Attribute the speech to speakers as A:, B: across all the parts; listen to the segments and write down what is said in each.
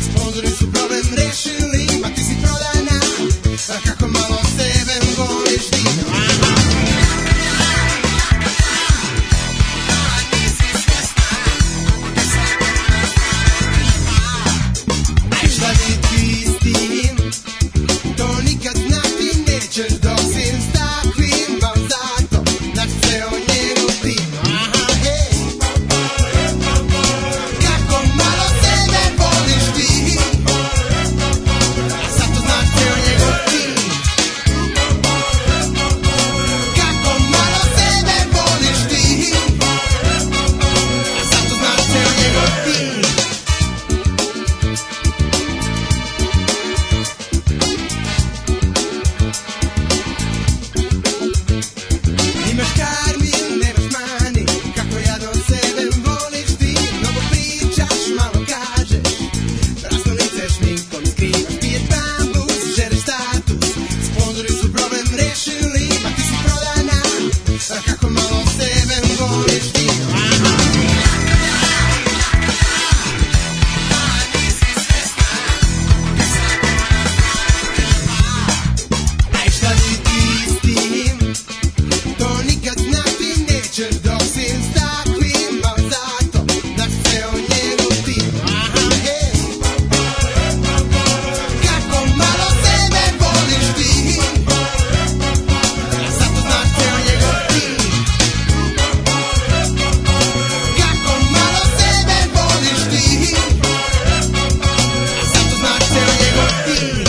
A: sponzori su problem rešili, ma ti si prodana, a kako malo sebe voliš ti. Šta biti s tim, to nikad znati nećeš dok si s takvim, baš zato, znaš ceo njegov tim. Aha, hej. Kako Jako malo sebe voliš ti A sad to znaš ceo njegov tim Kako Jako malo sebe voliš ti A sad to znaš ceo njegov tim Imaš karmiju, nemaš mani Kako ja do sebe voliš ti Mnogo pričaš, malo kažeš Rasno lice šminkom skrivaš Piješ bambus, želiš status Sponzori su problem rešili Ma ti si prodana A kako malo sebe voliš ti Aha. Aj, šta bi ti s tim? To nikad znati nećeš dok si s takvim, baš zato znaš ceo njegov tim. Aha, hej. Kako malo sebe voliš ti, a zato znaš ceo njegov tim. Kako malo sebe voliš ti, a zato znaš ceo njegov tim.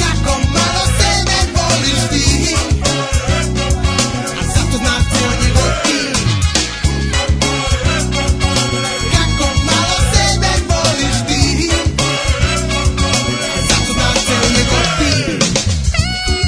A: Kako malo sebe voliš ti A zato znaš ceo njegov tim Kako malo sebe voliš ti A zato znaš ceo njegov tim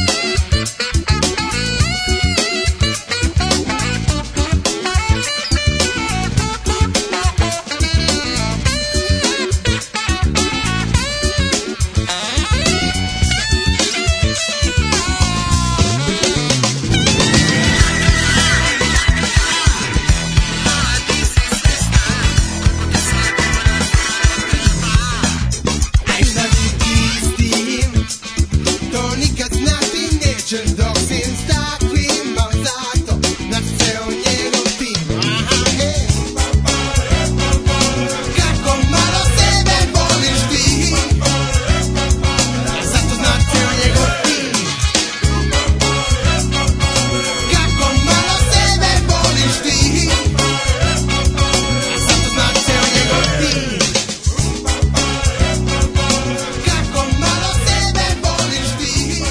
A: Aj, šta bi ti s tim? To nikad znati nećeš dok si s takvim, al zato znaš ceo njegov tim. Aha, hej. Kako malo sebe voliš ti, a zato znaš ceo njegov tim. Kako malo sebe voliš ti, a zato znaš ceo njegov tim. Kako malo sebe voliš ti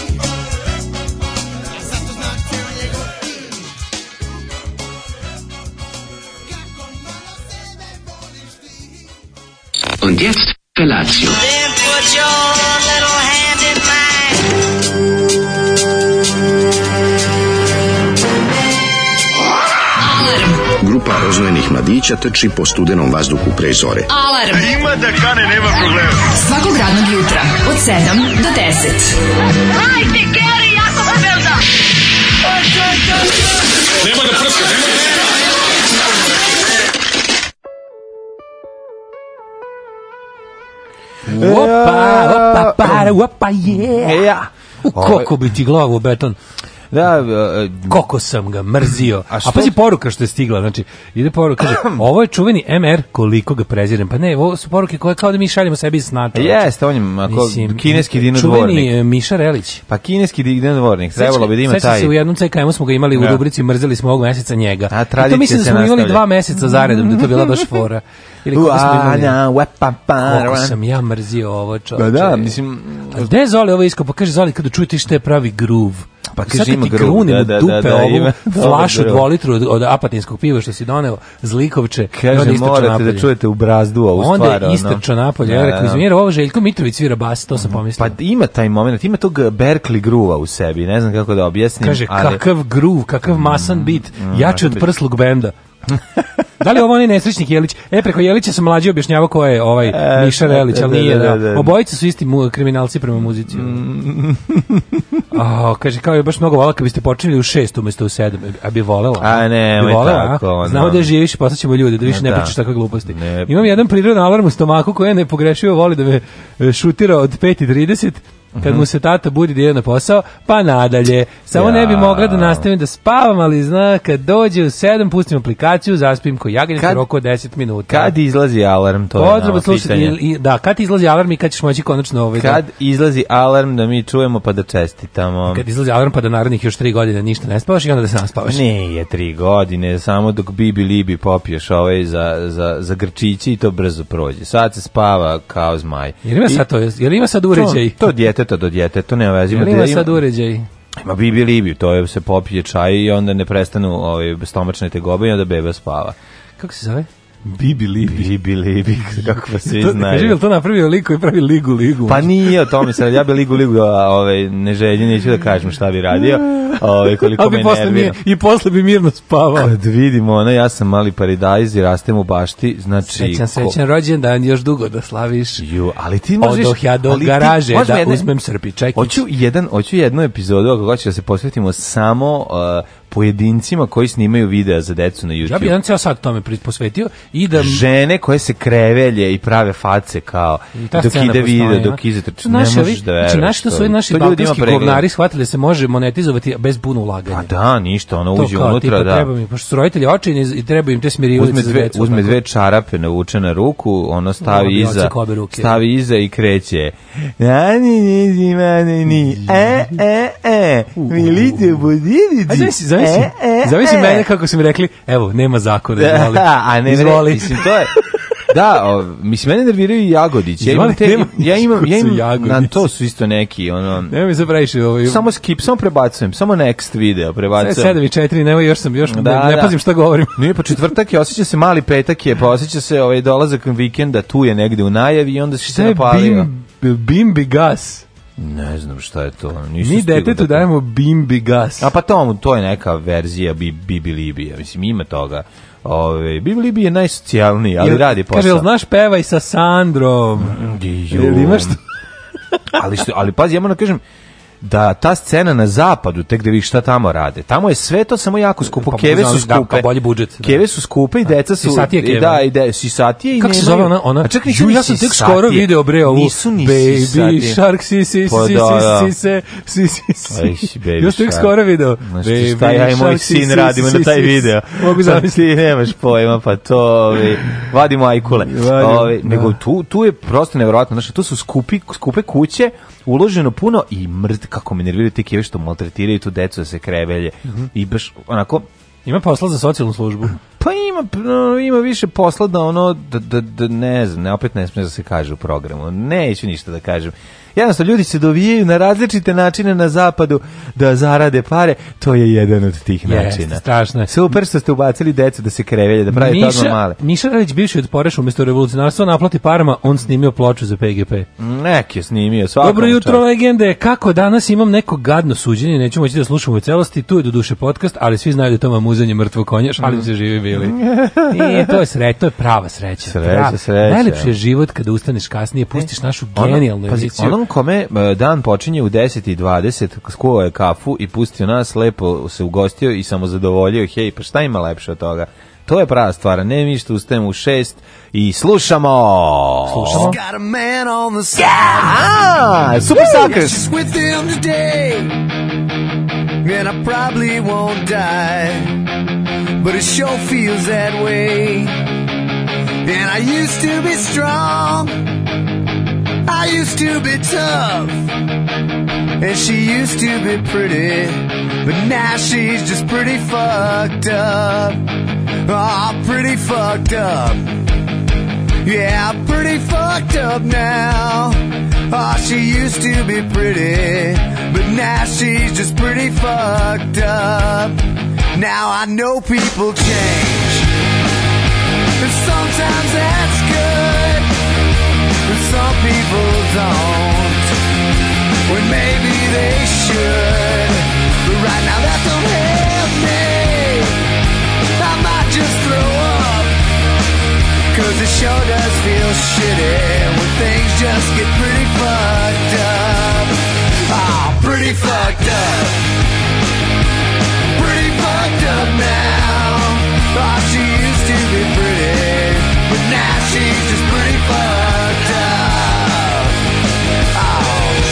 A: A zato znaš ceo njegov tim Kako malo sebe voliš ti
B: Und jetzt Felatio.
C: Then put your little hand in mine.
D: Grupa rozvojenih mladića trči po studenom vazduhu pre zore.
E: Alarm.
F: Ima da kane, nema problema.
E: Svakog radnog jutra od 7 do 10.
C: Hajde, Geri, jako se velda.
G: Opa, opa, para, opa, je.
H: Ja. Ovaj-
G: U Koliko bi ti glavu u beton.
H: Da, e, e,
G: Koliko sam ga mrzio. A,
H: A što-
G: pazi poruka što je stigla, znači, ide poruka, kaže, ovo je čuveni MR, koliko ga prezirem. Pa ne, ovo su poruke koje kao da mi šaljemo sebi iz snata. znači.
H: jeste, on je ako kineski
G: Čuveni
H: dinodvornik.
G: e, Miša Relić.
H: Pa kineski dinodvornik, trebalo bi da ima
G: Sećaš
H: taj.
G: se u jednom CKM-u smo ga imali u
H: Da.
G: rubrici mrzeli smo ovog meseca njega.
H: A,
G: I to
H: tradicija
G: mislim da
H: se
G: smo imali
H: nastavlja.
G: dva meseca zaredom, da je to bila baš fora. Ili kako smo imali?
H: Luana, uepa, Pa, para.
G: Koliko sam ja mrzio ovo čoče.
H: Pa da, mislim,
G: A gde je Zoli ovo iskao? Pa kaže Zoli, kada čujete šta je pravi groove.
H: Pa
G: I
H: kaže,
G: sad kad
H: ima
G: ti
H: groove,
G: grunem
H: da,
G: u
H: da,
G: dupe
H: da, da,
G: ovu
H: ima dobar
G: flašu
H: groove.
G: dvolitru od, od apatinskog piva što si doneo, zlikovče, i onda
H: Kaže,
G: istrčao
H: morate
G: napolje.
H: da čujete u brazdu ovu stvar.
G: Onda je
H: ono.
G: istrčao napolje, ja rekao, izmjera, ovo Željko Mitrović svira bas, to sam
H: Pa
G: pomislio.
H: ima taj moment, ima tog Berkeley gruva u sebi, ne znam kako da objasnim.
G: Kaže,
H: ali- Mm,
G: kakav groove, kakav masan bit, jači od prslog benda. da li ovo onaj nesrećnik Jelić? E, preko Jelića sam mlađi objašnjavao ko je ovaj
H: E,
G: Miša
H: da,
G: Relić,
H: da,
G: ali
H: da,
G: nije.
H: da,
G: Da,
H: da.
G: Obojica su isti mu, kriminalci prema muzici. ono.
H: Mm.
G: A, kaže, kao je baš mnogo vola kad biste počinili u šest umesto u sedam. A bi volela?
H: A, nemoj
G: Bi volela,
H: tako,
G: a?
H: ono. E,
G: Znamo da živiš i postaćemo ljude, da više ne
H: Da.
G: pričaš takve gluposti.
H: Ne.
G: Imam jedan prirodan alarm u stomaku koji je nepogrešivo voli da me e, šutira od 5.30 kad
H: Mhm.
G: mu se tata budi da ide na posao, pa nadalje. Samo ne bi
H: Ja.
G: mogla da nastavim da spavam, ali zna kad dođe u 7, pustim aplikaciju, zaspim ko jaganjac
H: Kad-
G: u roku od 10 minuta.
H: Kad izlazi alarm, to je
G: Pozdrav
H: nama
G: od slušatelja.
H: pitanje.
G: I- i- Da, kad ti izlazi alarm i kad ćeš moći konačno ovaj da-
H: Kad izlazi alarm da mi čujemo pa da čestitamo?
G: kad izlazi alarm pa da narednih još 3 godine ništa ne spavaš i onda da se naspavaš.
H: Ne, je tri godine, samo dok bibi libi popiješ ovaj za, za, za grčići i to brzo prođe. Sad se spava kao zmaj.
G: Jer ima
H: I
G: sad to, jer ima sad uređaj.
H: To, to djeteta do djeteta, to nema veze.
G: Jer
H: dje-
G: ima sad uređaj.
H: ima bibi libi, to je se popije čaj i onda ne prestanu ovaj, stomačne tegobe i onda beba spava.
G: Kako se zove?
H: Bibi libi. Bibi libi, kako vas svi
G: To- Kaži, je
H: znaju.
G: li to napravio lik koji pravi ligu, ligu?
H: Pa nije o tome se, radi, ja bi ligu ligu, a, ovaj, ne želji, neću da kažem šta bi radio, ovaj, koliko
G: Ali
H: me
G: bi posle
H: nervira.
G: mir, I posle bi mirno spavao.
H: Kad vidim ono, ja sam mali paradajz i rastem u bašti, znači...
G: Srećan,
H: ko-
G: srećan rođendan, još dugo da slaviš.
H: Ju, ali ti možeš...
G: Odoh ja do
H: ali ti-
G: garaže
H: možda
G: da
H: jedne-
G: uzmem srpičekić.
H: Hoću, jedan, hoću jednu epizodu, ako hoću da se posvetimo samo uh, pojedincima koji snimaju videa za decu na YouTube.
G: Ja bi jedan ceo sat tome pri- posvetio i da...
H: Žene koje se krevelje i prave face kao
G: I ta
H: dok
G: scena
H: ide
G: postoji,
H: video,
G: a?
H: dok izatrči, ne
G: Naši
H: možeš
G: ovi-
H: da veruješ.
G: Znači, naši to su ovi naši
H: To ljudima
G: balkanski
H: pregleda.
G: govnari shvatili da se može monetizovati bez puno ulaganja.
H: Pa da, ništa, ono
G: to
H: uđe
G: kao,
H: unutra,
G: tipa,
H: da.
G: treba mi, pošto su roditelji očajni i treba im te smirijulice
H: uzme
G: za
H: dve,
G: decu,
H: uzme
G: tako.
H: dve čarape navuče na ruku, ono
G: Ono bi
H: stavi iza,
G: odsek obe ruke.
H: stavi iza i kreće. Ani ni zima ni ni, e, e, e, milite budili
G: A zavisi, zavisi, zavisi mene kako su mi rekli, evo, nema zakona, izvoli.
H: E, A ne, ne,
G: izvoli.
H: mislim, to je... Da, o, mislim, mene nerviraju i jagodić. Ja imam,
G: Izvoli,
H: te,
G: nema
H: ja imam, ja
G: ništa
H: imam,
G: sa Jagodićem.
H: na to su isto neki, ono,
G: Nema mi se previše ovaj...
H: samo skip, samo prebacujem, samo next video prebacujem.
G: Sedam i četiri, nema, još sam, još
H: Da,
G: ne, ne
H: da.
G: pazim šta govorim.
H: Nije, pa četvrtak je, osjeća se mali petak je, pa osjeća se ovaj dolazak vikenda, tu je negde u najavi i onda si se
G: Šta je
H: napalio.
G: bim, bimbi gas?
H: Ne znam šta je to. Nisam
G: Mi
H: stigao
G: detetu
H: da-
G: dajemo bimbi gas.
H: A pa tomu, to je neka verzija bi, Bibi Libija, mislim, ima toga. Ove, Bibi Libija je najsocijalniji, ali
G: Jel-
H: radi posao. Mm,
G: Kaže, jel znaš pevaj sa Sandrom?
H: Ju.
G: Jel imaš to?
H: ali, što, ali pazi, ja moram da kažem, da ta scena na zapadu, tek da vidiš šta tamo rade. Tamo je sve to samo jako skupo.
G: Pa,
H: keve
G: znam,
H: su
G: da,
H: skupe.
G: kao bolji budžet, da.
H: Keve su skupe i deca su...
G: sisatije keve.
H: i Da, i de, sisatije i
G: Kako se
H: nemaju- Pa
G: zove ona- ona-
H: A čekaj,
G: Ju, ja sam tek skoro video, bre, ovu
H: Nisu ni
G: Baby
H: sisatije.
G: Shark, si, si, si,
H: Pa
G: si,
H: da,
G: si,
H: da.
G: si, se, si, si, si.
H: Aj, si, Baby
G: Još tek
H: Shark.
G: skoro video.
H: Znaš ti
G: Baby
H: šta ja i moj
G: Shark, si,
H: sin
G: si,
H: radimo
G: si,
H: na taj
G: si, si.
H: video.
G: Mogu
H: Pa Ti
G: zamisliti.
H: nemaš pojma, pa to ovi, vadimo ajkule.
G: Vadimo,
H: Ovi,
G: da.
H: nego tu, tu je prosto nevjerojatno. Znaš, tu su skupi, skupe kuće, uloženo puno i mrd, kako me nerviraju te kjeve što maltretiraju tu decu da se krevelje.
G: Mhm.
H: I baš onako,
G: Ima posla za socijalnu službu.
H: pa ima, no, ima više posla da ono, da, da, da ne znam, ne, opet ne smije da se kaže u programu. Neću ništa da kažem. Jednostavno, ljudi se dovijaju na različite načine na zapadu da zarade pare. To je jedan od tih načina.
G: Jeste, strašno je.
H: Super što ste ubacili decu da se krevelje, da pravi tamo male.
G: Miša Radić, bivši od Poreš umjesto revolucionarstva, naplati parama, on snimio ploču za PGP.
H: Nek je snimio, svakako.
G: Dobro jutro, legende. Kako danas imam neko gadno suđenje, neću moći da slušam u celosti, tu je do duše podcast, ali svi znaju da je to mamuzanje mrtvo konja, šalim se živi bili. I to je sreća, to je prava sreća.
H: Sreća,
G: prava.
H: sreća. E, ono,
G: Najlepši je život kada ustaneš kasnije, pustiš našu genijalnu
H: pazi,
G: emisiju.
H: Onom kome e, dan počinje u 10.20, skuvao je kafu i pustio nas, lepo se ugostio i samo zadovoljio, hej, pa šta ima lepše od toga? To je prava stvar, ne mi što ustajemo u 6 i slušamo!
G: Slušamo.
A: Got a man on the side.
H: A, super suckers!
A: She's with him today. And I probably won't die. But it sure feels that way. And I used to be strong. I used to be tough. And she used to be pretty. But now she's just pretty fucked up. Oh, pretty fucked up. Yeah, pretty fucked up now. Oh, she used to be pretty, but now she's just pretty fucked up. Now I know people change. And sometimes that's good, but some people don't. When maybe they should. But right now that don't help me. I might just throw
I: sure does feel shitty when things just get pretty fucked up. Oh, pretty fucked up. Pretty fucked up now. Oh, she used to be pretty, but now she's just pretty fucked up. Oh.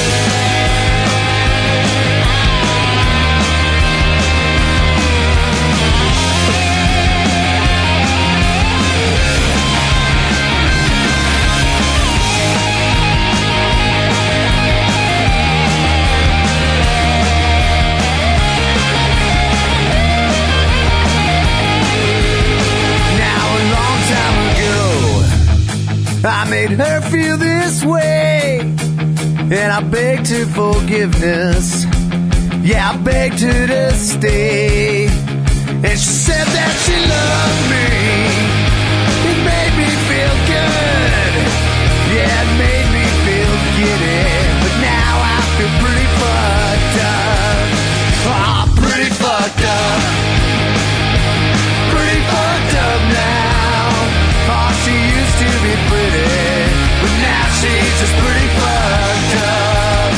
I: Now a long time ago, I made her feel this way, and I begged her forgiveness. Yeah, I begged her to stay, and she said that she loved me. It made me feel good. Yeah, it made me feel giddy, but now I feel pretty fucked up. Ah, pretty fucked up pretty fucked up now. Oh, she used to be pretty, but now she's just pretty fucked up.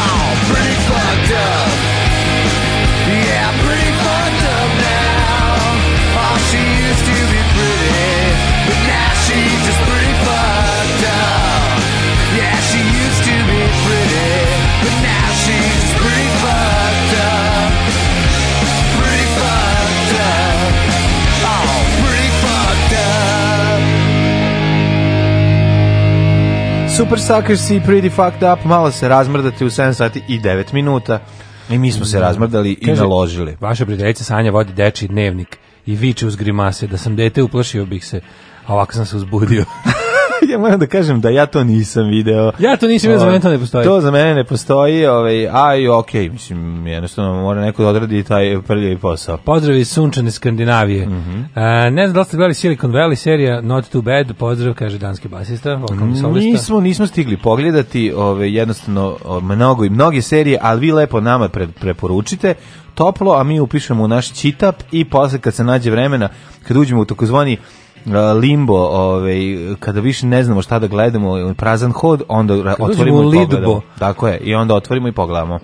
I: Oh, pretty fucked up. Yeah, pretty fucked up now. Oh, she used to be pretty, but now she's just pretty fucked up. Yeah, she used to be pretty, but now she's just pretty fucked up. Pretty fucked up. Oh, pretty fucked up.
H: Super Suckers i Pretty Fucked Up, malo se razmrdate u 7 sati i 9 minuta. I mi smo se razmrdali i
G: Kaže,
H: naložili.
G: Vaša prijateljica Sanja vodi dečiji dnevnik i viče uz grimase da sam dete uplašio bih se, a ovako sam se uzbudio.
H: ja moram da kažem da ja to nisam video.
G: ja to nisam vidio, za mene to ne postoji.
H: Ovaj, To za mene ne postoji, ovaj, a i okej, mislim, jednostavno mora neko da odradi taj prljavi posao.
G: Pozdrav iz sunčane Skandinavije.
H: Mhm.
G: E, ne znam da li ste gledali Silicon Valley serija Not Too Bad, pozdrav, kaže danski basista, vokalni solista.
H: Nismo, nismo stigli pogledati ove, jednostavno o, mnogo i mnoge serije, ali vi lepo nama pre, preporučite toplo, a mi upišemo u naš čitap i posle kad se nađe vremena, kad uđemo u takozvani a, limbo, ovaj, kada više ne znamo šta da gledamo, prazan hod, onda ra-
G: uđemo
H: otvorimo
G: u
H: i pogledamo.
G: Lidbo.
H: Tako je, i onda otvorimo i pogledamo.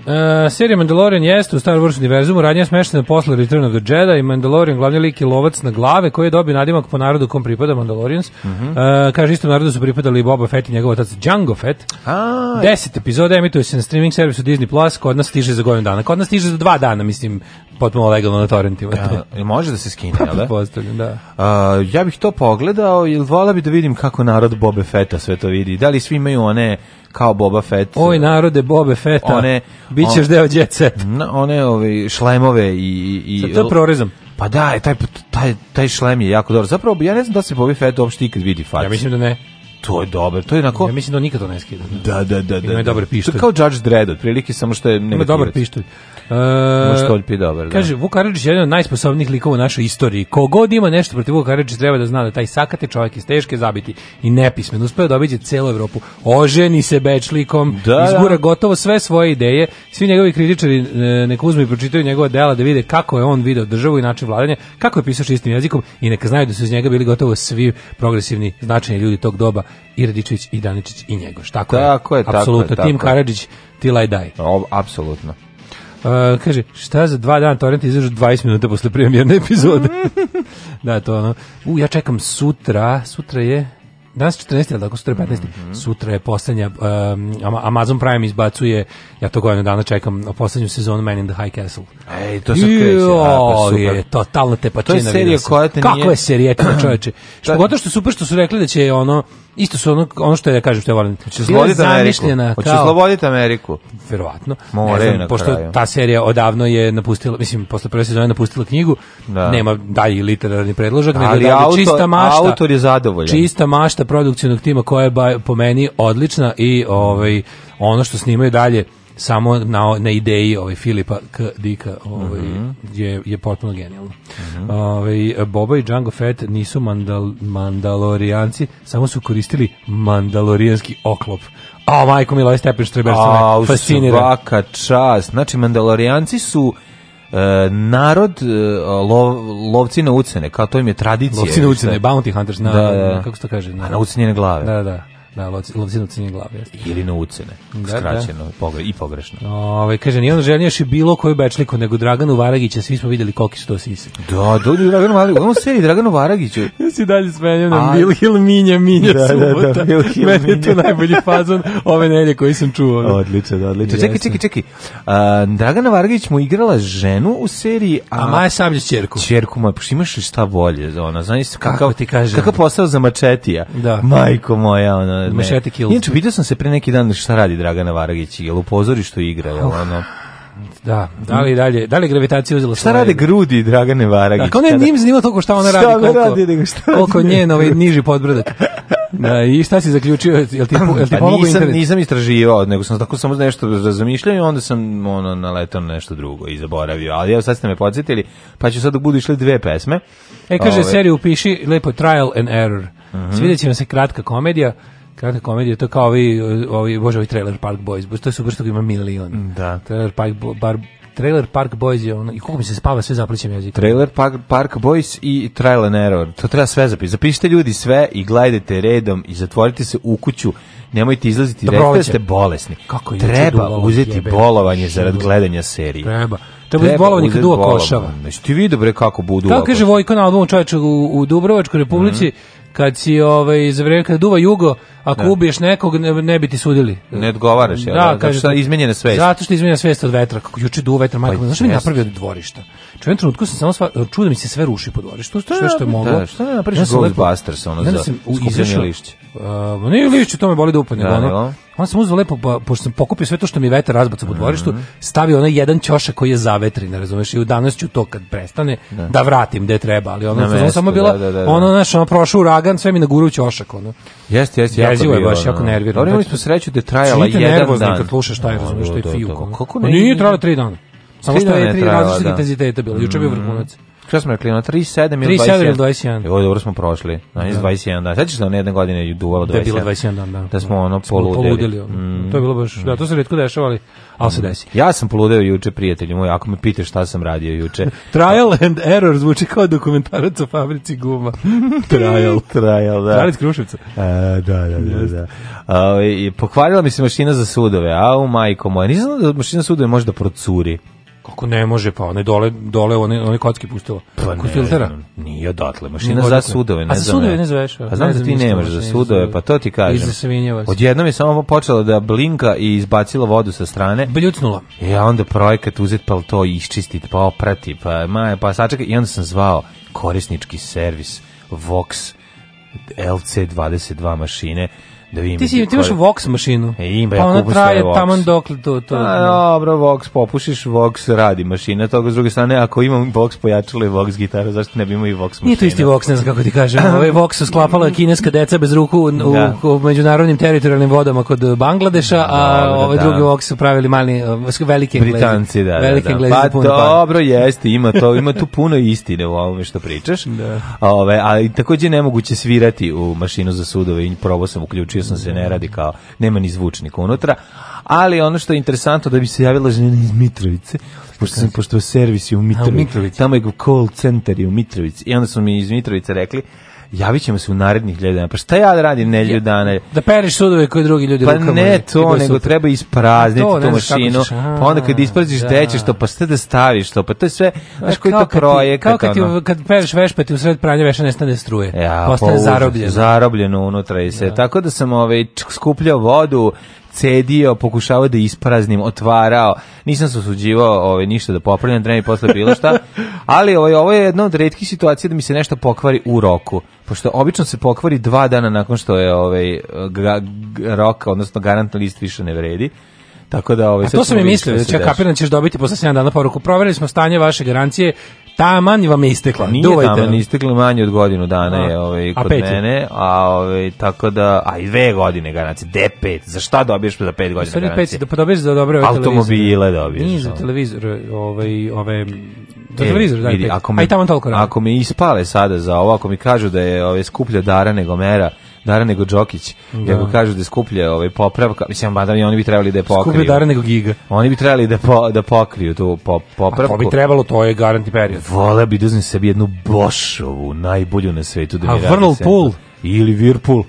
G: E, serija Mandalorian jeste u Star Wars univerzumu, radnja smeštena posle Return of the Jedi i Mandalorian glavni lik je lovac na glave koji je dobio nadimak po narodu kom pripada Mandalorians.
H: Mhm.
G: E, kaže istom narodu su pripadali i Boba Fett i njegov otac Django Fett.
H: A,
G: Deset epizoda emituje se na streaming servisu Disney Plus, kod nas stiže za godinu dana. Kod nas stiže za dva dana, mislim, potpuno legalno na torrentima. to.
H: jel može da se skine, jel Pa da?
G: Pretpostavljam, da.
H: A, ja bih to pogledao, jer vola bi da vidim kako narod Boba Fetta sve to vidi. Da li svi imaju one kao Boba Fett?
G: Oj narode Bobe Feta,
H: One-
G: bit ćeš
H: on-
G: deo jet set.
H: Na, one ove šlemove i... i, i
G: To je prorezam.
H: Pa da, taj, taj, taj šlem je jako dobar. Zapravo, ja ne znam da se Boba Fett uopšte ikad vidi facu.
G: Ja mislim da ne.
H: To je dobro, to je onako...
G: Ja mislim da on nikad to ne skida.
H: Da, da, da. da.
G: Ima i dobar
H: da.
G: pištolj.
H: To je kao Judge Dredd, otprilike, samo što je
G: Ima
H: negativac.
G: dobar pištolj. E,
H: Ima štoljpi dobar, da.
G: Kaže, Vuk Karadžić je jedan od najsposobnijih likova u našoj istoriji. Kogod ima nešto protiv Vuk Karadžić treba da zna da taj sakate čovjek iz teške zabiti i nepismen. Uspeo da obiđe celu Evropu. Oženi se bečlikom,
H: Da, da.
G: izgura gotovo sve svoje ideje. Svi njegovi kritičari e, neka uzmu i pročitaju njegova dela da vide kako je on video državu i način vladanja, kako je pisao čistim jezikom i neka znaju da su iz njega bili gotovo svi progresivni značajni ljudi tog doba i Radičić i Daničić i Njegoš. Tako,
H: Tako je, tako je,
G: Apsolutno.
H: tako
G: Tim
H: je.
G: Karadžić, till I die.
H: O, apsolutno.
G: Uh, kaže, šta za dva dana torrent izađu 20 minuta posle premijerne epizode. da, to ono. U, ja čekam sutra, sutra je... Danas je 14, ali tako sutra je 15.
H: Mhm.
G: Sutra je poslednja, um, Ama- Amazon Prime izbacuje, ja to godinu dana čekam, poslednju sezonu Man in the High Castle.
H: Ej, to sad kreće. a, pa
G: Jo,
H: super.
G: je, totalna tepačina.
H: To je serija
G: vidio sam.
H: koja te nije-
G: Kako je serijetina, čoveče? Što
H: Da.
G: gotovo što je super što su rekli da će ono, isto su ono, ono što ja kažem što ja volim.
H: Hoće
G: Bila je
H: sloboditi Ameriku.
G: zamišljena
H: Hoće
G: kao-
H: sloboditi Ameriku.
G: verovatno.
H: Moraju
G: ne znam,
H: na
G: pošto
H: kraju.
G: ta serija odavno je napustila, mislim, posle prve sezone napustila knjigu,
H: Da.
G: nema dalji literarni predložak, nego
H: Ali
G: je dalje
H: autor-
G: čista mašta.
H: autor je zadovoljan.
G: Čista mašta produkcionog tima koja je ba- po meni odlična i ovaj, ono što snimaju dalje samo na, na ideji ovaj Filipa K. Dika ovaj,
H: Mhm.
G: je, je potpuno genijalno. ovaj, Boba i Django Fett nisu mandal, mandalorijanci, samo su koristili mandalorijanski oklop. A, majko mila, ovaj stepen štreber se me
H: A,
G: fascinira.
H: svaka čast. Znači, Mandalorijanci su e, narod e, lo- lovci na ucene, kao to im je tradicija.
G: Lovci na
H: ili šta?
G: ucene, bounty hunters, na,
H: Da, da.
G: kako se to kaže?
H: A na ucenjene glave.
G: Da, da, da, lovci, lovci na ucenjene glave, jeste.
H: Ili na ucene,
G: Da,
H: skraćeno pogre- i pogrešno.
G: Ove, Ovaj, kaže, nije on željnjaš i bilo koju bečliku, nego Draganu Varagića, svi smo vidjeli koliki su to sise.
H: Da, da, da, Draganu Varagiću, u onom seriji Draganu Varagiću.
G: Ja si dalje smenjam na
H: A-
G: Vilhil Minja Minja
H: Da, da, da,
G: subota.
H: Vilhil
G: Meni je to
H: Minja.
G: najbolji fazon ove nelje koji sam čuo. ono.
H: Odlično, odlično.
G: Jeste.
H: Čekaj, čekaj, čekaj. A, Dragana Varagić mu igrala ženu u seriji, a,
G: A Maja Sabljić čerku.
H: Čerku moja, pa imaš li šta bolje za ona? Znaš kakav,
G: Kako ti kažem?
H: Kakav posao za mačetija.
G: Da.
H: Majko moja, ona. ne.
G: Mačeti kills.
H: Inače, vidio sam se pre neki dan šta radi Dragana Varagić, jel u pozorištu igra, jel ono.
G: Da, da li dalje, da li je gravitacija uzela
H: Šta rade grudi Dragane Varagić?
G: Ako ne,
H: kada-
G: nije me zanima toliko šta ona
H: Šta
G: radi,
H: ona
G: koliko,
H: radi, nego šta radi
G: koliko
H: njena
G: njen ovaj niži podbrdak. Da, I šta si zaključio? Jel ti, jel ti
H: Pa
G: pomogao
H: nisam,
G: internet?
H: nisam istraživao, nego sam tako samo nešto razmišljao i onda sam ono, naletao na nešto drugo i zaboravio. Ali evo sad ste me podsjetili, pa ću sad dok budu išle dve pesme.
G: E, kaže,
H: Ove, Mhm.
G: seriju upiši lepo Trial and Error. Svidjet će vam se kratka komedija. Kratka komedija, to je kao ovi, ovi, bože, ovi Trailer Park Boys. Bože, to je super što ga ima milion.
H: Da.
G: Trailer Park, Bo- bar, Trailer Park Boys je ono, i koliko mi se spava, sve zaplićem jezik.
H: Trailer Park, Park Boys i Trial and Error. To treba sve zapisati. Zapišite ljudi sve i gledajte redom i zatvorite se u kuću. Nemojte izlaziti,
G: Da
H: da recite da
G: proleće.
H: ste bolesni.
G: Kako je juče
H: treba
G: duvalo,
H: uzeti
G: jebe.
H: bolovanje zarad gledanja serije.
G: Treba. Treba biti bolovanje kad
H: uzeti
G: duva
H: bolovanje.
G: košava.
H: Znači ti vidi bre kako budu.
G: Kako kaže Vojko na albumu čoveče u, u Dubrovačkoj republici,
H: Mhm.
G: kad si ovaj, za vreme kada duva jugo, ako ubiješ nekog, ne, ne bi ti sudili.
H: Ne odgovaraš, jel? Da, zato što je izmenjena svest.
G: Zato što je izmenjena svest od vetra, kako juče duva vetar, majko,
H: Pa,
G: znaš što mi je
H: jest.
G: napravio od dvorišta? Ču, u jednom trenutku sam samo sva, čuo da mi se sve ruši po dvorištu, sve što je moglo.
H: da, što ne napraviš
G: Ja sam lepo-
H: Ghostbusters, ono,
G: I onda
H: za
G: sam u-
H: skupljanje
G: izašao-
H: lišća.
G: A, ma nije lišće, to me boli da upadne.
H: Da,
G: Da,
H: jel?
G: ono. Onda sam uzeo lepo, pa, pošto sam pokupio sve to što mi je vetar razbacao po
H: Mhm.
G: dvorištu, stavio onaj jedan ćošak koji je zavetrin, razumeš, i u danas ću to kad prestane, da, vratim gde treba, ali ono,
H: Na
G: fazon
H: mesto,
G: samo bila,
H: da, da, da, da.
G: ono, znaš, ono, prošao uragan, sve mi na guru ćošak, ono.
H: Jeste, jeste, jako
G: Jezivo je
H: bilo,
G: baš,
H: ono.
G: jako nervirano.
H: Dobro, imali smo sreću da je trajala
G: Činite
H: jedan
G: nervoznim
H: dan.
G: kad slušaš taj, ono razumeš,
H: Da,
G: taj
H: da, da,
G: fijuko.
H: da.
G: Kako
H: Kako
G: ne?
H: ne?
G: Pa Nije trajalo tri dana. Samo
H: Tri
G: što
H: dana
G: je
H: je
G: tri
H: trajala,
G: različite
H: da. Mm,
G: intenzitete bilo. Juče je bio vrhunac.
H: Šta smo rekli, na 37 ili
G: 37
H: 21?
G: ili 21.
H: Evo, dobro smo prošli. Na da. 21 dan. Sećaš da one jedne godine je duvalo 21?
G: Da je bilo 21 dan, da.
H: Da smo ono
G: Smo
H: poludeli. Mm.
G: ono. To je bilo baš, da, to se retko dešava, ali, ali se desi.
H: Ja sam poludeo juče, prijatelju moj, ako me pitaš šta sam radio juče.
G: Trial and error zvuči kao dokumentarac o fabrici guma. Trial.
H: Trajal, da.
G: Trial iz Kruševca.
H: E, da, da, da, da. A, i pokvarila mi se mašina za sudove. Au, majko moja. Nisam znao da mašina za sudove može da procuri.
G: Kako ne može, pa one dole, dole one, one kocki pustilo. Pa Kod
H: ne
G: filtera.
H: znam, Nije odatle, mašina
G: Nije
H: za
G: odakle.
H: sudove, ne
G: A za
H: znam
G: sudove
H: ja.
G: ne zoveš,
H: A
G: ne
H: znam da
G: znam
H: ti
G: ništa o
H: nemaš za
G: mašini za
H: sudove,
G: sudove.
H: pa to ti kažem.
G: Iza svinjevac.
H: Odjednom je samo počela da blinka i izbacila vodu sa strane.
G: Bljucnula.
H: I E, onda projekat uzet pa to iščistit, pa oprati, pa ma, pa sačekaj. I onda sam zvao korisnički servis Vox LC22 mašine da vidim.
G: Ti, si, ti imaš
H: koje-
G: Vox mašinu.
H: E, ima, ja
G: pa ona
H: kupim
G: traje
H: svoje Vox.
G: taman dokle to... to
H: A, Pa, dobro, Vox popušiš, Vox radi mašina, toga s druge strane, ako imam Vox pojačalo i Vox gitaru, zašto ne bi imao i Vox mašina?
G: Nije to isti Vox, ne znam kako ti kažem. Ovaj Vox su sklapala kineska deca bez ruku u,
H: Da.
G: u, u međunarodnim teritorijalnim vodama kod Bangladeša, a
H: Dobro,
G: ove
H: da.
G: druge Vox su pravili mali, eh, velike englezi.
H: Britanci, da, da,
G: Velike
H: da.
G: englezi
H: Pa
G: puni para.
H: dobro, jeste, ima to, ima tu puno istine u ovome što pričaš. Da. Ove, ali takođe je nemoguće svirati u mašinu za sudove i probao sam, uključio sam se, ne radi kao, nema ni zvučnika unutra. Ali ono što je interesantno da bi se javila žena iz Mitrovice, pošto, sam, pošto servis je u Mitrovici,
G: Mitrovici.
H: tamo je call center je u Mitrovici i onda su mi iz Mitrovice rekli, javit ćemo se u narednih ljedu dana. Pa šta ja da radim nelju dana?
G: Da pereš sudove koje drugi ljudi
H: Pa
G: rukama.
H: ne
G: i- i
H: to,
G: bude
H: nego
G: super.
H: treba isprazniti
G: To, ne
H: tu
G: znaš kako
H: mašinu,
G: ćeš, a,
H: pa onda kad ispraziš
G: da.
H: gde ćeš to, pa ste da staviš to, pa to je sve, znaš koji je
G: E, Kao
H: to
G: kad ti-
H: projekat,
G: Kao kad, ti,
H: ono.
G: kad pereš vešpe, ti u sred pranja veša nestane struje.
H: Ja,
G: Postane
H: pa užas,
G: zarobljeno.
H: Zarobljeno unutra i sve. Tako da sam ovaj, č- skupljao vodu, cedio, pokušavao da ispraznim, otvarao. Nisam se osuđivao ovaj, ništa da popravljam, treba mi posle bilo šta. Ali ovaj, ovo je jedna od redkih situacija da mi se nešto pokvari u roku. Pošto obično se pokvari dva dana nakon što je ovaj, ga- g- rok, odnosno garantni list više ne vredi. Tako da ovaj
G: A
H: sad
G: to sam i
H: ćemo vidjeti
G: mislio, da
H: šta se
G: će
H: dešava.
G: kapiran ćeš dobiti posle 7 dana poruku. Proverili smo stanje vaše garancije, taman vam je istekla.
H: Nije
G: Duvajte.
H: taman, isteklo manje od godinu dana
G: A.
H: je ovaj,
G: A
H: kod
G: pet je?
H: mene, a ovaj, tako da, a i dve godine garancije, de pet, za šta dobiješ za pet godina
G: Sve peci
H: garancije?
G: da podobiješ za dobre ove
H: Automobile dobiješ.
G: Nije za
H: ono.
G: televizor, ovaj, ove... Za
H: E,
G: televizor, daj
H: vidi,
G: pet.
H: ako
G: Aj, taman toliko radi.
H: Ako me ispale sada za ovo, ako mi kažu da je ovaj, skuplja dara nego mera, Dara nego Đokić. Da. Kako kažu da skuplja ovaj popravka, mislim mada i oni bi trebali da je pokriju.
G: Skuplje dara nego giga.
H: Oni bi trebali da po, da pokriju tu po,
G: A
H: popravku.
G: to bi trebalo, to je garantni period.
H: Vole bi da uzmem sebi jednu Boschovu, najbolju na svetu. Da mi
G: A
H: radi
G: Whirlpool?
H: sentor. Ili Whirlpool.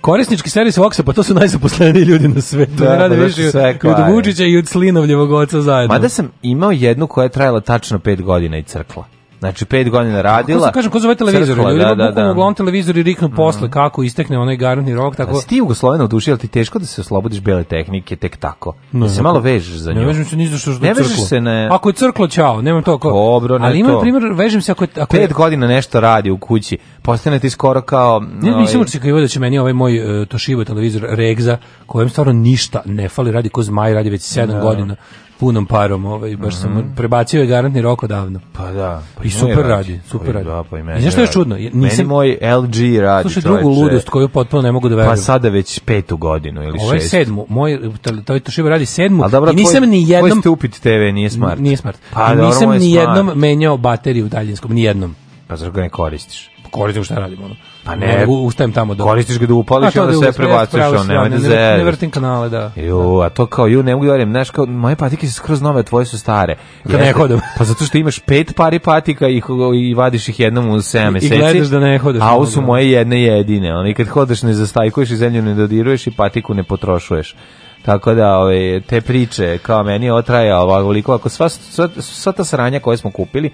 G: Korisnički servis Voxa, pa to su najzaposleniji ljudi na svetu.
H: Da,
G: Da, rade
H: pa da
G: više
H: su sve
G: i od
H: kvare.
G: Vučića i od Slinovljevog oca zajedno.
H: Mada sam imao jednu koja je trajala tačno pet godina i crkla. Znači, pet godina
G: Ko
H: radila.
G: se kažem, ko zove televizor?
H: crkla,
G: Ljudi da, da, da. uglavnom televizori
H: Mhm.
G: riknu posle kako istekne onaj garantni rok,
H: A
G: tako...
H: si ti Jugoslovena u duši, ali ti teško da se oslobodiš bele tehnike tek tako? da se malo vežeš za nju.
G: Ne vežem se ni za što što
H: Ne
G: je
H: vežeš
G: crklo.
H: se, ne.
G: Ako je crklo, čao, nemam to. Ko...
H: Dobro, ne
G: Ali ima,
H: to.
G: na primjer, vežem se ako je... Ako je...
H: Pet godina nešto radi u kući, postane ti skoro kao...
G: Ne,
H: ovaj,
G: nisam očekivao da će meni ovaj moj e, Toshiba televizor Regza, kojem stvarno ništa ne fali, radi ko zmaj, radi već 7 godina punom parom, ovaj, baš
H: Mhm.
G: sam prebacio je garantni rok odavno.
H: Pa da. Pa
G: I
H: moj
G: super radi, super
H: Pa
G: radi.
H: Da, pa i meni
G: I znaš što je
H: radi.
G: čudno? Ja
H: Meni
G: nisam-
H: moj LG radi.
G: Slušaj, drugu
H: Pa čoveče.
G: ludost koju potpuno ne mogu da verujem.
H: Pa sada već petu godinu ili
G: Ovo je
H: šest.
G: sedmu, moj, tel- taj Toshiba radi sedmu
H: Ali dobro,
G: i nisam
H: tvoj-
G: ni jednom...
H: Tvoj stupid TV nije smart.
G: Nije smart.
H: Pa,
G: I
H: dobro,
G: nisam
H: moj je
G: ni
H: smart.
G: jednom menjao bateriju daljinskom, ni jednom.
H: Pa zar ga ne koristiš?
G: Koristim šta radim, ono.
H: Pa ne.
G: U- Ustajem tamo do...
H: Koristiš ga da
G: A,
H: upališ i
G: to
H: onda
G: da
H: sve
G: uzmem,
H: prebacuješ,
G: pravo
H: on
G: si,
H: nemoj
G: ne,
H: da
G: ne vrt- Ne
H: zezeš.
G: vrtim kanale, da.
H: Jo, a to kao ju, ne mogu da verujem, znaš, kao moje patike su skroz nove, tvoje su stare.
G: Kad ne hodam.
H: Pa zato što imaš pet pari patika i, ho- i vadiš ih jednom u 7 meseci.
G: gledaš da ne hodaš
H: A ovo
G: mnogo.
H: su moje jedne jedine. Ono, I kad hodaš ne zastajkuješ i zemlju ne dodiruješ i patiku ne potrošuješ. Tako da, ove, te priče, kao meni je otraja ovoliko, ako sva, sva, sva ta sranja koje smo kupili,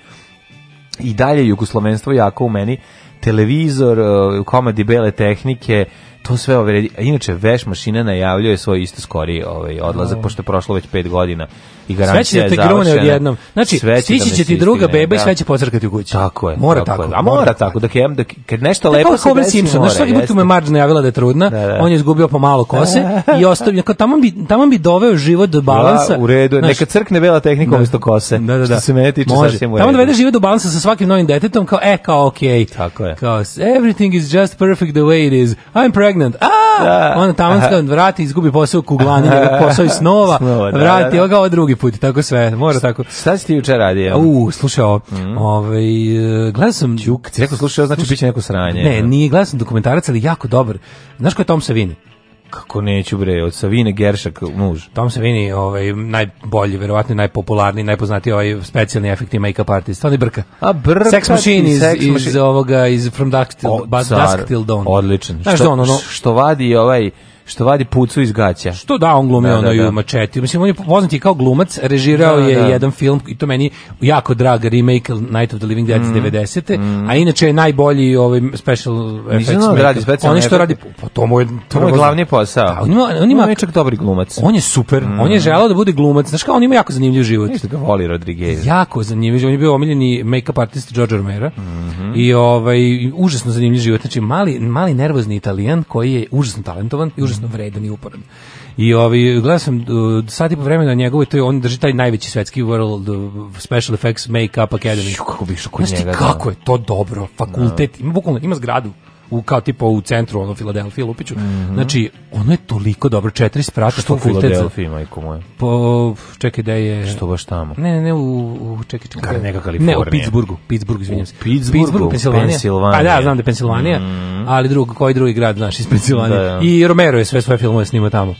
H: i dalje jugoslovenstvo jako u meni, televizor, e, komadi bele tehnike, to sve ove, inače veš mašina najavljuje svoj isto skori ovaj, odlazak, pošto je prošlo već pet godina i
G: Sve će
H: garancija
G: da
H: je
G: te grune
H: završena.
G: odjednom. Znači,
H: Sve
G: stići
H: da
G: će
H: me
G: ti druga
H: stigne,
G: beba i
H: da.
G: sve će pocrkati u kući.
H: Tako je.
G: Mora tako.
H: je. A mora tako, da kem, da, kad nešto
G: Lepo
H: lepo
G: je
H: se
G: Homer
H: desi,
G: Simpson. Znaš,
H: mora,
G: svaki put mu je
H: jeste.
G: Marge najavila da je trudna,
H: Da, da.
G: on je izgubio po malo kose i ostavio, kao tamo bi, tamo bi doveo život do balansa.
H: Da, u redu, je.
G: Znaš,
H: neka crkne bela tehnika umjesto kose.
G: Da, da, da.
H: Što se mene tiče,
G: Može.
H: sasvim u
G: Tamo
H: redu.
G: dovede život do balansa sa svakim novim detetom, kao, e, kao, okej.
H: Tako je.
G: Kao, everything is just perfect the way it is. I'm pregnant. A!
H: Da.
G: Onda tamo se vrati, izgubi posao u kuglani, nego posao iz snova,
H: Snova, da, da,
G: vrati,
H: da.
G: evo ga ovo drugi put, tako sve, mora tako.
H: Šta si ti juče radio?
G: U, slušaj ovo, ovaj, e, gledao sam... Čuk,
H: Mhm. Si rekao slušaj, ovo znači bit će neko sranje.
G: Ne, nije, gledao sam dokumentarac, ali jako dobar. Znaš ko je Tom Savini?
H: Kako neću bre, od Savine Geršak muž.
G: Tom Savini, ovaj, najbolji, verovatno i najpopularniji, najpoznatiji ovaj specijalni efekti make-up artist, on je brka.
H: A brka
G: Sex
H: ti,
G: Machine iz,
H: Sex
G: iz
H: Machine.
G: ovoga, iz From Dusk Till,
H: O,
G: ba,
H: car,
G: Dusk Till Dawn.
H: Odličan.
G: Znaš
H: što,
G: da on, ono,
H: što vadi ovaj, što vadi pucu iz gaća.
G: što da on glumi
H: Da, da,
G: ono i
H: da.
G: u mačeti. Mislim, on je poznat i kao glumac, režirao
H: Da,
G: je
H: da.
G: jedan film i to meni jako drag remake Night of the Living Dead
H: Mm.
G: iz 90. A inače je najbolji ovaj special effects.
H: da on
G: make-up.
H: radi specijalne
G: Oni što radi,
H: efekte.
G: pa to mu je,
H: To mu je
G: prvo-
H: glavni posao.
G: Da, on ima, on ima,
H: On je čak dobri glumac.
G: on je super, on
H: Mm.
G: je želao da bude glumac. Znaš kao, on ima jako zanimljiv život.
H: Ništa ga voli Rodriguez.
G: Jako zanimljiv, on je bio omiljeni make-up artist George Romero
H: Mhm.
G: i ovaj, užasno zanimljiv život, znači mali, mali nervozni italijan koji je užasno talentovan i užasno
H: Mhm.
G: vredan i uporan. I ovaj, gledao sam uh, sat i po vremena njegovoj, to je, on drži taj najveći svetski World uh, Special Effects Make-up Academy.
H: Ju, Kako bi išao kod
G: Znaš ti
H: njega. da.
G: kako je to dobro, fakultet, ima, bukvalno, ima zgradu u kao tipa u centru ono Filadelfije Lupiću. Znači, ono je toliko dobro, četiri sprata
H: Mhm. Što u
G: fakultet. za-
H: Filadelfiji, majko moje.
G: Po, čekaj da je...
H: Što baš tamo?
G: Ono, Ne, ne, ne, u, u čekaj, čekaj.
H: Kad
G: gde?
H: neka Kalifornija.
G: Ne, u Pittsburghu, Pittsburgh, izvinjam se.
H: U Pittsburghu,
G: Pensilvanija.
H: Pensilvanija. Mhm.
G: Pa da, znam da je Pensilvanija, ali drugo, koji drugi grad, znaš, iz Pensilvanije.
H: Da, da.
G: I Romero je sve svoje filmove snimao tamo.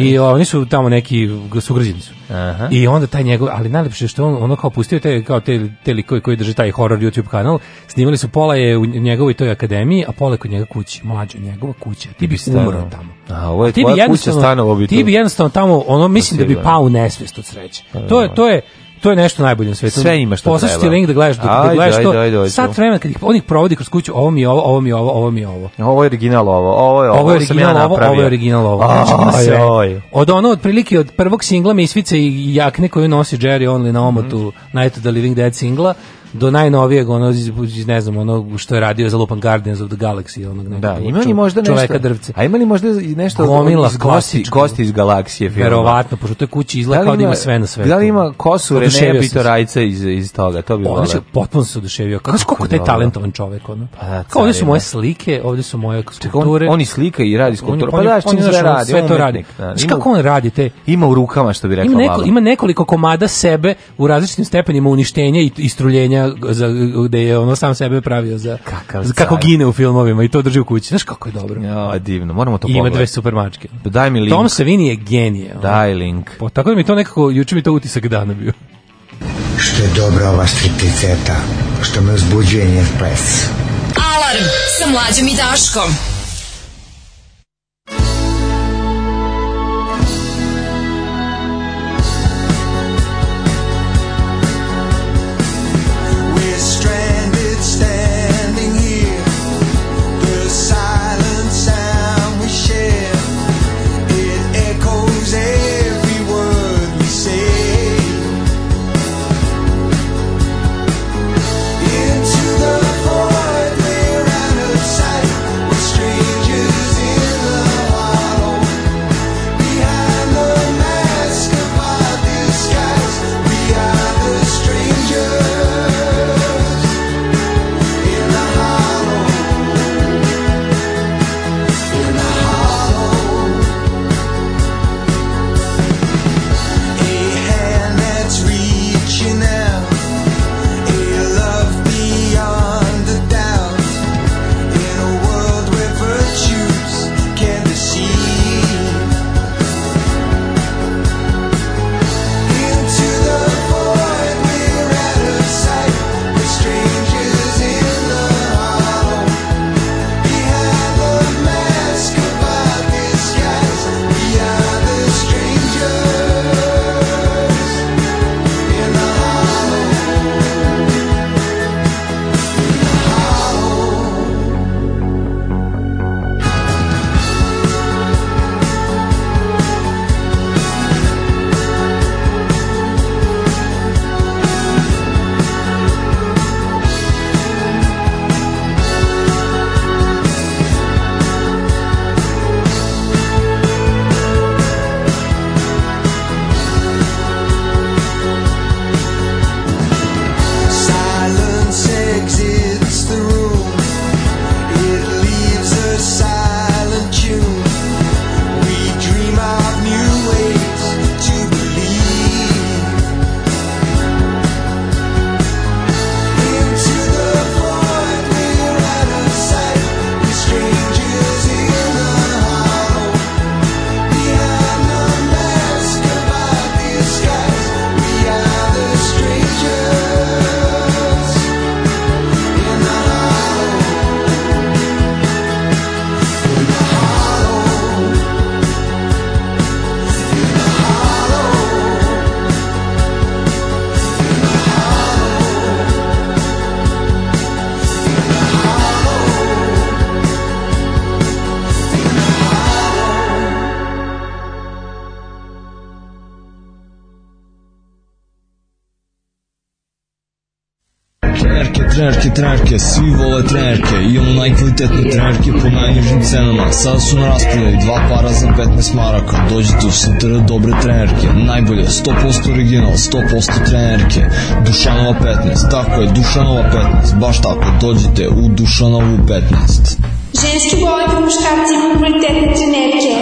G: I o, oni su tamo neki sugrađeni su.
H: Aha.
G: I onda taj njegov, ali najlepše je što on ono kao pustio te kao te te likove koji drže taj horror YouTube kanal, snimali su pola je u njegovoj toj akademiji, a pola je kod njega kući, mlađa njegova kuća. Ti bi umro
H: stanovao.
G: tamo.
H: A, ovo je
G: Ti bi
H: tvoja kuća,
G: jednostavno-
H: stanovo bi
G: Ti
H: tu.
G: bi jednostavno tamo, ono mislim da bi
H: sigurno. Pa,
G: pao u nesvest od sreće. To je to je to je nešto najbolje na svetu.
H: Sve ima što
G: Poslaću ti
H: treba.
G: link da gledaš, da, da
H: Ajde,
G: gledaš
H: ajde,
G: to.
H: ajde, ajde,
G: Sad
H: ću.
G: vremena kad ih on ih provodi kroz kuću, ovo mi je ovo, ovo mi je ovo, ovo mi je ovo.
H: Ovo je original ovo, ovo je ovo,
G: Ovo je
H: sam
G: original
H: ja
G: ovo,
H: napravio.
G: ovo je original ovo. Znači, ima
H: Aj,
G: sve.
H: aj.
G: Od ono, otprilike od prvog singla Misvice i jakne koju nosi Jerry Only na omotu
H: Mhm.
G: Night of the Living Dead singla, do najnovijeg, ono, iz, iz, ne znam, ono što je radio za Lupan Guardians of the Galaxy, onog nekog
H: Da, ima li možda nešto?
G: čoveka drvce.
H: A ima li možda i nešto
G: Gomila
H: iz gosti,
G: klasičnog.
H: gosti iz galaksije filma?
G: Verovatno, pošto to je kući izgleda kao da ima sve na svetu.
H: Da li ima kosu Renea
G: Oduševio sam se.
H: Bitorajca iz, iz toga? To bi
G: O,
H: volao.
G: znači, potpuno se oduševio. Kako, kako
H: je
G: taj
H: ono? dobro.
G: talentovan čovjek, ono.
H: Pa da,
G: Kao ovdje su
H: carina.
G: moje slike, ovdje su moje
H: on,
G: skulpture.
H: on i slika i radi skulpturu. Pa
G: on-
H: da,
G: on-
H: čini
G: on,
H: sve
G: znaš, on
H: radi.
G: Sve
H: on
G: to
H: je
G: radi.
H: umetnik, da.
G: Znaš
H: Ima-
G: kako on radi te...
H: Ima u rukama, što bi rekla
G: Ima, neko,
H: baba.
G: ima nekoliko komada sebe u različitim stepenima uništenja i, i struljenja svinja za, gde je ono sam sebe pravio za,
H: Kakav
G: za kako
H: car.
G: gine u filmovima i to drži u kući. Znaš kako je dobro?
H: Ja, divno, moramo to
G: I ima
H: pogledati.
G: dve super mačke.
H: Daj mi link.
G: Tom Savini je genije. ono.
H: Daj link.
G: Po- tako da mi to nekako, juče mi to utisak dana bio.
J: Što je dobra ova stripticeta, što me uzbuđuje njen ples.
K: Alarm sa mlađom i Daškom.
A: We're stranded standing here. The silent sound we share, it echoes every word we say. Into the void, we're out of sight. We're strangers in the wild. Behind the mask of our disguise, we are the strangers in the hollow. In the hollow, a hand that's reaching out, a love beyond the doubt. In a world where virtues can deceive. Into the void, we're out of sight. We're strangers in the hollow. Behind the mask of our disguise, we are the strangers in the hollow. In the hollow. Silence exits the room. It leaves a silent tune. We dream of new ways to believe. Into the void, we're out of sight. We're strangers in the hollow. Behind the mask of our disguise, we are the strangers in the hollow. In the hollow. In the hollow. In the hollow. In the hollow.
L: Trenerke, trenerke, trenerke, svi vole trenerke. Imamo najkvalitetne trenerke po najnižim cenama. Sada su na raspodaju dva para za 15 maraka. Dođite u sutra dobre trenerke. Najbolje, 100% original, 100% trenerke. Dušanova 15, tako je, Dušanova 15. Baš tako, dođite u Dušanovu 15.
M: Ženski boli po muškarci imaju kvalitetne trenerke.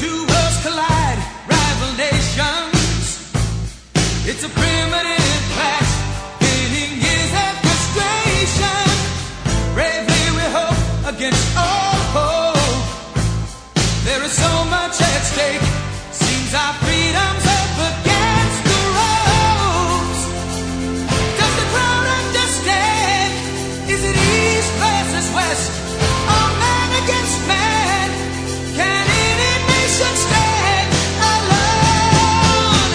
A: Two worlds collide, rival nations. It's a primitive clash, ending years of frustration. Bravely we hope against all hope. There is so much at stake. Seems our freedom's up against the ropes. Does the crowd understand? Is it East versus West? Or man against man? Can any nation stand alone?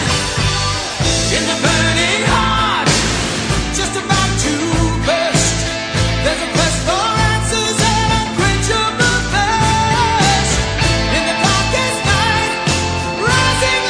A: In the burning heart, just about to burst. There's a quest for answers and unquenchable thirst. In the darkest night, rising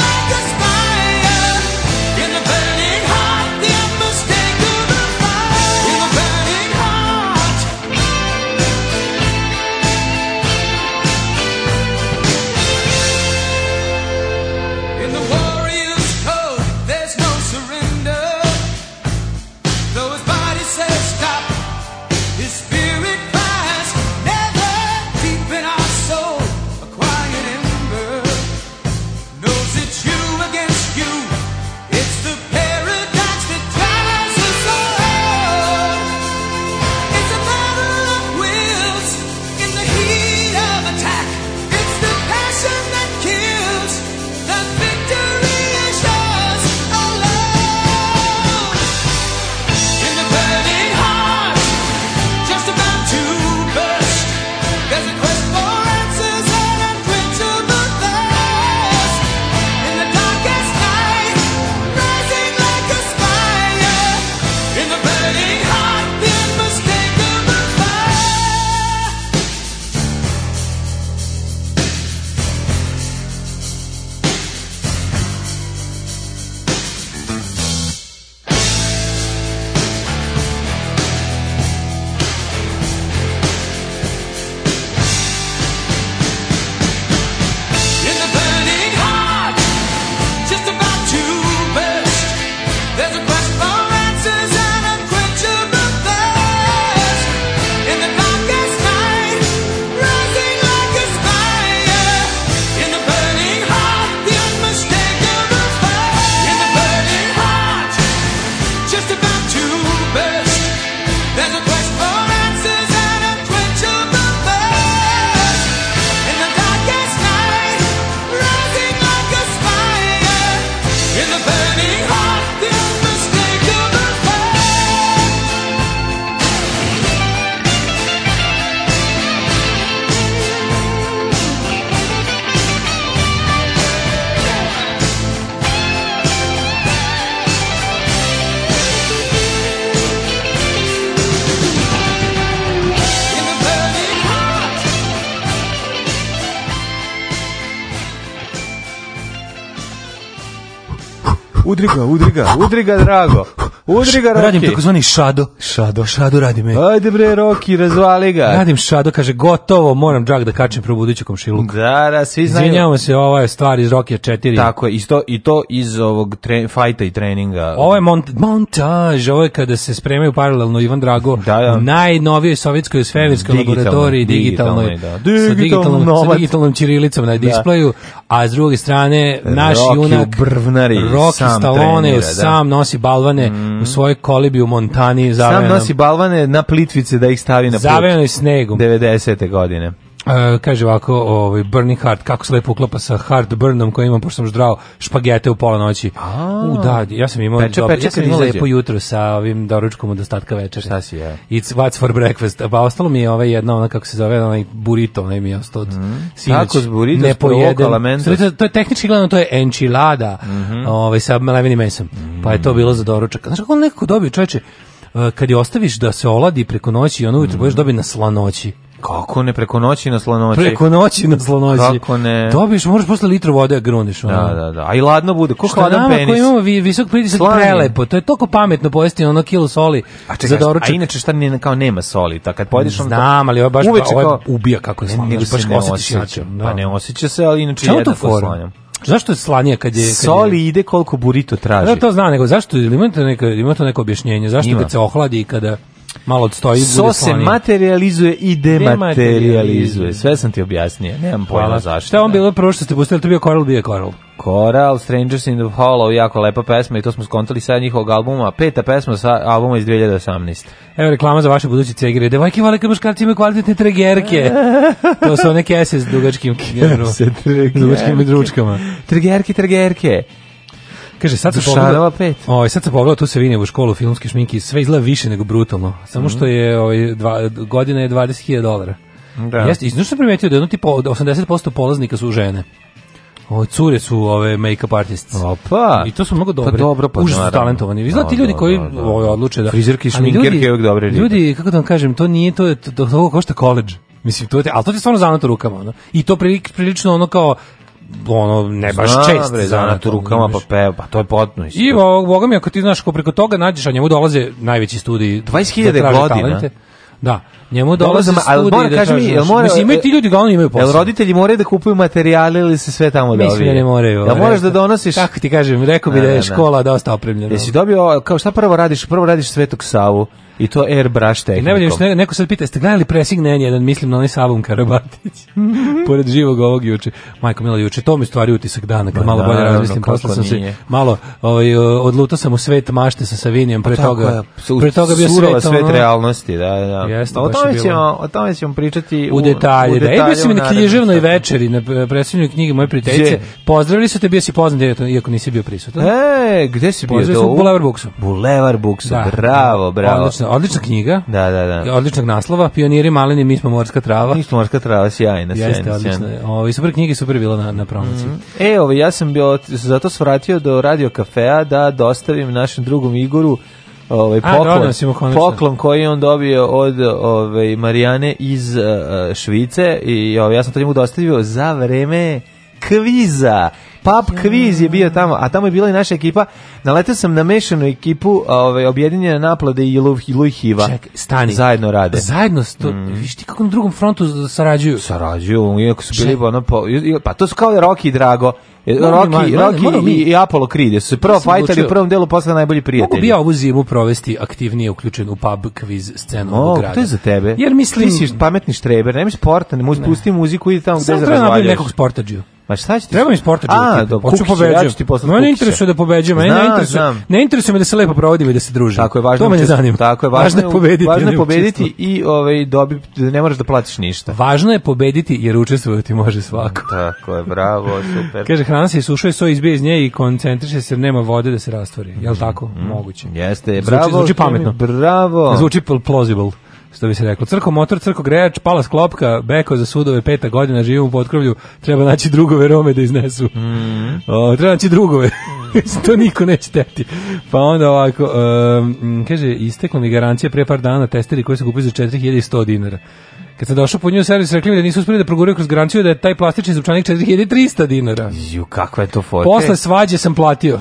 H: udri ga, udri ga, udri ga, drago. Udri ga, Roki.
G: Radim takozvani šado. Šado. Šado radim. e.
H: Ajde bre, Roki, razvali ga.
G: Radim šado, kaže, gotovo, moram džak da kačem probuduću komšiluk.
H: Da, da, svi znaju.
G: Izvinjavamo se, ovo je stvar iz Rokija 4.
H: Tako je, isto, i to iz ovog tre, fajta i treninga.
G: Ovo je mont, montaž, ovo je kada se spremaju paralelno Ivan Drago
H: Da, da.
G: najnovijoj sovjetskoj i svemirskoj
H: Digitalno,
G: laboratoriji
H: digitalno,
G: digitalnoj,
H: da.
G: sa, digitalnom,
H: Digitalno
G: sa
H: novac.
G: digitalnom čirilicom na displeju, a s druge strane naš
H: Rocky u
G: junak
H: Brvnari,
G: Rocky
H: sam
G: Stallone
H: trenira, da. Mm.
G: sam nosi balvane u svojoj kolibi u Montani
H: Sam
G: zavejanom,
H: nosi balvane na plitvice da ih stavi na put.
G: zavejanoj snegom.
H: 90. godine.
G: E, kaže ovako, ovaj Burning Heart, kako se lepo uklapa sa Heartburnom koji imam, pošto sam ždrao špagete u pola noći. U, da, ja sam imao,
H: Peče,
G: dobro,
H: peče
G: ja sam
H: kad
G: imao
H: izađe.
G: lepo jutro sa ovim doručkom od ostatka večera.
H: Šta si jeo?
G: It's what's for breakfast. Pa ostalo mi je ovaj jedna, ona kako se zove, onaj burrito, onaj mi je ostao od mm.
H: Tacos, Mhm. burrito, provoca, lamentos.
G: To, to je tehnički gledano, to je enchilada
H: Mhm.
G: ovaj, sa levenim mesom. Pa je to bilo za doručak. Znaš kako on nekako dobio, čoveče, e, kad je ostaviš da se oladi preko noći i ono
H: Mhm.
G: ujutro budeš dobio na slanoći.
H: Kako ne preko noći na slanoći?
G: Preko noći na slonoći.
H: Znači, Kako ne?
G: Dobiš, moraš posle litru vode da gruniš. ono.
H: Da, da, da. A i ladno bude. Ko
G: Šta
H: hladan
G: nama koji
H: penis?
G: imamo vi- visok pritisak
H: Slani.
G: prelepo. To je toliko pametno pojesti ono kilo soli
H: A čekaj,
G: za
H: a
G: doručak.
H: inače šta ne, kao nema soli, ta kad pojedeš on
G: Znam, ali ovo je baš
H: uveče
G: ovo je
H: kao-
G: ubija kako je
H: Ne,
G: slatko,
H: nego
G: baš
H: se ne
G: osjetiš
H: osjeća.
G: jače, da.
H: Pa ne osjeća se, ali inače
G: Čemu to
H: jednako
G: fora?
H: slanjam.
G: Zašto je slanije kad je... Kad je,
H: Soli ide koliko burrito traži.
G: da, to zna, nego zašto, ili imate neko, ima to neko objašnjenje, zašto
H: Ima.
G: kad se ohladi i kada malo odstoji,
H: So
G: bude
H: se
G: slanije?
H: materializuje i
G: Dematerializuje.
H: dematerializuje. Sve sam ti objasnio. Nemam pojma
G: Hvala.
H: zašto.
G: Šta je on bilo prvo što ste pustili, to je bio Coral, bio je Coral.
H: Koral, Strangers in the Hollow, jako lepa pesma i to smo skontali sa njihovog albuma. Peta pesma sa albuma iz 2018.
G: Evo reklama za vaše buduće cegire. Devojke vole kad muškarci imaju kvalitetne tregerke. to su one kese s dugačkim,
H: Sa tregerke.
G: dugačkim dručkama.
H: Tregerke, tregerke.
G: Kaže, sad se
H: Dušanova
G: pogledao,
H: pet.
G: ovaj, sad se pogledao, tu se vidi u školu filmski šminki, sve izgleda više nego brutalno. Samo što je ovaj, dva, godina je 20.000 dolara.
H: Da.
G: Jeste, i znaš što sam primetio da jedno tipa od 80% polaznika su žene. Ovo, cure su ove make-up artists.
H: Opa.
G: I to su mnogo dobre.
H: Pa dobro, pa
G: Užasno
H: naravno.
G: talentovani. Vi znate ti
H: Da,
G: ljudi
H: da,
G: koji
H: da, da.
G: ovaj, odluče da...
H: Frizerke i
G: Ali
H: šminkerke
G: ljudi-
H: je uvek dobra riba.
G: Ljudi, kako da vam kažem, to nije, to je, to, to, to košta koleđ. Mislim, to je, ali to ti je stvarno zanat u rukama. Ono. I to prilič- prilično ono kao ono, ne baš
H: Znam,
G: čest
H: bre,
G: zanat,
H: zanat u
G: ono,
H: rukama,
G: znaš.
H: pa peva, pa to je potpuno. isto.
G: I ovog boga mi, ako ti znaš ko preko toga nađeš, a njemu dolaze najveći studiji.
H: 20.000
G: da traže
H: godina.
G: talente. Da, njemu dolaze
H: Dolaze, ali
G: studiji
H: mora,
G: da
H: kaži mi,
G: traže.
H: jel mora-
G: Mislim, imaju ti ljudi ga oni imaju posao.
H: Jel roditelji moraju da kupuju materijale ili se sve tamo dobije?
G: Mislim da ne moraju. ovaj,
H: Da moraš
G: rekao-
H: da donosiš...
G: Kako ti kažem, rekao bi
H: Da,
G: da
H: da,
G: je
H: da.
G: škola dosta opremljena.
H: Jesi dobio, kao šta prvo radiš? Prvo radiš Svetog Savu i to airbrush
G: I
H: tehnikom.
G: najbolje što ne- neko sad pita, ste gledali pressing Nenja, jedan mislim na onaj Savum Karabatić, pored živog ovog juče. Majko Mila juče, to mi je stvari utisak dana,
H: Ma,
G: kad malo bolje
H: naravno,
G: razmislim,
H: kako
G: posle sam se
H: nije.
G: malo, ovaj, odlutao sam u svet mašte sa Savinijem, pre
H: Pa Tako
G: toga,
H: je, su-
G: pre toga bio
H: surova
G: svet,
H: svet
G: ono,
H: realnosti, da, da.
G: Jeste,
H: o
G: baš je
H: tome
G: bilo.
H: ćemo, o tome ćemo pričati
G: u detalje. Da, e, bio si mi
H: u
G: na
H: narednom
G: književnoj
H: satu.
G: večeri, na e, predstavljanju knjige moje prijateljice.
H: Gdje?
G: Pozdravili su te, bio si poznat, iako- iako nisi bio prisutan.
H: E, gde si bio?
G: Pozdravili
H: to?
G: su u Bulevar Buksu.
H: Bulevar Buksu, bravo, bravo.
G: Odlična, odlična knjga.
H: Da, da, da.
G: Odličnog naslova, pioniri maleni, mi smo morska trava.
H: Nismo morska trava, sjajna, sjajna,
G: Jeste,
H: sjajna.
G: odlično. je. Ovo, i super knjige, super je bila na, na promociji.
H: E, ovaj, ja sam bio, zato svratio do radio kafea da dostavim našem drugom Igoru ovaj,
G: A,
H: poklon,
G: donio si mu konačno.
H: poklon koji je on dobio od ovaj, Marijane iz eh, eh, Švice i ovaj, ja sam to njemu dostavio za vreme kviza. Pap kviz je bio tamo, a tamo je bila i naša ekipa. Naletao sam na mešanu ekipu ovaj, objedinjene naplade i Luj, Luj Hiva.
G: Ček, stani.
H: Zajedno rade. Mhm.
G: Zajedno, s to, viš ti kako na drugom frontu sarađuju.
H: Sarađuju, iako su bili
G: Ček.
H: ono po, i- i- pa to su kao Rocky i Drago. E,
G: Moram
H: Rocky,
G: mi, moram-
H: Rocky
G: moram mi.
H: i, i Apollo Creed jer su se prvo
G: Nisam
H: fajtali
G: odlučio.
H: u prvom delu, posle najbolji
G: Mogu
H: prijatelji.
G: bi ja ovu zimu provesti aktivnije uključen u pub kviz scenu ovog
H: O,
G: grada.
H: to je za tebe.
G: Jer mislim...
H: Ti si pametni štreber, nemaš sporta, ne možeš pusti muziku i tamo gde se
G: Samo treba napraviti
H: razvaljaš.
G: nekog sportađiju.
H: Ma šta će ti?
G: Treba mi sportađu.
H: A, do,
G: Hoću
H: Kukića,
G: pobeđujem.
H: ja ću ti poslati
G: Mene ne
H: Kukića.
G: interesuje da pobeđujem, mene ne
H: Znam,
G: interesuje.
H: znam.
G: Ne interesuje me da se lepo provodimo i da se družimo.
H: Tako je važno.
G: To me ne
H: učest-
G: zanima.
H: Tako je važno,
G: je pobediti.
H: Važno je
G: ne
H: pobediti
G: učestvovati.
H: i ovaj dobi ne moraš da platiš ništa.
G: Važno je pobediti jer učestvovati može svako.
H: Tako je, bravo, super.
G: Kaže, hrana se isušuje, soj izbije iz nje i koncentriše se, jer nema vode da se rastvori. Jel tako? Moguće.
H: Mhm. Jeste,
G: Zvuči-
H: bravo.
G: zvuči
H: što mi-
G: pametno.
H: Bravo.
G: Zvuči pl- plausible, što bi se reklo. Crko motor, crko grejač, pala sklopka, beko za sudove, peta godina, živim u potkrovlju, treba naći drugove Rome da iznesu.
H: Mhm.
G: O, treba naći drugove. to niko neće teti. Pa onda ovako, um, kaže, istekla mi garancija pre par dana testeri koji su kupili za 4100 dinara. Kad sam došao po nju u servis, rekli mi da nisu uspeli da proguraju kroz garanciju da je taj plastični zupčanik 4300 dinara.
H: Ju, kakva je to fotka.
G: Posle svađe sam platio.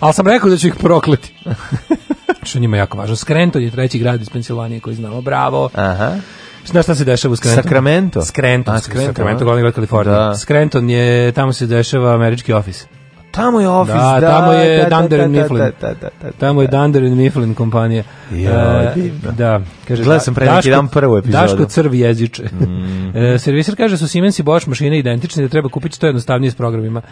G: ali sam rekao da ću ih prokleti. Što je njima jako važno. Skrenton je treći grad iz Pensilvanije koji znamo, bravo.
H: Aha.
G: Znaš šta se dešava u Skrenton?
H: Sacramento?
G: Skrenton,
H: A,
G: Skrenton,
H: Skrenton, a?
G: Sacramento, glavni grad Kalifornije.
H: Da.
G: Skrenton je, tamo se dešava američki ofis.
H: Tamo je ofis,
G: Da,
H: da.
G: tamo je
H: da, da,
G: Dunder
H: da,
G: and
H: da,
G: Mifflin.
H: da, da, da, da,
G: Tamo je Dunder and Mifflin kompanija.
H: Ja,
G: E,
H: divno.
G: da, kaže,
H: Gledao sam pre neki
G: Daško-
H: dan prvu epizodu. Mm.
G: Daško crv jeziče. E, servisar kaže su Siemens i Bosch mašine identične, da treba kupiti što jednostavnije s programima.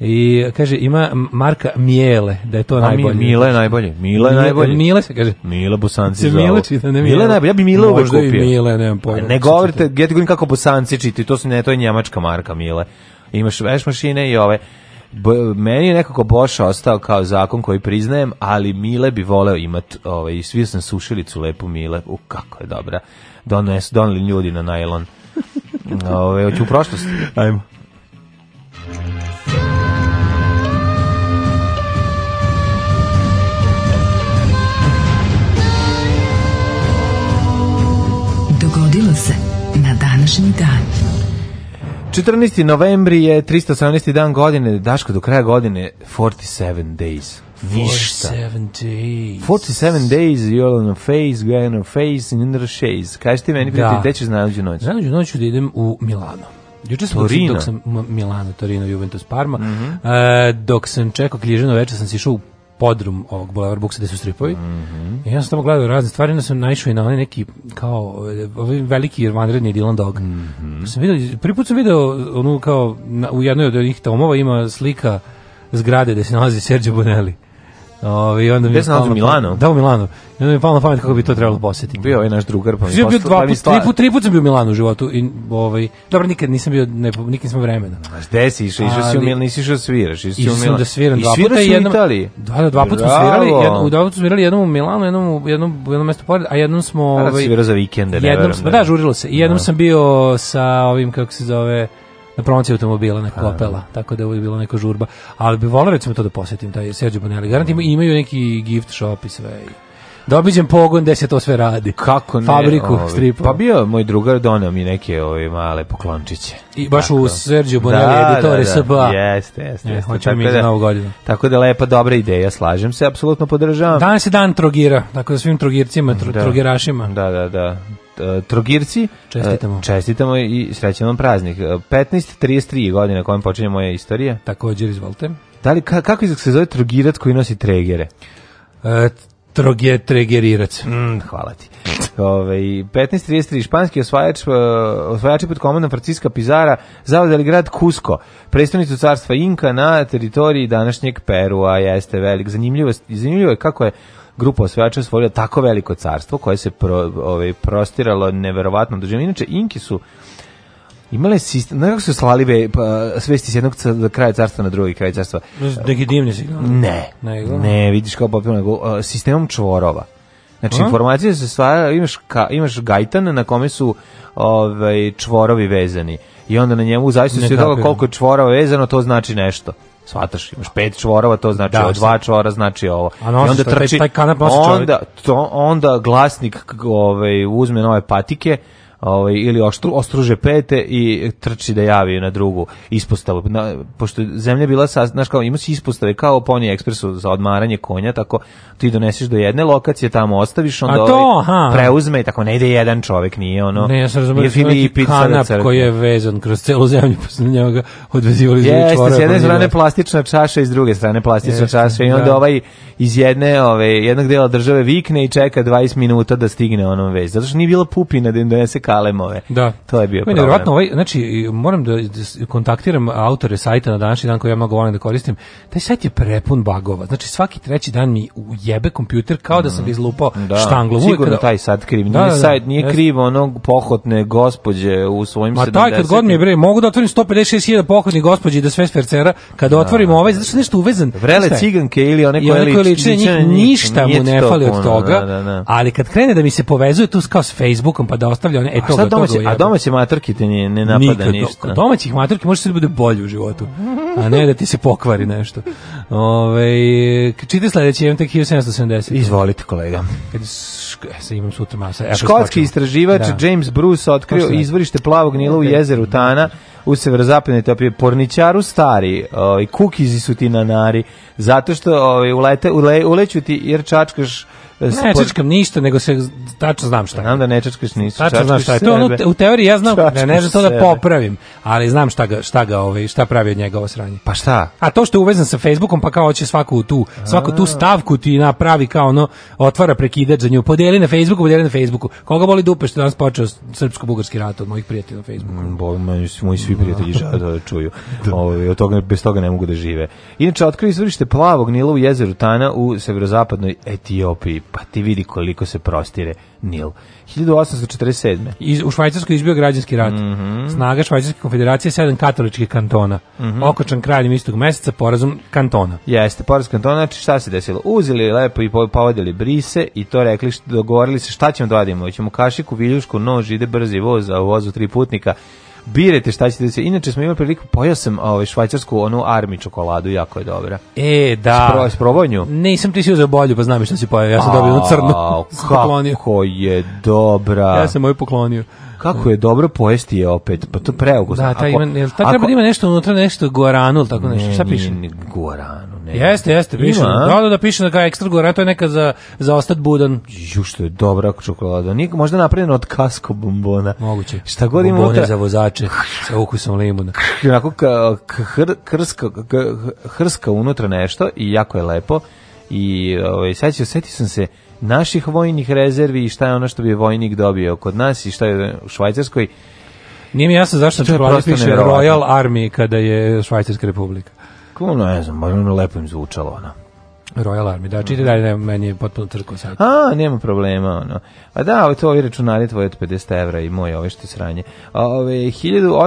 G: I kaže, ima marka Mijele, da je to
H: A mi,
G: najbolje.
H: Mila je najbolje. Mila je
G: Mi-
H: najbolje.
G: Mile se kaže.
H: Mila Bosanci
G: Se
H: zovu.
G: Mile čita, ne Mile.
H: Mila je najbolje. Ja bi Mila uvek
G: Možda
H: kupio.
G: i Mile, nemam pojma.
H: Ne govorite, ja ti govorim kako Bosanci čiti, to su ne, to je njemačka marka Mile. Imaš veš mašine i ove. B, meni je nekako Bosch ostao kao zakon koji priznajem, ali Mile bi voleo imat, ovaj, i svio sam sušilicu lepu Mile, u kako je dobra. Dones, doneli ljudi na najlon. Ove, hoću u prošlost. Ajmo.
E: Dogodilo se na današnji dan.
H: 14. novembri je 318. dan godine, Daško, do kraja godine 47 days. Ništa.
G: 47
H: 47 days, you're on a face, you're on a face, and in the shades. Kaži ti meni,
G: Da.
H: prijatelj, gde ćeš nađu noć?
G: Zajedno ću noću da idem u Milano. Juče sam
H: Torino. Mhm.
G: dok sam M- Milano, Torino, Juventus, Parma. E, dok sam čekao kljižano večer sam se išao u podrum ovog Boulevard Buksa gde su stripovi.
H: Mhm.
G: I ja sam tamo gledao razne stvari, onda sam naišao i na onaj neki kao e, ovaj veliki vanredni Dylan Dog.
H: Mhm.
G: Pa Sam video, prvi put sam video onu kao na- u jednoj od onih tomova ima slika zgrade gde se nalazi Sergio Bonelli. Ove, i onda mi
H: Gde
G: je
H: se nalazi,
G: palo
H: u
G: na pamet-
H: Milanu?
G: Da, u Milanu. I onda mi je palo na pamet kako bi to trebalo posjetiti.
H: Bio je ovaj naš drugar, pa mi
G: Ja bio
H: posla- pa
G: dva
H: mi
G: put,
H: sla-
G: tri put, tri put sam bio u Milanu u životu i ovaj dobro nikad nisam bio ne nikad nisam imao vremena.
H: Znaš, Gde si išao? Išao si u
G: Ali-
H: Milan, nisi išao da sviraš. Išao si
G: Išao
H: u
G: sam
H: Milan.
G: da sviram
H: I
G: dva
H: svirao
G: puta
H: si
G: i
H: u
G: jednom
H: Italiji.
G: Da, da, dva puta smo
H: Bravo.
G: svirali, jednom, dva puta smo svirali jednom u Milanu, jednom u jednom, u jednom mestu pored, a jednom smo
H: A, Pa da si
G: ovaj
H: svirao za vikende, ne
G: jednom
H: verujem
G: smo,
H: da-
G: da, žurilo se. I jednom
H: Da.
G: sam bio sa ovim kako se zove na promociji automobila na Kopela, tako da je uvijek bila neka žurba. Ali bi volao recimo to da posjetim, taj Sergio Bonelli. Garant ima- imaju neki gift shop i sve. Da obiđem pogon gde se to sve radi.
H: Kako ne?
G: Fabriku,
H: ovaj,
G: stripa.
H: Pa bio je moj drugar, donao mi neke ove male poklončiće.
G: I baš u Sergio Bonelli,
H: Da,
G: editore
H: da, da.
G: SBA.
H: Jeste, jeste.
G: E,
H: jeste.
G: hoćemo mi
H: Tako
G: za
H: da-
G: Novu godinu.
H: Tako da lepa, dobra ideja, slažem se, apsolutno podržavam.
G: Danas je dan trogira, tako da svim trogircima, tro, trogirašima.
H: Da, da, da. E, Trogirci,
G: Čestitamo.
H: e, čestitamo i srećan vam praznik. E, 15.33 godina kojom počinje moja istorija.
G: Također, izvolite.
H: Da li, ka- kako izgled se zove trogirac koji nosi tregere?
G: E, troge, tregerirac.
H: Mm, hvala ti. Ove, 15.33 španski osvajač, e, osvajači pod komandom Franciska Pizara zavodali grad Kusko, predstavnicu carstva Inka na teritoriji današnjeg Perua, jeste velik. Zanimljivo, zanimljivo je kako je grupa osvajača osvojila tako veliko carstvo koje se pro, ove, prostiralo neverovatno dužem. Inače, Inki su Imale sistem, nekako su slali ve, pa, svesti s jednog ca- kraja carstva na drugi kraj carstva.
G: Neki divni ono. signal.
H: Ne.
G: Nego?
H: Ne, vidiš kao popio nego uh, sistemom čvorova. Znači
G: A?
H: informacije se stvara, imaš ka, imaš gajtan na kome su ovaj čvorovi vezani. I onda na njemu u zavisnosti
G: Ne
H: od toga
G: kapiram.
H: koliko je čvorova vezano, to znači nešto. Svataš, imaš pet čvorova, to znači
G: Da,
H: ovo, dva čvora znači ovo.
G: A nosiš to, taj- taj kanap nosi čovjek.
H: onda, to, onda glasnik k- ovaj, uzme nove patike, ovaj, ili oštru, ostruže pete i trči da javi na drugu ispostavu. Na, pošto je zemlja bila, sa, znaš kao, ima si ispostave kao Pony Expressu za odmaranje konja, tako ti doneseš do jedne lokacije, tamo ostaviš, onda
G: A to,
H: ovaj
G: aha.
H: preuzme i tako, ne ide jedan čovek, nije ono,
G: Ne, ja sam razumio
H: nije
G: da je neki
H: Filipic, sada
G: kanap
H: crkne.
G: koji je vezan kroz celu zemlju, pa su na njega odvezivali iz čvorove.
H: Jeste, s jedne
G: pa
H: strane
G: njega-
H: plastična čaša i s druge strane plastična
G: Jeste,
H: čaša i onda
G: da.
H: ovaj iz jedne, ove, jednog dela države vikne i čeka 20 minuta da stigne onom vez. Zato što nije bila pupina da im donese kalemove.
G: Da.
H: To je bio
G: Meni
H: problem.
G: nevjerovatno ovaj, znači, i moram da, da s- kontaktiram autore sajta na današnji dan koji ja mnogo volim da koristim. Taj sajt je prepun bagova. Znači, svaki treći dan mi ujebe kompjuter kao da sam ga izlupao
H: Mhm. Da,
G: štanglom. Uvek
H: sigurno
G: kada-
H: taj sad kriv. Nije,
G: Da, da, da,
H: sajt, nije
G: jeste.
H: kriv onog pohotne gospođe u svojim
G: Ma
H: 70
G: taj kad god mi je bre, mogu da otvorim 156.000 pohodni gospođi da sve spercera, kada otvorim ovaj, zato što je nešto uvezan.
H: Vrele
G: Šta je?
H: ciganke ili one
G: I
H: koje
G: onako
H: liče,
G: liči na njih, ništa mu ne fali od toga,
H: Da, da, da.
G: ali kad krene da mi se povezuje tu s kao s Facebookom, pa da ostavlja one, e toga,
H: A šta domaći,
G: toga
H: a domaći matrki te ne, ne napada
G: Nikad,
H: ništa.
G: Kod domaćih maturki može sve da bude bolje u životu, a ne da ti se pokvari nešto. Ove, čite sledeći, imam tek 1770.
H: Izvolite kolega.
G: Kad sk- e, sad imam sutra masa. E,
H: Škotski
G: preskočimo.
H: istraživač
G: Da.
H: James Bruce otkrio
G: Pošto ne.
H: izvorište plavog Nila u jezeru Tana u severozapadnoj Etiopiji. Porničaru stari, ovaj, kukizi su ti nanari, zato što ovaj, ulete, ule, uleću ti jer čačkaš... eh,
G: Ne,
H: spor-
G: čačkam ništa, nego se tačno znam šta. je.
H: Znam da ne čačkaš nisu,
G: Tačno znam šta je. To je ono,
H: sebe.
G: te- u teoriji ja znam, ne, ne
H: Čačkaš
G: znam to da
H: sebe.
G: popravim, ali znam šta ga, šta ga, ovaj, šta pravi od njega ovo sranje.
H: Pa šta?
G: A to što je uvezan sa Facebookom, pa kao hoće svaku tu, svaku tu stavku ti napravi kao ono, otvara prekidač za nju, podeli na Facebooku, podeli na Facebooku. Koga boli dupe što je danas počeo srpsko-bugarski rat od mojih prijatelja na Facebooku?
H: Bo, moji, moji svi prijatelji žele da čuju. Ovaj, od toga, bez toga ne mogu da žive. Inače, otkrio izvorište plavog Nila u jezeru Tana u severozapadnoj Etiopiji. Pa ti vidi koliko se prostire Nil. 1847.
G: Iz, u Švajcarskoj je izbio građanski rat.
H: Mhm.
G: Snaga Švajcarske konfederacije, sedam katoličkih kantona. Okočan kraljem istog meseca, porazum kantona.
H: Jeste, Poreski kanton, znači šta se desilo? Uzeli lepo i po- povadili brise i to rekli, što- dogovorili se šta ćemo da vadimo, ćemo kašiku, viljušku, nož, ide brzi voz, a u vozu tri putnika, birajte šta ćete da se... Inače smo imali priliku, pojao sam ovaj, švajcarsku onu armi čokoladu, jako je dobra.
G: E,
H: Spro,
G: da.
H: sprobao nju?
G: Nisam ti si uzeo bolju, pa znam i šta si pojavio. Ja sam dobio onu crnu.
H: Au,
G: Sam poklonio.
H: Kako je dobra.
G: Ja sam moju poklonio.
H: Kako je dobro pojesti je opet, pa to preukusno.
G: Da, ta
H: Ako-
G: ima, jel, ta treba
H: ako-
G: da ima nešto unutra, nešto guaranu ili tako nešto.
H: Ne,
G: Šta
H: nije
G: piše?
H: ni guaranu, ne.
G: Jeste, jeste, piše.
H: Ima, a?
G: Da, da, da piše da ga je ekstra guarana, to je neka za, za ostat budan.
H: Ju što je dobra čokolada. Nije možda napravljena od kasko bombona.
G: Moguće.
H: Šta god ima
G: Bombone
H: unutra.
G: za vozače sa ukusom limuna.
H: Onako ka, k- hr- krska, k- hrska unutra nešto i jako je lepo. I ovaj sećao setio sam se naših vojnih rezervi i šta je ono što bi vojnik dobio kod nas i šta je u Švajcarskoj.
G: Nije mi jasno zašto na
H: To je
G: čokoladi
H: prosto
G: piše
H: neverovatno.
G: Royal Army kada je Švajcarska republika.
H: Kako ono, ne znam, možda ono lepo im zvučalo ono.
G: Royal Army, da, čite dalje, ne, meni je potpuno crko sad.
H: A, nema problema, ono. A da, ovo to ovi računari tvoje od 50 evra i moje ove što je sranje. A, Ove,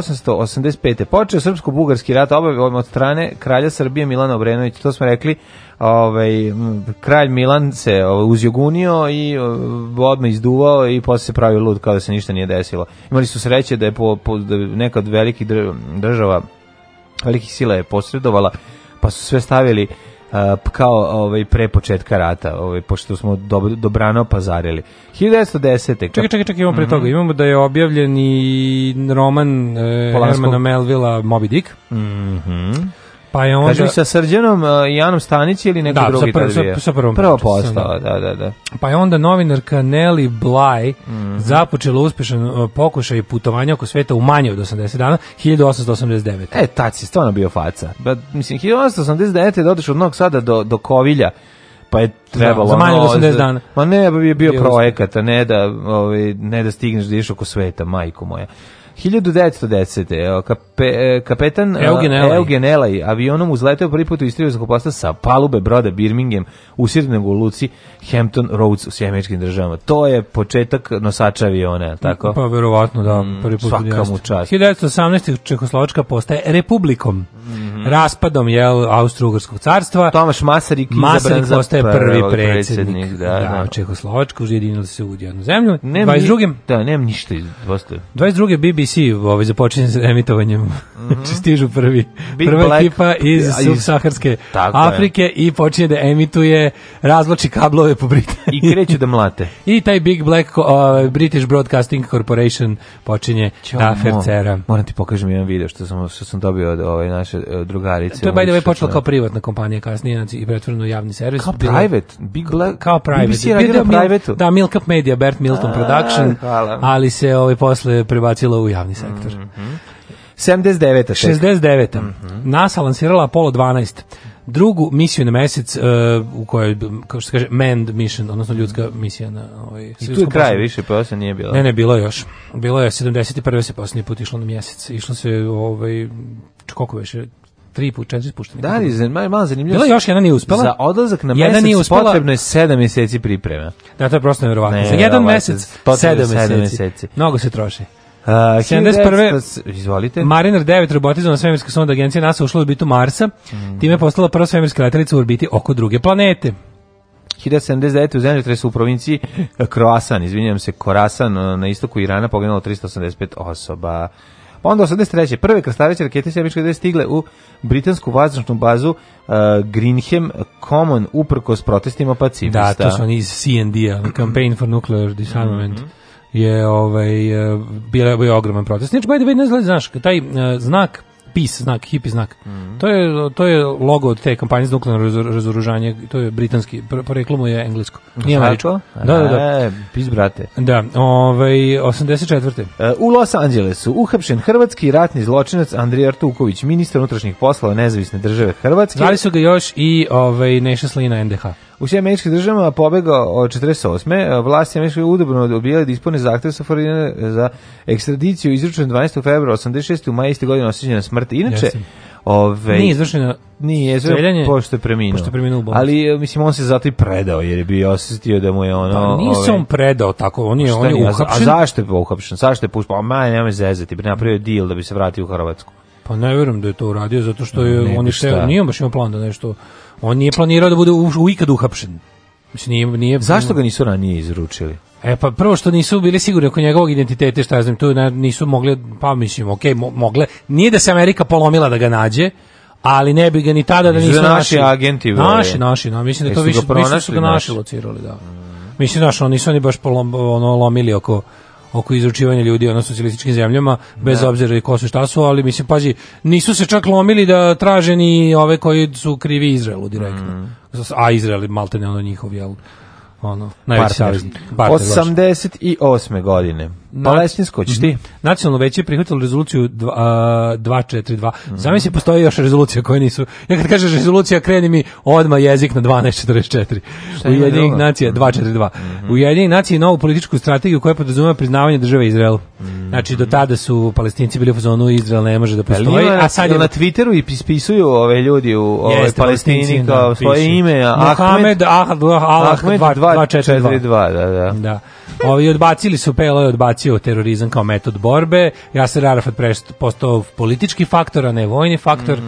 H: 1885. Počeo srpsko-bugarski rat obavljamo od strane kralja Srbije Milana Obrenović, to smo rekli, ovaj, m, kralj Milan se ovaj, uzjogunio i ovaj, odmah izduvao i posle se pravio lud kao da se ništa nije desilo. Imali su sreće da je po, po, da je neka od velikih dr- država velikih sila je posredovala, pa su sve stavili a, p- kao ovaj pre početka rata, ovaj pošto smo dobro dobrano pazarili. 1910.
G: Čekaj, čekaj, čekaj,
H: Mhm.
G: imamo pre toga. Imamo da je objavljen i roman e,
H: Polanskog.
G: Hermana Melvila Moby Dick.
H: Mhm.
G: Pa je onda...
H: Kaži mi sa Srđanom a, i Janom Stanić ili neko
G: Da, sa
H: drugi
G: prv-
H: tad
G: sa-
H: bio?
G: sa prvom
H: Prvo
G: pričom,
H: postao, da, da, da.
G: Pa je onda novinarka Nelly Bly
H: Mhm.
G: započela uspešan e, pokušaj putovanja oko sveta u manje od 80 dana, 1889.
H: E, tad si stvarno bio faca. Ba, mislim, 1889. je dotiš od Novog Sada do, do Kovilja, pa je trebalo...
G: Da, za manje od
H: ono,
G: 80 dana.
H: Ma ne, bi je bio
G: Bio
H: projekat, a ne da, ovaj, ne da stigneš da ideš oko sveta, majko moja. 1910. evo, Kape, e, kapetan a,
G: Eugen Elaj.
H: Eugen Elaj avionom uzleteo prvi put u Istriju zakoposta sa palube broda Birmingham usirnog u luci Hampton Roads u Sjemeničkim državama. To je početak nosača aviona, je li tako?
G: Pa verovatno da,
H: Mm,
G: prvi put.
H: svaka
G: jeste.
H: mu čast.
G: 1918. Čehoslovačka postaje republikom.
H: Mhm.
G: Raspadom jel Austrougarskog carstva.
H: Tomaš Masarik, izabran
G: Masaryk
H: za
G: postaje prvi
H: prvog
G: predsjednik.
H: da, da.
G: Čehoslovačka ujedinila se u jednu zemlju.
H: Nemam
G: 22.
H: ni- Da, nemam ništa iz dvostoje.
G: 22. BBC ovaj, započinje s emitovanjem. Znači stižu prvi.
H: Mhm. Big
G: Prva
H: Black-
G: ekipa iz
H: iz-
G: subsaharske
H: Tako je.
G: Afrike i počinje da emituje razvlači kablove po Britaniji.
H: I kreću da mlate.
G: I taj Big Black uh, British Broadcasting Corporation počinje da fercera.
H: Mo- Moram ti pokažem jedan video što sam, što sam dobio od ove naše e, drugarice.
G: To je by the way počelo kao
H: Što-
G: privatna kompanija kasnije znači, i pretvoreno u javni servis.
H: Kao
G: Bilo-
H: private. Big Black.
G: kao private.
H: BBC je radio
G: Bio
H: na
G: Mil-
H: private-u.
G: Da, Milk Up Media, Bert Milton
H: A,
G: Production,
H: hvala. Mhm.
G: ali se ovaj posle prebacilo u javni sektor.
H: 79. tek.
G: 69.
H: Mhm.
G: NASA lansirala Apollo 12 drugu misiju na mesec e, u kojoj kao što se kaže manned mission odnosno ljudska misija na ovaj
H: I tu je kraj više, posle nije bilo.
G: Ne, ne, bilo je još. Bilo je 71. se posljednji put išlo na mjesec. Išlo se ovaj č- koliko već je? tri put, četiri pušteni.
H: Da, ali zan- malo, malo zanimljivo.
G: Bila je još jedna nije uspela.
H: Za odlazak na
G: Jedna
H: mesec
G: nije uspela.
H: potrebno je 7 mjeseci priprema.
G: Da, to je prosto nevjerovatno.
H: Ne,
G: Za jedan
H: verovatno,
G: mjesec,
H: potrebno je
G: sedam
H: sedam
G: mjeseci.
H: mjeseci.
G: Mnogo se troši.
H: Uh,
G: 71.
H: 1900 Izvolite.
G: Mariner 9 robotizovana svemirska sonda agencija
H: Mm.
G: NASA ušla u orbitu Marsa, time je postala prva svemirska letelica u orbiti oko druge planete.
H: 1079. u zemljotresu u provinciji eh, Kroasan, izvinjam se, Korasan eh, na istoku Irana poginulo 385 osoba. Pa onda 83. prve krstareće rakete se američke države stigle u britansku vazdušnu bazu uh, Greenham Common uprkos protestima pacifista.
G: Da, to su oni iz CND-a, Campaign for Nuclear Disarmament.
H: Mhm.
G: je ovaj e, bio bio ogroman protest. Znači, by the way, ne znam, znaš, taj e, znak PIS znak, hipi znak.
H: Mhm.
G: To je to je logo od te kampanje za nuklearno razor- razoružanje, to je britanski, pr- poreklo mu je englesko. Nije američko. Da, da, da.
H: E, pis, brate.
G: Da, ovaj 84.
H: E, U Los Angelesu uhapšen hrvatski ratni zločinac Andrija Artuković, ministar unutrašnjih poslova nezavisne države Hrvatske.
G: Zvali su ga još i ovaj Neša Slina NDH.
H: U sve američkih državama pobegao od 48. Vlasti američke udobno dobijale da ispune zahtev sa Florida za ekstradiciju izručen 12. februara 86. u maju iste godine osjećena smrt. Inače,
G: Jeste.
H: ove,
G: Nije izvršena
H: Nije, zove-
G: Streljanje-
H: pošto je preminuo.
G: pošto je preminuo u bolnici.
H: Ali, e, mislim, on se zato i predao, jer je bio osjetio da mu je ono...
G: Pa nije se
H: ove,
G: on predao tako, on je,
H: pa šta
G: on je
H: nije, a-
G: uhapšen.
H: A zašto je uhapšen? Zašto je pušten? Pa, ma, nemoj zezati, bi napravio je deal da bi se vratio u Hrvatsku.
G: Pa ne verujem da je to uradio, zato što je,
H: Ne bi
G: on je
H: šta.
G: teo- nije on baš imao plan da nešto, on nije planirao da bude u, u ikad uhapšen. Mislim, nije, nije,
H: Zašto ga nisu ranije izručili?
G: E pa prvo što nisu bili sigurni oko njegovog identiteta, šta ja znam, tu na- nisu mogle, pa mislim, okej, mo- mogle. Nije da se Amerika polomila da ga nađe, ali ne bi ga ni tada da
H: Nisu
G: nisu
H: ga naši agenti, bre.
G: Naši, naši, no, mislim da je to
H: Jesu ga
G: više, više su
H: pronašli
G: ga naši
H: naši?
G: locirali, da. Mislim, znaš, oni su oni baš polom, ono, lomili oko oko izručivanja ljudi ono socijalističkim zemljama bez obzira i ko su i šta su, ali mislim pazi, nisu se čak lomili da traže ni ove koji su krivi Izraelu direktno. A Izrael je maltene ono njihov jel ono najveći
H: Partner.
G: saveznik. Partner, baš. Znači-
H: 88. godine. Palestinsko, ćeš
G: Mhm.
H: ti?
G: Nacionalno veće je prihvatilo rezoluciju dva- a, 242.
H: Mhm.
G: Zamisli, postoji još rezolucija koje nisu... Ja kad kažeš rezolucija, kreni mi odmah jezik na 1244.
H: ima
G: Ujedinjenih
H: drugo? Mhm.
G: nacija, 242. Ujedinjenih nacija novu političku strategiju koja podrazumeva priznavanje države Izrael.
H: Mhm.
G: Znači, do tada su palestinci bili u zonu Izrael ne može da postoji, a sad je...
H: Pa na Twitteru i ispisuju ove ljudi u ove
G: Jeste,
H: Palestini
G: Palestinci,
H: kao
G: da,
H: svoje
G: pišu.
H: ime
G: Mohamed Ahad Allah
H: Ahmed
G: 242.
H: 242, da, da.
G: Da. Ovi odbacili su PLO je odbacio terorizam kao metod borbe. Jasir Arafat prest- postao politički faktor, a ne vojni faktor.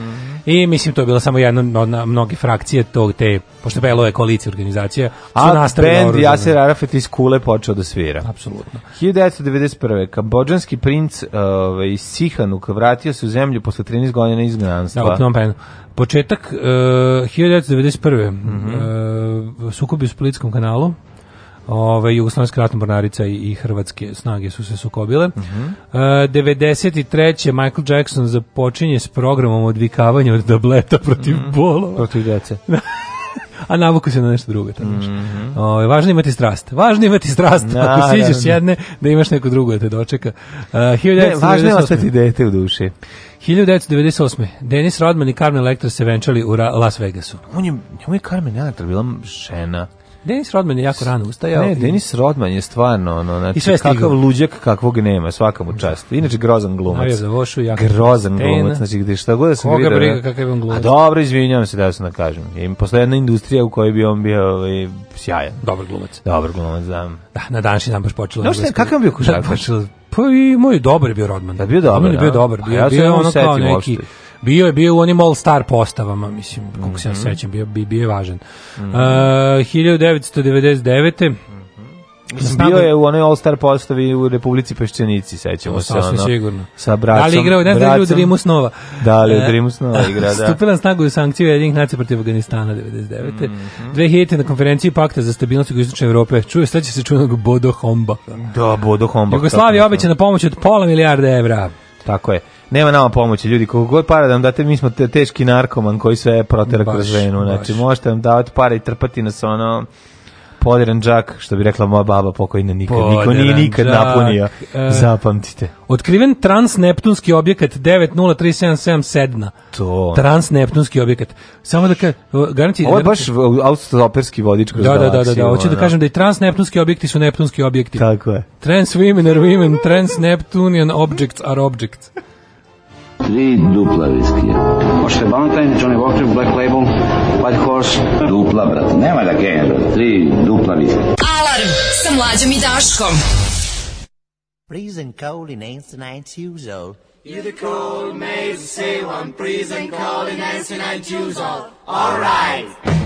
G: I mislim to je bila samo jedna od na- mnoge frakcije tog te pošto PLO je koalicija organizacija, su
H: A
G: nastavili
H: band
G: oružane.
H: Jasir Arafat iz Kule počeo da svira.
G: apsolutno.
H: 1991. Kambodžanski princ ovaj, Sihanuk vratio se u zemlju posle 13 godina
G: Da,
H: izgnanstva.
G: u Phnom Penhu. Početak uh, 1991.
H: Mhm.
G: e, sukobi u Splitskom kanalu. Ove, Jugoslovenska ratna mornarica i, i hrvatske snage su se sukobile.
H: Mhm.
G: E, 93. Michael Jackson započinje s programom odvikavanja od tableta protiv
H: Mhm.
G: bolova.
H: Protiv dece.
G: A navuku se na nešto drugo. Tamo. Ove, važno je imati strast. Važno je imati strast. Ako siđeš
H: Mhm. Naravno.
G: jedne, da imaš neko drugo da te dočeka. E,
H: Ne, važno je
G: 1998..
H: ostati dete u duši.
G: 1998. Denis Rodman i Carmen Electra se venčali u Ra- Las Vegasu.
H: On je, njemu je Carmen Electra bila žena.
G: Denis Rodman je jako rano ustajao.
H: Ne,
G: i-
H: Denis Rodman je stvarno ono, znači,
G: I sve stigao.
H: kakav luđak kakvog nema, svaka mu čast. Inače grozan glumac.
G: Navija za vošu, jako
H: grozan
G: kaptena.
H: glumac, znači gde šta god da sam
G: Koga
H: vidio,
G: briga
H: ne?
G: kakav je on glumac.
H: A dobro, izvinjavam se da sam da kažem. Im posle jedna industrija u kojoj bi on bio ovaj, sjajan.
G: Dobar glumac.
H: Dobar glumac, da.
G: Da, na današnji dan baš počelo.
H: Znaš šta,
G: engleska-
H: kakav je bio košarkaš?
G: Da, počelo- Pa i moj dobar je bio Rodman.
H: Da, bio dobar,
G: Rodman je bio
H: da.
G: dobar.
H: A
G: Bio,
H: ja se
G: bio je
H: ne mogu
G: ono kao
H: setim
G: neki...
H: uopšte.
G: Bio je bio u onim all-star postavama, mislim, koliko
H: Mhm.
G: se ja sećam, bio, bi- bio je važan. Uh, 1999. Znam
H: Bio
G: da-
H: je u onoj All-Star postavi u Republici Peščenici, sećamo
G: To
H: se.
G: sasvim
H: ono,
G: sigurno.
H: Sa braćom.
G: Da li igrao, ne znam da li u
H: bracom.
G: Dreamu snova.
H: Da li u
G: E,
H: Dreamu snova igra, da.
G: Stupila na snagu je sankcija jedinih nacija protiv Afganistana 99.
H: Mhm.
G: 2000. na konferenciji Pakta za stabilnost jugoistočne Evrope čuje sledeće se čunog Bodo Homba.
H: Da, Bodo Hombak.
G: Jugoslavija obećana pomoć od pola milijarda evra.
H: Tako je. Nema nama pomoći, ljudi, koliko god para da nam date, mi smo te, teški narkoman koji sve protera
G: Baš,
H: kroz venu. Znači,
G: baš.
H: možete nam davati pare i trpati nas ono podiran džak, što bi rekla moja baba pokojna nikad. Niko nije
G: Podiran
H: nikad
G: džak,
H: napunio.
G: e.
H: Zapamtite.
G: Otkriven transneptunski objekat 90377 Sedna.
H: To.
G: Transneptunski objekat. Samo da ka, garanti,
H: Ovo je baš autostoperski vodič kroz
G: Da, da, da, da,
H: galaksiju,
G: da, hoću da
H: ono.
G: kažem da i transneptunski objekti su neptunski objekti.
H: Tako je.
G: Trans women are women, trans Neptunian objects are objects.
B: Tri dupla viskija. Možete Valentine, Johnny Walker, Black Label, White Horse. Dupla, brate, nema da genja, brate. Tri dupla viskija.
E: Alarm sa mlađom i Daškom.
A: Freezing cold in 89 years old.
I: Freezing cold in 89 years old. All right.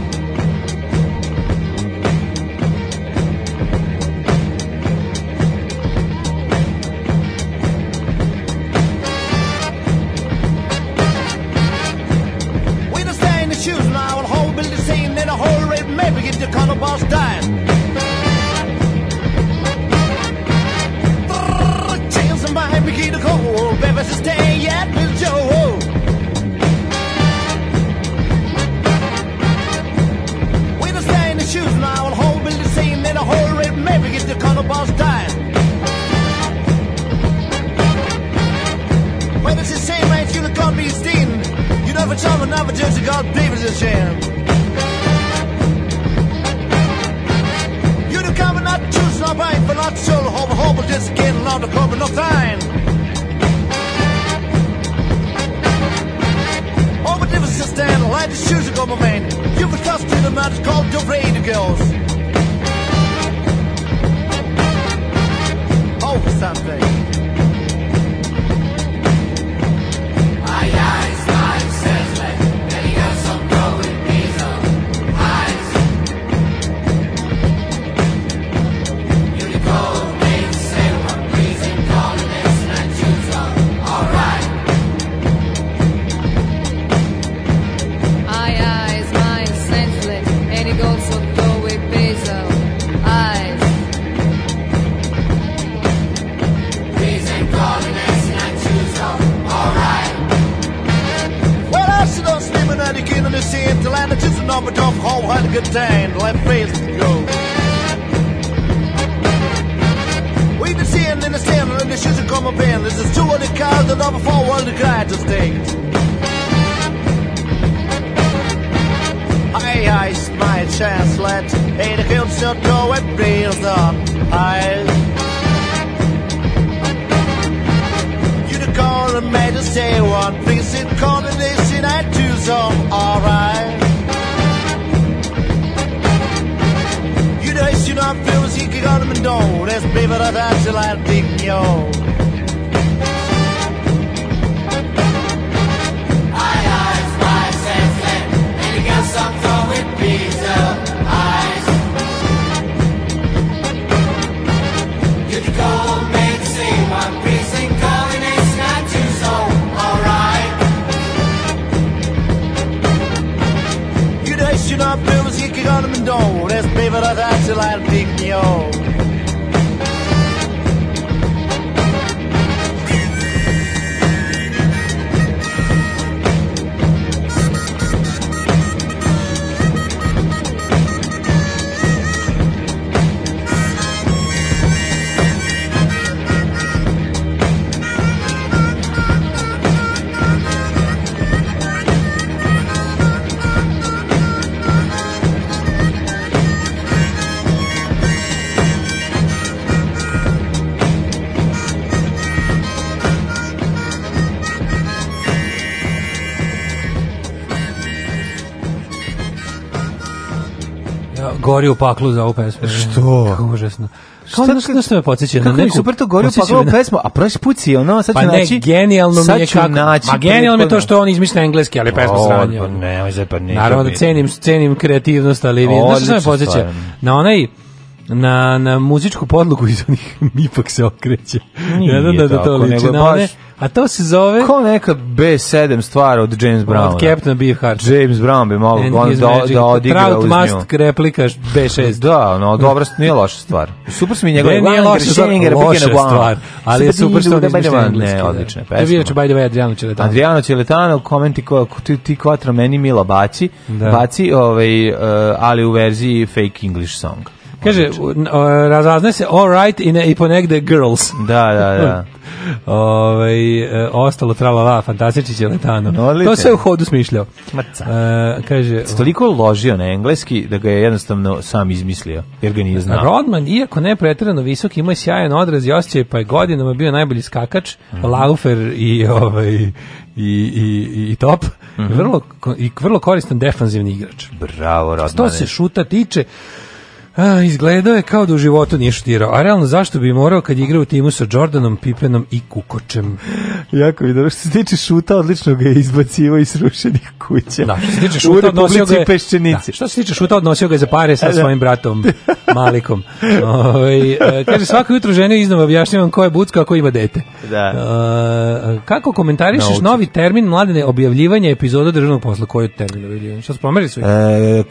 I: maybe get your color boss dying. Brrr, Chance I might be getting cold, baby, so stay at Miss Joe. With a stain in shoes and I will hold Billy scene in a whole red maybe get the color boss dying. Well, it's the same man, you look on me, Steen. You never tell me, never judge a God, David's a sham. You do come and not choose, not right, but not so, hope, hope, just getting on the cover, no fine. Oh, but if it's just stand, light the shoes and go, my man. You could trust to the man, it's called the radio girls. Oh, for something.
K: I eyes, mine senseless, and it goes so go with basil. Eyes.
I: Reason calling us not choose alright. Well, I should not sleep at night again in the same till I just an number of home had a good time, like face to go. We been seeing in the stand and the shoes are coming band. This is two of the cars and number four one the guy to stay. Hey, I my chance, let hey the kill still go and build up. I You the call and made us say one thing. Sit calling this in I do some alright. You know it's you not feel as he could on him and don't. That's baby that I till I dig yo. You know it's you not feel as he could on him and don't. That's baby that I till I dig yo.
G: Ja, gori u paklu za ovu pesmu. Što? Kako užasno. Kao
H: Šta
G: da što, me podsjeća na
H: Kako mi
G: neku-
H: super to govorio, pa
G: podsjeća
H: govorio
G: me na-
H: pesmu, a prošli put si ono, sad
G: Pa
H: ću
G: ne,
H: naći...
G: genijalno mi
H: sad
G: je
H: ću
G: kako.
H: naći
G: Ma genijalno mi je to
H: prethodno.
G: što on izmišlja engleski, ali pesma
H: O,
G: sranje.
H: pa
G: ono.
H: ne, oj, pa ne,
G: Naravno
H: to
G: da
H: mi-
G: cenim, cenim kreativnost, ali vi, znaš što me
H: Odlična
G: podsjeća?
H: stvar.
G: Na onaj na, na muzičku podlogu iz onih Mipak se okreće.
H: Nije
G: Ne znam da, da
H: tako,
G: to
H: nego
G: liči
H: je
G: na one.
H: baš-
G: A to se zove...
H: Ko neka B7 stvar od James Browna.
G: Od Captain Beefheart.
H: James Brown bi mogo
G: And
H: on
G: his
H: da,
G: magic.
H: da odigra
G: Trout
H: uz nju.
G: must replika B6.
H: Da, no, dobra, nije loša stvar. Super su mi njegove
G: Ne, nije
H: Langer,
G: loša stvar,
H: Schellinger,
G: loša
H: Beginner, Blanc.
G: stvar, ali je super što on
H: Super,
G: izmišlja
H: Ne,
G: engleski. da.
H: odlična
G: To je bio
H: pesma.
G: inače, E, by the way, Adriano Čeletano.
H: Adriano Ciletano komenti ko, ko- ti, ti kvatra meni Mila baci, baci ovaj, eh, ali u verziji fake English song.
G: Kaže, n- o, razazne se all right i, ne, i ponegde girls.
H: Da, da, da.
G: Ovaj, e, ostalo tralala, fantastični će letano.
H: Odlično.
G: to se u hodu smišljao. E, kaže,
H: Se Toliko ložio na engleski da ga je jednostavno sam izmislio, jer ga nije znao.
G: Rodman, iako ne pretjerano visok, ima sjajan odraz i osjećaj, pa je godinama bio najbolji skakač,
H: Mhm.
G: laufer i, ovaj, i, i, i- i top.
H: Mhm.
G: vrlo, ko- I vrlo koristan defanzivni igrač.
H: Bravo, Rodmane.
G: To se šuta tiče, A, izgledao je kao da u životu nije šutirao. A realno, zašto bi morao kad je igrao u timu sa Jordanom, Pipenom i Kukočem?
H: Jako mi dobro. Što se tiče šuta, odlično ga je izbacivo iz srušenih kuća.
G: Da, što se tiče
H: U
G: šuta, odnosio ga
H: Republici
G: je,
H: Peščenici. E,
G: Da, što se tiče šuta, odnosio ga je za pare sa
H: Da.
G: svojim bratom Malikom. Ovaj, e, kaže, svako jutro žene iznova objašnjavam ko je bucka, a ko ima dete.
H: Da.
G: E, kako komentarišeš
H: Nauči.
G: novi termin mladene objavljivanje epizoda državnog posla? Koji je termin objavljivanja? Šta su promerili svi?
H: E,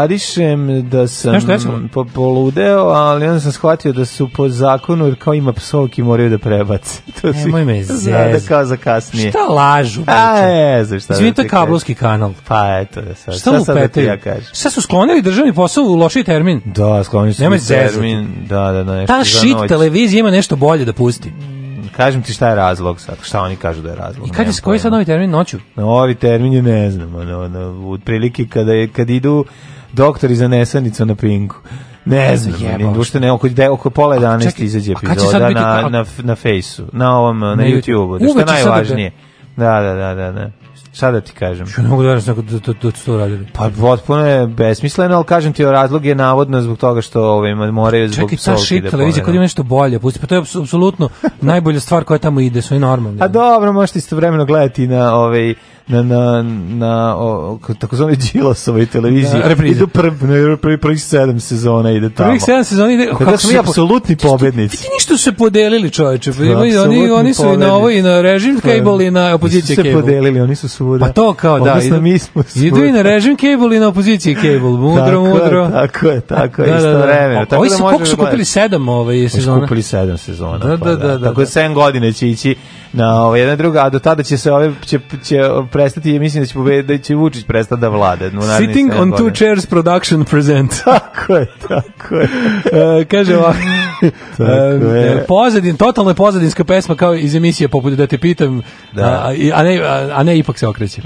H: komentarišem da sam
G: Nešto recimo?
H: po, poludeo, ali onda sam shvatio da su po zakonu, jer kao ima psovki, moraju da prebace. To si-
G: Nemoj me
H: Zna da
G: zezati.
H: kao za kasnije.
G: Šta lažu?
H: A,
G: priče?
H: e, za šta
G: Izvini,
H: da
G: to je
H: ti kažem.
G: kablovski kanal.
H: Pa eto, da sad,
G: Šta
H: šta sad da ti
G: lupetaju?
H: ja kažem?
G: Šta su sklonili državni posao u lošiji termin?
H: Da, sklonio sam
G: Nemoj
H: i
G: zezati.
H: termin. Da, da, da, nešto
G: Ta
H: za
G: shit
H: noć.
G: televizija ima nešto bolje da pusti.
H: Kažem ti šta je razlog sad, šta oni kažu da je razlog.
G: I kad je,
H: nemam
G: koji je sad
H: pojma.
G: novi termin? Noću?
H: Novi termin je ne znam, ono, ono, otprilike kada, je, kad idu doktori za nesanicu na pinku. Ne znam,
G: Zajebao
H: meni uopšte ne, oko, de, oko pola 11
G: čekaj,
H: izađe
G: a kad će sad
H: epizoda
G: biti
H: na,
G: ka-
H: na, f- na fejsu, na ovom, na,
G: Na YouTube.
H: YouTube-u, da što
G: Uveče
H: je
G: sada da-
H: najvažnije. Da, da, da, da, da. Šta da ti kažem?
G: Što ne mogu da verujem da, da, da, da su to radili.
H: Pa potpuno je besmisleno, ali kažem ti, razlog je navodno zbog toga što ovaj, moraju zbog
G: Čekaj, ta
H: psovki
G: shit
H: da
G: televizija kad
H: pomenu.
G: ima nešto bolje, pusti. Pa to je apsu- apsolutno najbolja stvar koja tamo ide, sve normalno.
H: A dobro, možete istovremeno gledati na ovaj na na na o, k- takozvane Đilasovoj televiziji.
G: Da, reprize.
H: Idu prvi prvi prvih 7 sezona ide tamo. Pa
G: Prvih 7 sezoni ide...
H: Kada smo mi
G: se-
H: apsolutni pobednici.
G: Vidi ništa su se podelili, čoveče. Pa imaju- oni,
H: Apsolutni Pa,
G: oni su i na ovo i na režim cable i na
H: Nisu
G: opoziciji
H: se
G: cable.
H: podelili, oni su svuda.
G: Pa to kao da.
H: Odnosno,
G: idu-
H: mi smo svuda.
G: Idu i na režim cable i na opoziciji cable.
H: Tako
G: Mudro,
H: je,
G: mudro.
H: Tako je, tako je, istovremeno.
G: A
H: Tako
G: Ovi
H: da
G: su,
H: možemo
G: koliko su kupili?
H: gledati.
G: Sedam ovaj,
H: Mi
G: sezona?
H: Skupili sedam sezona.
G: Da,
H: pa
G: da, da, da,
H: Tako
G: da.
H: 7 godina će ići na ovo jedna druga, a do tada će se ove, će, će prestati, mislim da će, pobedi, da će Vučić prestati da vlada. u narednih
G: Sitting
H: sedam
G: on two
H: godina.
G: chairs production present.
H: Tako je, tako je.
G: E, kaže ovako.
H: Tako je.
G: e, pozadin, totalno je pozadinska pesma kao iz emisije poput da te pitam,
H: Da. Mhm.
G: a, a, ne, a, a ne ipak se okreće.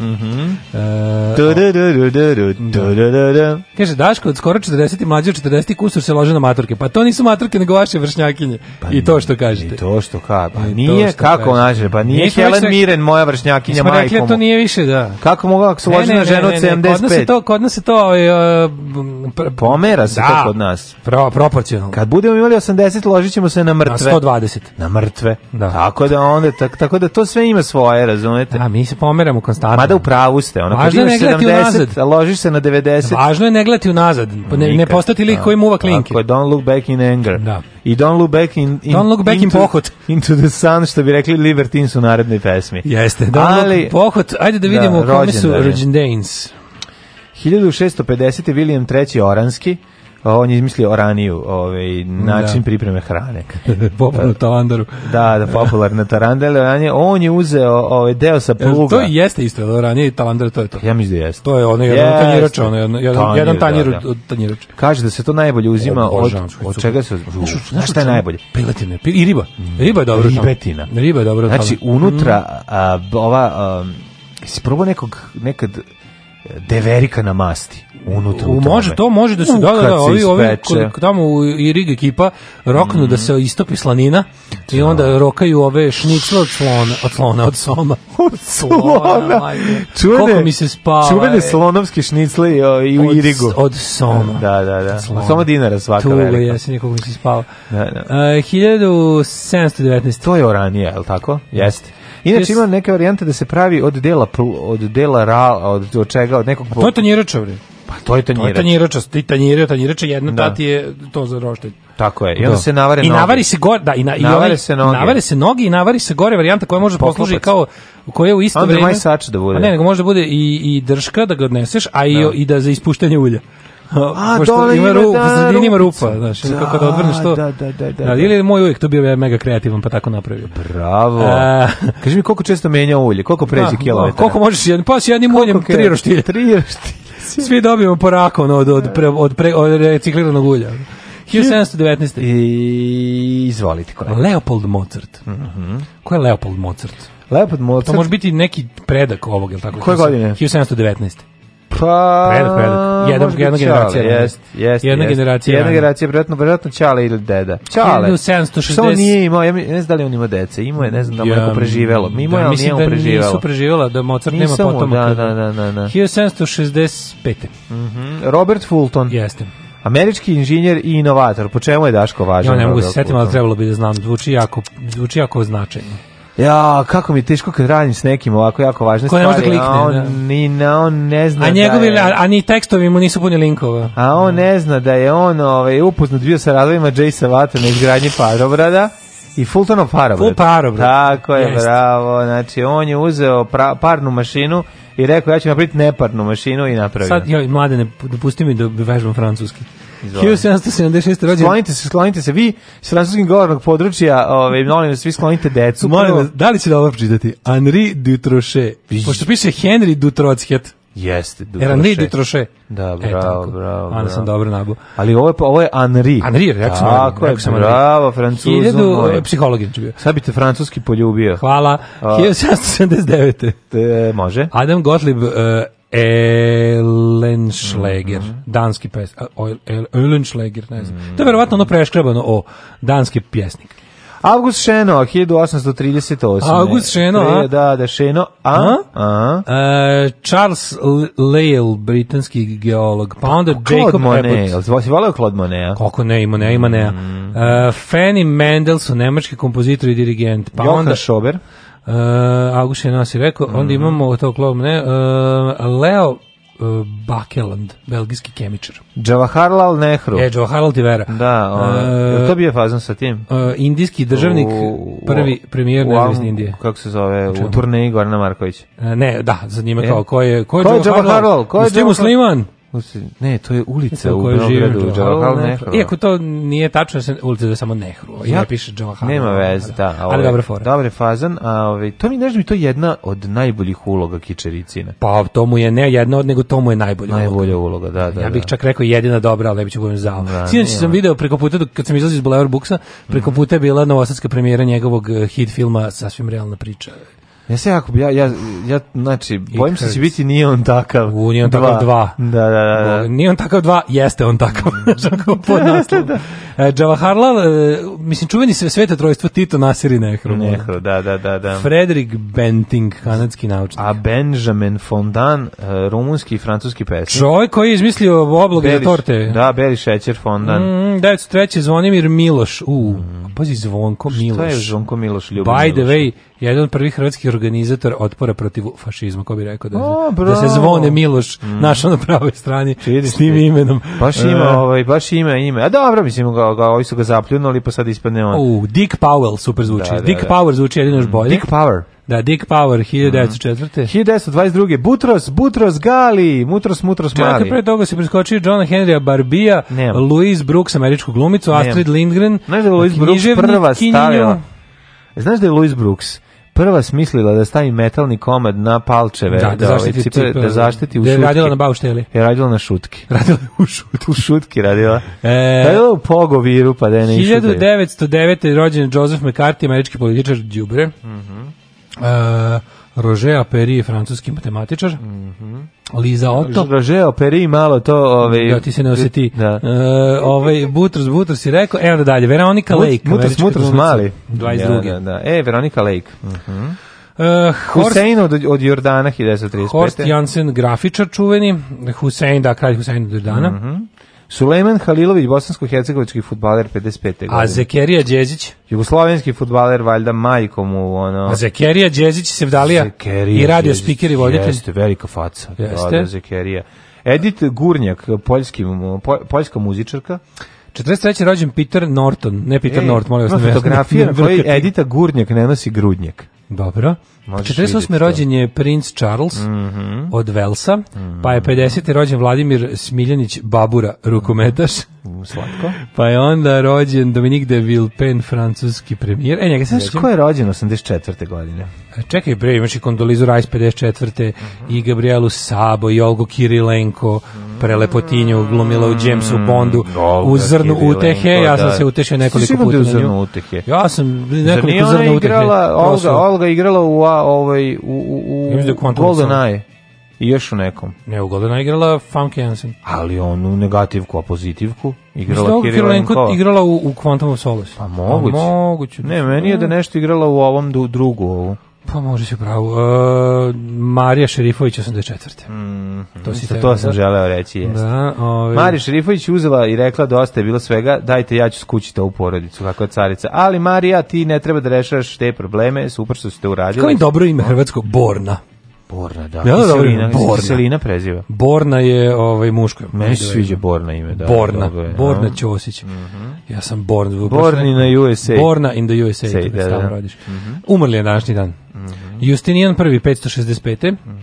G: E,
H: Du, du, du, du, du, du, du, du, du, du.
G: Kaže, Daško, od skoro 40 mlađe od 40 kusur se lože na maturke. Pa to nisu maturke, nego vaše vršnjakinje. I to što kažete.
H: Pa I to što ka, pa
G: I to
H: nije
G: što
H: kako
G: kaže.
H: nađe, pa nije
G: Nismo
H: Helen
G: već rekli-
H: Miren moja vršnjakinja
G: Nismo rekli, da
H: majkom.
G: to nije više, da.
H: Kako mogu ako se
G: Ne,
H: loži
G: ne,
H: na ženu od
G: ne, ne, ne, Kod nas je
H: 75?
G: to, kod nas je to ovaj, e, m, pr-
H: Pomera se
G: Da.
H: to kod nas.
G: pro- proporcionalno.
H: Kad budemo imali 80, ložit ćemo se na
G: Na
H: mrtve.
G: 120.
H: na mrtve.
G: Da.
H: Tako da onda tak, tako da to sve ima svoje, razumete?
G: A mi se pomeramo konstantno.
H: Mada u pravu ste, ono kad
G: Važno je
H: imaš
G: ne gledati
H: 70,
G: unazad.
H: a ložiš se na 90.
G: Važno je ne gledati unazad, pa ne, ne
H: nikad.
G: postati lik
H: Da.
G: koji muva klinke.
H: Tako je, don't look back in anger.
G: Da.
H: I don't look back in, in
G: Don't look back in
H: into,
G: pohod.
H: Into the sun, što bi rekli Libertines u narednoj pesmi.
G: Jeste, da,
H: Ali-
G: ali, pohod, ajde da vidimo
H: Da,
G: da, kome su
H: rođendani.
G: rođendanes.
H: 1650. William III. Oranski, a, on je izmislio oraniju, ovaj, način
G: Da.
H: pripreme hrane.
G: Popolno talandaru.
H: Da, da, popularna tarandela, oranje. on je uzeo ovaj, deo sa
G: E,
H: pluga.
G: To jeste isto, ali ranije talandar, to je to.
H: Ja mislim da jeste.
G: To je ono jedan
H: Jeste.
G: tanjirač, ono jedan, jedan,
H: Tanjir,
G: jedan tanjir
H: da, da.
G: od tanjirača.
H: Kaže da se to najbolje uzima od,
G: Obožavam čuvaj,
H: od
G: super.
H: čega se uzima.
G: Znaš-
H: Znaš
G: znaš
H: šta je
G: u čemu?
H: najbolje?
G: Piletine, pi- i riba. Riba je dobro.
H: Ribetina.
G: Riba je dobro.
H: Znači, unutra
G: Mm.
H: a, b- ova... a, Si probao nekog, nekad e, deverika na masti unutra.
G: U,
H: tome?
G: može, to može da se
H: U,
G: da, da,
H: kad
G: da, ovi,
H: se
G: ovi
H: ispeče.
G: kod- tamo u Irig ekipa roknu
H: Mhm.
G: da se istopi slanina i onda rokaju ove šnicle od slona, od slona, od soma.
H: Od
G: Slona,
H: slona.
G: majke.
H: Čuvene,
G: Koliko mi se spava,
H: čuvene
G: e.
H: slonovski šnicle i, o, i u
G: Od-
H: Irigu.
G: Od soma.
H: Da, da, da.
G: Slona.
H: Samo dinara svaka
G: Tugo
H: velika.
G: jesi nekog mi se spava.
H: Da, da.
G: E, 1719.
H: To je oranija, je li tako? Jeste. Inače
G: Jesi.
H: ima neke varijante da se pravi od dela pl- od dela ra, od, od čega, od nekog
G: To je tanjirača, bre.
H: pa to je
G: To je
H: tanjirač.
G: tanjirača, ti tanjirača, tanjirača, jedna
H: Da.
G: ta ti je to za roštilj.
H: Tako je. I onda se navare
G: I
H: noge.
G: navari se gore, da, i, na, i
H: Navare
G: onaj-
H: se noge.
G: Navare se noge i navari se gore varijanta koja može da posluži
H: Poklopac.
G: kao koja u isto
H: Under my
G: vreme.
H: sač da bude.
G: A Ne, nego može da bude i, i drška da ga odneseš, a i,
H: Da.
G: i da za ispuštanje ulja.
H: A,
G: Pošto
H: dole
G: ima
H: ima,
G: rupa,
H: da,
G: u sredini ima
H: rupicu.
G: rupa, znaš,
H: Da,
G: kako da odvrneš to.
H: da, da, da, da,
G: Da,
H: da.
G: ili je moj uvijek to bio mega kreativan, pa tako napravio.
H: Bravo.
G: A.
H: Kaži mi koliko često menja ulje, koliko pređe
G: E. Da,
H: kilometara?
G: da, Koliko možeš, jedan, pa s jednim uljem
H: Koliko
G: tri
H: je?
G: roštilja.
H: Tri roštilja.
G: Svi dobijemo po rakonu od, od, pre, od, pre, od recikliranog ulja. 1719.
H: I izvolite kolega.
G: Leopold Mozart. Ko je Leopold Mozart?
H: Leopold Mozart.
G: To može biti neki predak ovog, je li tako?
H: Koje godine?
G: 1719.
H: pa
G: predak, predak. Jedan-
H: može
G: jedna
H: biti
G: generacija
H: Ćale,
G: ranije.
H: Jest, jest.
G: Jedna
H: jest.
G: generacija
H: Jedna
G: ranije.
H: generacija verovatno verovatno Ćale ili deda. Ćale.
G: 1760.
H: Što on nije imao? Ja mi- ne znam da li on ima dece. Imao je, ne znam da mu je neko preživelo. Mi imao je,
G: da,
H: ali nije
G: mislim
H: mu
G: da
H: preživelo.
G: nisu preživjela, da Mozart nema
H: Nisam mu,
G: potomak.
H: da, da, da, da, da.
G: 1765.
H: Robert Fulton.
G: Jeste.
H: Američki inženjer i inovator. Po čemu je Daško važan?
G: Ja ne mogu se
H: Nobel
G: setim, ali
H: Pluton?
G: trebalo bi da znam. Zvuči jako, zvuči jako značajno.
H: Ja, kako mi je teško kad radim s nekim ovako jako važne
G: Ko ne može da
H: stvari. a on,
G: klikne, da.
H: ni, na, on ne zna
G: A njegovi,
H: da je...
G: a, a ni tekstovi mu nisu puni linkova.
H: A on ne zna da je on ovaj, upoznat bio sa radovima Jaysa Vata na izgradnji parobrada i Fultonov parobrad.
G: Full parobrad.
H: Tako je,
G: Jeste.
H: bravo. Znači, on je uzeo pra- parnu mašinu i rekao, ja ću napraviti neparnu mašinu i napravio.
G: Sad, joj, mlade, ne, dopusti mi da vežbam francuski.
H: Izvoli.
G: 1776. rođen.
H: Sklonite se, sklonite se. Vi s francuskog govornog područja, ovaj, molim vas, svi sklonite decu.
G: Molim
H: Prvo-
G: vas, da li će da ovo pročitati? Henri Dutrochet. Pošto piše Henri Dutrochet.
H: Jeste,
G: Dutrochet. Henri Dutrochet.
H: Da,
G: E,
H: bravo,
G: tako.
H: bravo.
G: Onda sam
H: bravo.
G: dobro nabu.
H: Ali ovo je, ovo je Henri.
G: Henri, rekao sam
H: Tako
G: Henri,
H: je,
G: rekao sam Henri.
H: bravo, francuzu.
G: Hiljadu,
H: moj.
G: e, psihologin ću bio.
H: Sad bi te francuski poljubio.
G: Hvala.
H: A.
G: 1779.
H: E, može.
G: Adam Gottlieb uh, Elenschläger,
H: Mhm.
G: danski pes, a, o- El- Elenschläger, ne znam. To je verovatno ono preškrebano o danski pjesnik.
H: August Šeno, 1838.
G: August Šeno, a?
H: Pre- Da, da, Šeno, a? a?
G: E, Charles L- Lyell, britanski geolog, pa onda
H: Claude
G: Jacob
H: Monet,
G: Abbott.
H: jel si volao Claude Monet?
G: Koliko ne ima, ne ima, ne.
H: Mm.
G: E, Fanny Mendelssohn, nemački kompozitor i dirigent. Pa
H: Johan Mm.
G: onda
H: Schober.
G: Uh, August je nas je rekao, onda imamo to klom, ne, e, Leo e, Bakeland, belgijski kemičar.
H: Jawaharlal Nehru.
G: E, Joharl Tivera.
H: Da, on, jel to bio fazon sa tim?
G: Eh, indijski državnik, prvi premijer
H: u-
G: nezavisne Indije.
H: Kako se zove? U turneji Gorana Marković.
G: E, ne, da, za njime
H: E?
G: kao, ko je, ko je,
H: Ko je
G: Jawaharlal?
H: Jawaharlal? Ko je
G: Jeste vi
H: Jawaharlal?
G: musliman?
H: Usi- Ne, to je ulica
G: U
H: u
G: kojoj živi
H: Beogradu, Jawaharlal Nehru.
G: Iako E, to nije tačno, se ulica da samo Nehru. Ja, ne piše Jawaharlal.
H: Nema veze, da. a
G: Ali
H: ovaj,
G: dobra fora.
H: Dobar je fazan, a ovaj, to mi nešto mi to je jedna od najboljih uloga Kičericine.
G: Pa to mu je ne jedna od, nego to mu je najbolja uloga.
H: Najbolja uloga, da, da.
G: ja bih
H: da.
G: čak rekao jedina dobra, ali ne bih ću govorim zao.
H: Da,
G: Sinoć
H: nije. Mhm.
G: sam video preko puta, dok- kad sam izlazio iz Boulevard Buksa, preko puta je bila novosadska premijera njegovog eh, hit filma Sasvim realna priča.
H: Pa Ja se jako, ja, ja, ja znači, bojim se da će
G: hurts.
H: biti nije on takav.
G: U, nije on takav dva.
H: Da, da, da. da.
G: Bog, Nije on takav dva, jeste on takav. Tako pod naslovom. E, Jawaharlal, e, mislim, čuveni sve sveta trojstvo Tito Nasir i Nehru. ono.
H: Nehru, da, da, da, da.
G: Frederick Benting, kanadski naučnik.
H: A Benjamin Fondan, e, rumunski i francuski pesnik.
G: Čovjek koji je izmislio obloge za
H: Beli-
G: torte.
H: Da, Beli šećer Fondan.
G: Mm, 903. Zvonimir Miloš. U, pazi, Zvonko Miloš.
H: To Mm. je Žonko Miloš Ljubo
G: By the
H: Miloš.
G: way, jedan od prvih hrvatskih organizator otpora protiv fašizma, ko bi rekao da,
H: O,
G: da se
H: bravo.
G: zvone Miloš našao na pravoj strani
H: Vidiš
G: s tim
H: ti.
G: imenom.
H: Baš ima,
G: E,
H: ovaj, baš ima ime. A dobro, mislim, ga, ga, ovi su ga zapljunuli, pa sad ispadne on.
G: E, u, Dick Powell super zvuči.
H: Da, da,
G: Dick
H: da.
G: Power zvuči jedino još bolje.
H: Dick Mm. Power.
G: da, Dick Power, 1904.
H: 1922. Butros, Butros Gali, Mutros, Mutros
G: Čekaj,
H: Mali.
G: pre toga se preskočio John Henrya Barbija,
H: Nema.
G: Louise Brooks, američku glumicu,
H: Nema.
G: Astrid Lindgren,
H: Znaš da je Louise Brooks
G: književnik,
H: prva
G: kinjinju.
H: stavila... E, Znaš da je Louise Brooks prva smislila da stavi metalni komad na palčeve
G: Da, da
H: ovaj,
G: zaštiti
H: cipele,
G: cipele,
H: da zaštiti u
G: da je
H: šutki.
G: radila na baušteli.
H: Je radila na šutki.
G: Radila je u šutu.
H: U šutki radila. Pa
G: E,
H: radila u pogoviru pa da je ne išutaju.
G: 1909. je rođen Joseph McCarthy, američki političar Đubre.
H: Mhm.
G: E, Roger Aperi, francuski matematičar.
H: Mhm.
G: Liza Otto.
H: Rožeo Peri malo to... Ovaj,
G: Da, ti se ne osjeti.
H: Da.
G: E, ovaj, Butros, Butros si rekao. Evo da dalje, Veronika Lake.
H: Mutros,
G: američka
H: Mutros
G: glumica,
H: Mali.
G: 22.
H: Da, da, da. E, Veronika Lake. Mhm.
G: E, Horst,
H: Husein od, od Jordana 1935.
G: Horst Jansen, grafičar čuveni. Hussein, da, kralj Hussein do dana.
H: Mhm. Sulejman Halilović, bosansko-hercegovički futbaler 55.
G: A
H: godine.
G: Zekerija Đezić.
H: Jugoslovenski futbaler, valjda majkom u ono...
G: A Zekerija Đezić, Sevdalija.
H: Zekerija
G: I radio
H: Đezić.
G: speaker i voditelj.
H: Jeste, velika faca.
G: Jeste.
H: Da, da, Zekerija. Edith Gurnjak, poljski, mu- po, poljska muzičarka.
G: 43. rođen Peter Norton, ne Peter
H: Ej,
G: Norton, molim vas.
H: ima
G: ne-
H: fotografija
G: ne-
H: na
G: ne-
H: kojoj
G: brkati.
H: Edita Gurnjak ne nosi grudnjak.
G: Dobro.
H: Možeš
G: 48.
H: vidjeti Mhm.
G: rođen je princ Charles od Velsa, pa je 50. rođen Vladimir Smiljanić Babura, rukometaš,
H: Mm, Slatko.
G: pa je onda rođen Dominik de Villepin, francuski premijer. E, njega se
H: Znaš ko je rođen 84. godine?
G: Čekaj bre, imaš i Kondolizu Rajs 54. i Gabrielu Sabo, i Olgu Kirilenko, prelepotinju glumila u Jamesu Bondu,
H: Mm, Olga
G: u Zrnu
H: Kirilenko,
G: utehe, ja sam
H: da.
G: se utešio nekoliko
H: Sigurno da
G: puta
H: je u
G: na
H: Zrnu
G: nju.
H: utehe.
G: Ja sam
H: Zar nije
G: nekoliko
H: ona
G: zrna utehe.
H: igrala, Olga,
G: prosuo.
H: Olga igrala u, a, ovaj, u, u, u
G: Ja mislim da je Quantum of
H: GoldenEye i još u nekom.
G: Ne, ugodno igrala Famke Jansen.
H: Ali onu negativku, a pozitivku igrala
G: Igrala Kirilenko.
H: Kirilenkova.
G: Igrala u, u Quantum of Solace. Pa
H: A moguće.
G: moguće.
H: Ne, meni je da je nešto igrala u ovom du, drugu ovu.
G: Pa možeš u pravu. Uh, Marija Šerifović 84. Mm,
H: to, si Mhm. to sam želeo reći, jeste.
G: Da, ovaj- ove,
H: Marija Šerifović uzela i rekla dosta je bilo svega, dajte ja ću skućiti ovu porodicu, kako je carica. Ali Marija, ti ne treba da rešavaš te probleme, super što ste uradili.
G: Kako je dobro ime hrvatsko? Borna.
H: Borna, da.
G: Ja,
H: Ja,
G: dobro,
H: Selina,
G: Borna.
H: Selina preziva.
G: Borna je ovaj, muško.
H: Meni se sviđa Borna ime, da.
G: Borna,
H: dobro je,
G: Borna
H: a?
G: Ćosić. Ja sam Born. pa
H: Born in the USA.
G: Borna in the USA.
H: Say,
G: to
H: da,
G: stalno
H: da. Mhm.
G: radiš. Umrli je današnji dan. Justinijan prvi, 565.
H: Mhm.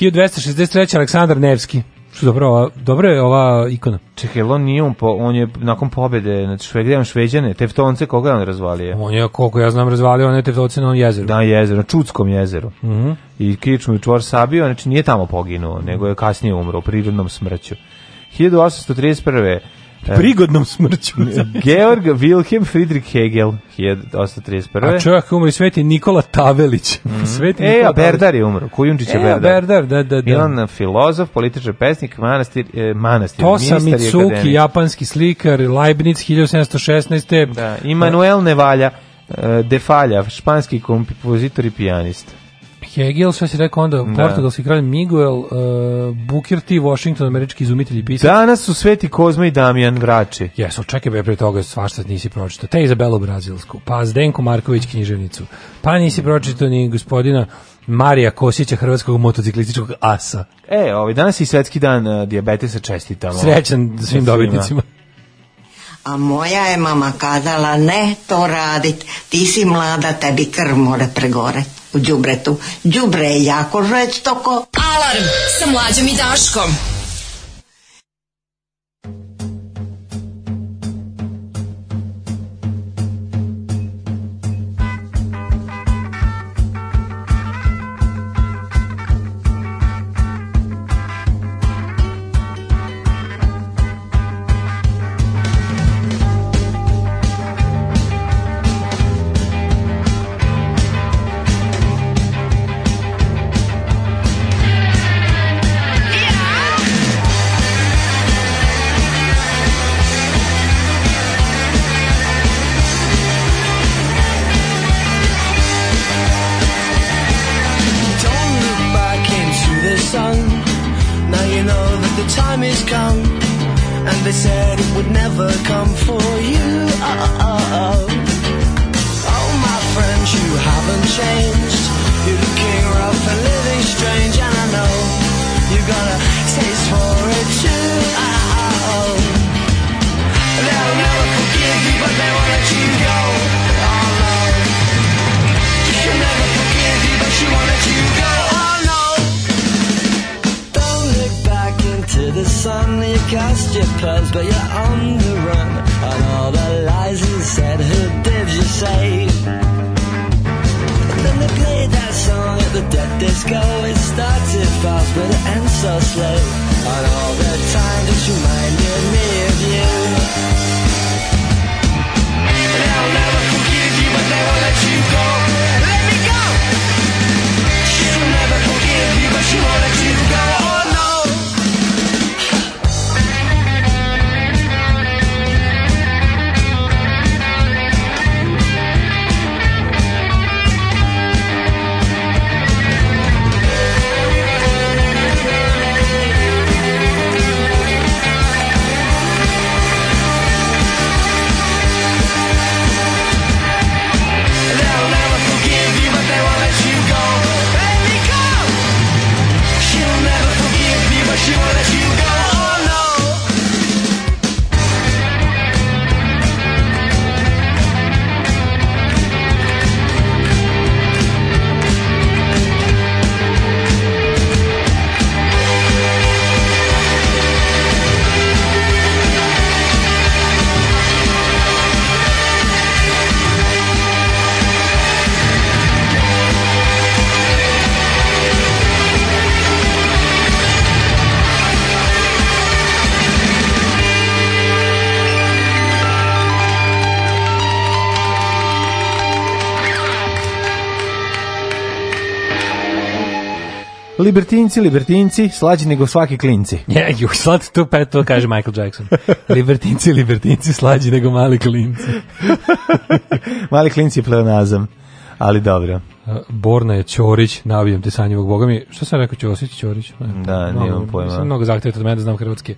G: 1263. Aleksandar Nevski. Što dobro, ova- dobro je ova ikona.
H: Čekaj, jel on nije on, po, on je nakon pobede nad Švedijom Šveđane, teftonce koga je on razvalio?
G: On je, koliko ja znam, razvalio one tevtoce na onom jezeru.
H: Na jezeru, na Čudskom jezeru.
G: Mhm.
H: I kičmu i čvor sabio, znači nije tamo poginuo, nego je kasnije umro u prirodnom smrću. 1831. eh,
G: Prigodnom smrću.
H: Georg Wilhelm Friedrich Hegel, 1831.
G: A čovjek umri sveti Nikola Tavelić. sveti
H: E,
G: Nikola
H: a Berdar je umro, Kujundžić je
G: E,
H: Berdar.
G: Berdar, da, da, da.
H: Milan, filozof, političar, pesnik, manastir, eh, manastir
G: Tosa
H: ministar i
G: Mitsuki,
H: akademik.
G: japanski slikar, Leibniz 1716.
H: Da, Immanuel Nevalja, eh, Defalja, španski kompozitor i pijanist.
G: Hegel, sve si rekao onda, portugalski kralj Miguel, uh, Booker T. Washington, američki izumitelj i pisac.
H: Danas su Sveti Kozma i Damjan Vrači.
G: Jesu, čekaj be, pre toga svašta nisi pročitao. Te Izabelu Brazilsku, pa Zdenku Marković književnicu, pa
H: Mm.
G: nisi pročitao ni gospodina Marija Kosića, hrvatskog motociklističkog asa.
H: E, ovaj, danas je i svetski dan uh, diabetesa, čestitamo.
G: Srećan svim dobitnicima.
N: A moja je mama kazala, ne to radit, ti si mlada, tebi krv more pregore u džubretu. Džubre je jako žestoko.
E: Alarm sa mlađom i Daškom.
O: Don't look back into the sun. Now you know that the time has come. And they said it would never come for you. Oh, oh, oh, oh. Oh, my friends, you haven't changed. You're looking rough and living strange. And I know you got a taste for it too. Oh, oh, oh. They'll never forgive you, but they won't let you go. Oh, no. She'll never forgive you, but she won't let you go. Oh no! Don't look back into the sun. You cast your pearls, but you're on the run. And all the lies you said, who did you say? And then they played that song at the dead disco. It started fast, but it ends so slow. And all the time just reminded me of you. They'll never forgive you, but they won't let you go. Let me go. She'll never forgive you, but she won't let you go. Oh no. They'll never forgive you, but they won't let you go. Let me go. She'll never forgive you, but she won't let you go. Oh no.
H: Libertinci, libertinci, slađi nego svaki klinci.
G: Ja, ju, sad tu pet, to kaže Michael Jackson. libertinci, libertinci, slađi nego mali klinci.
H: Mali klinci je pleonazam, ali dobro.
G: E, Borna je Ćorić, navijam te sanjivog boga mi. Šta sam rekao Ćosić, Ćorić? Ne,
H: Da,
G: malo-
H: nemam pojma.
G: Mislim, mnogo zahtevate od mene da znam hrvatske.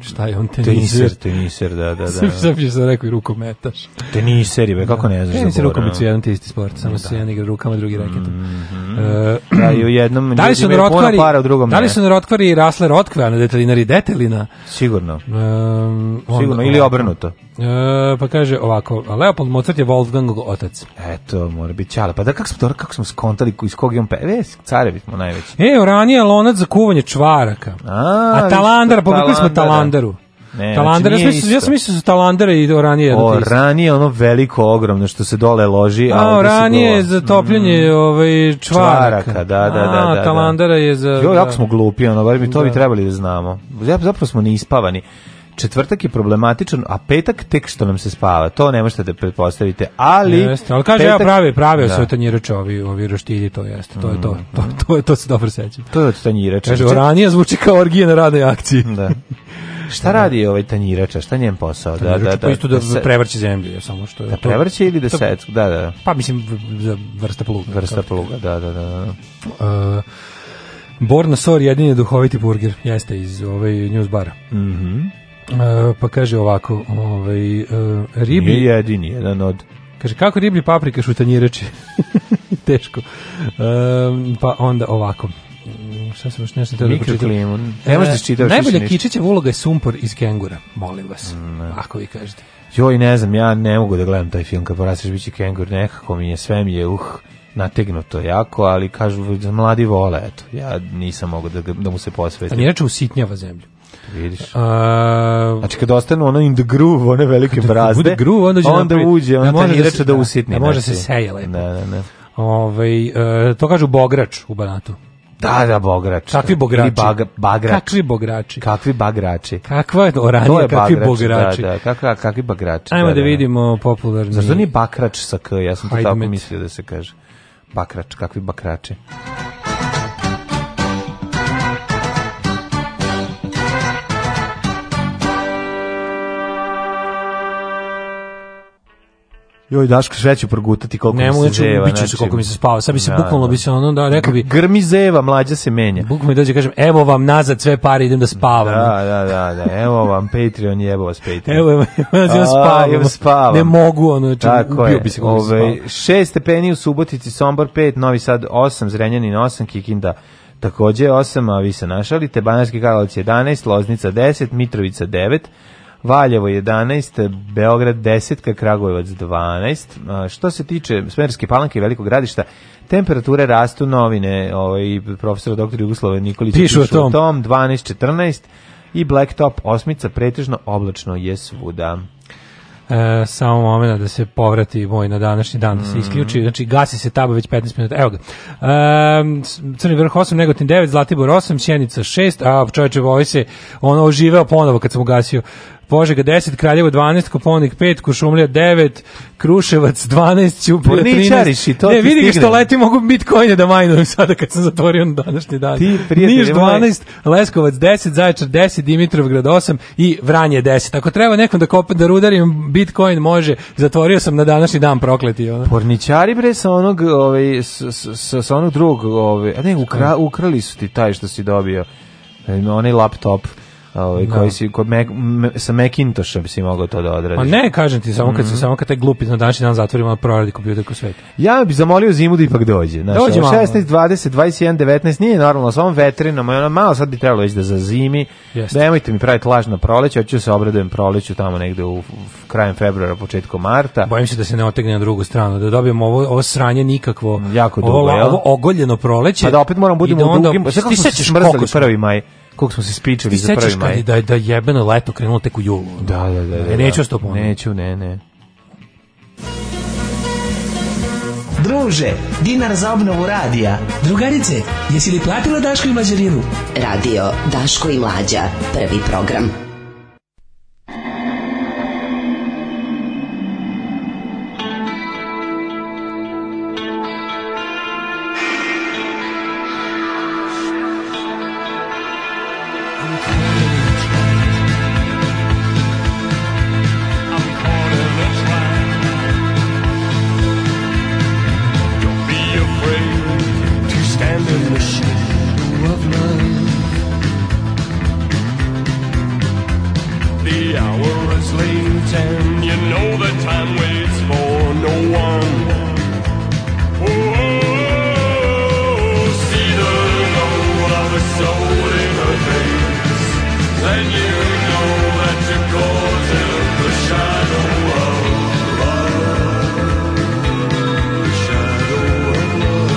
G: Šta je on teniser?
H: Teniser, teniser, da, da, da.
G: Sam- sam još sam rekao i rukometaš.
H: Teniser je, be, kako ne znaš ono?
G: Tenis i
H: za Borna?
G: rukomet su jedan te isti sport, samo se jedan igra rukama, drugi reketom. E,
H: Da, i u jednom
G: da li
H: ljudi
G: su na
H: Mhm. imaju puno
G: rotkvari,
H: para, u drugom
G: da li
H: ne.
G: su na rotkvari rasle rotkve, a na detelinari detelina?
H: Sigurno.
G: Um,
H: Sigurno, ili obrnuto.
G: E, pa kaže ovako, Leopold Mozart je Wolfgangov otac.
H: Eto, mora biti ćala. Pa da, kako smo, dobro, kako smo skontali, ko- iz kog je on pe... E, carevi smo najveći.
G: E, ranije lonac za kuvanje čvaraka.
H: A,
G: A Talandara,
H: isto,
G: pobukli smo
H: Talandara.
G: Talandaru.
H: Ne,
G: Talandara,
H: znači, nije
G: ja sam mislio- ja
H: isto.
G: sam mislio da su Talandara i Oranije jedno
H: O,
G: te isto.
H: ranije ono veliko, ogromno, što se dole loži. A,
G: A,
H: ovde se
G: Oranije
H: gola.
G: je za topljenje ovaj,
H: mm,
G: čvaraka.
H: Čvaraka, da, da, da,
G: A,
H: da, da.
G: Talandara je za...
H: Jo, jako
G: da.
H: smo glupi, ono, bar mi to bi
G: Da.
H: trebali da znamo. Zap- Zapravo smo neispavani. Četvrtak je problematičan, a petak tek što nam se spava. To ne možete da pretpostavite, ali...
G: Jeste, ali kaže ja
H: petak-
G: prave, prave
H: Da. Mm.
G: da. tanjirače ovi, ovi roštilji, to jeste, to je to, to, to, je- to se dobro sećam.
H: To je od tanjirača.
G: Kaže,
H: Ček-
G: Oranije zvuči kao orgije na radnoj akciji.
H: Znači- Da. Šta radi ovaj tanjirača? Šta je njen posao? Da, da, da.
G: pa isto da,
H: se-
G: prevrće zemlju, samo što je
H: Da
G: to-
H: prevrće ili da
G: to-
H: se... Da, da.
G: Pa mislim, v- za vrsta pluga.
H: Vrsta pluga, da, da, da, da.
G: Uh, Borna Sor jedini je duhoviti burger, jeste iz ovaj news bara.
H: Mhm.
G: Uh, pa kaže ovako, ovaj, uh, riblji...
H: Nije jedini, jedan od...
G: Kaže, kako riblji paprika šutanjirači? Teško. Um, pa onda ovako. Mm, Šta sam još nešto teo da pročitam?
H: Mikroklimu. Ne možeš da
G: E,
H: čitaš više
G: Najbolja
H: ništa. Mm,
G: kičićeva uloga je sumpor iz kengura, molim vas. Ako vi kažete.
H: Joj, ne znam, ja ne mogu da gledam taj film kad porasteš bići kengur, nekako mi je, sve mi je, uh, nategnuto jako, ali kažu da mladi vole, eto, ja nisam mogu da, ga- da mu se posvetim.
G: Tanjirač usitnjava zemlju. Uh,
H: Vidiš.
G: A,
H: Znači kad ostanu ono in the groove, one velike brazde,
G: bude groove, onda će napraviti-
H: uđe,
G: da
H: on
G: može
H: da
G: da
H: reče
G: se-
H: da
G: da,
H: usitni.
G: da može
H: znači.
G: se seje lepo.
H: Da, da, da.
G: ovaj, e, to kažu bograč u Banatu.
H: Da, da, bograč.
G: Kakvi
H: Ili
G: bograči?
H: baga- bagrač.
G: Kakvi bograči?
H: Kakvi bagrači?
G: Kakva je oranija,
H: To je
G: kakvi
H: bagrač,
G: bograči?
H: Da, da, kakva, kakvi bagrači.
G: Ajmo
H: da,
G: da vidimo popularni...
H: Zašto nije bakrač sa k? Ja sam to tako
G: Hajdmet.
H: mislio da se kaže. Bakrač, kakvi bakrači. Joj, Daško, sve ću progutati koliko
G: Ne
H: mi se
G: mogu, znači,
H: zeva.
G: ubiću se koliko mi se spava. Sad bi se bukvalno bi se ono, da, rekao bi-
H: Grmi zeva, mlađa se menja.
G: Bukvalno mi dođe i kažem, evo vam nazad sve pare, idem da
H: Da,
G: spavam.
H: da, da, da. Evo vam Patreon, jebo vas Patreon.
G: Evo, evo, evo, ja
H: A,
G: spavam.
H: evo spavam.
G: Ne mogu, ono, znači,
H: Tako
G: ubio
H: je.
G: bi se koliko bi se
H: Ovaj,
G: spavao.
H: šest stepeni u Subotici, Sombor 5, Novi Sad 8, Zrenjanin 8, Kikinda takođe 8, a vi se našalite, Banarski Karlovac 11, Loznica 10, Mitrovica 9, Valjevo 11, Beograd 10, Kragujevac 12. A, Što se tiče Smerske palanke i Velikog gradišta, temperature rastu novine, ovaj, profesor dr. Jugoslava Nikolić
G: Pišu o tom.
H: tom, 12, 14, i Blacktop osmica, pretežno oblačno je svuda.
G: E, samo moment da se povrati moj na današnji dan,
H: Mm.
G: da se isključi, znači gasi se taba već 15 minuta, evo ga. E, s- Crni vrh 8, Negotin 9, Zlatibor 8, Sjenica 6, a čovječe voj se ono oživeo ponovo kad sam ugasio. Požega 10, Kraljevo 12, Koponik 5, Kušumlija 9, Kruševac 12, Ćuprija 13.
H: Porničariš Pa i to
G: ne,
H: ti
G: vidi ga
H: stigne.
G: što leti, mogu bitcoine da majnujem sada kad sam zatvorio na današnji dan.
H: Ti, prijatelju,
G: Niš 12, Leskovac 10, Zaječar 10, Dimitrovgrad 8 i Vranje 10. Ako treba nekom da kopa, da rudarim, Bitcoin može. Zatvorio sam na današnji dan prokleti. Ono.
H: Porničari bre sa onog ovaj sa, sa, sa onog drugog ovaj a ne ukra, ukrali su ti taj što si dobio e, onaj laptop ovaj koji si kod Mac, m, sa Macintosha si mogao to da odradiš.
G: Ma ne, kažem ti, samo
H: Mhm.
G: kad se samo kad taj glupi na današnji dan zatvorimo ono proradi kompjuter ko sveti.
H: Ja bih zamolio zimu da ipak dođe. Znači,
G: Dođe malo.
H: 16, 20, 21, 19 nije normalno, samo vetrino, ma ono malo sad bi trebalo već da zazimi.
G: Jeste.
H: Nemojte mi praviti lažno proleće, hoću da se obradujem proleću tamo negde u, u krajem februara, početkom marta.
G: Bojim se da se ne otegne na drugu stranu, da dobijemo ovo, ovo sranje nikakvo,
H: Jako
G: ovo,
H: dugo, jel?
G: ovo ogoljeno proleće.
H: Pa da opet moram budemo
G: i da
H: u
G: onda-
H: drugim. Sve kako
G: Ti
H: smo se
G: sećaš
H: smrzali
G: koliko smo-
H: 1. maj, koliko smo se spičali
G: Ti
H: za
G: sećaš
H: 1.
G: kad je
H: maj.
G: da, da jebeno leto krenulo tek u julu. ono?
H: Da, da, da. da
G: Neću
H: da.
G: s tobom.
H: Pa, Neću, ne, ne.
P: Druže, dinar za obnovu radija. Drugarice, jesi li platila Daško i Mlađarinu?
E: Radio Daško i Mlađa, prvi program.
I: You'll be
Q: the hour is late and you know the time waits for no one. Oh, see the load of a soul in her face, then you know that you're caught in the shadow of love. The shadow of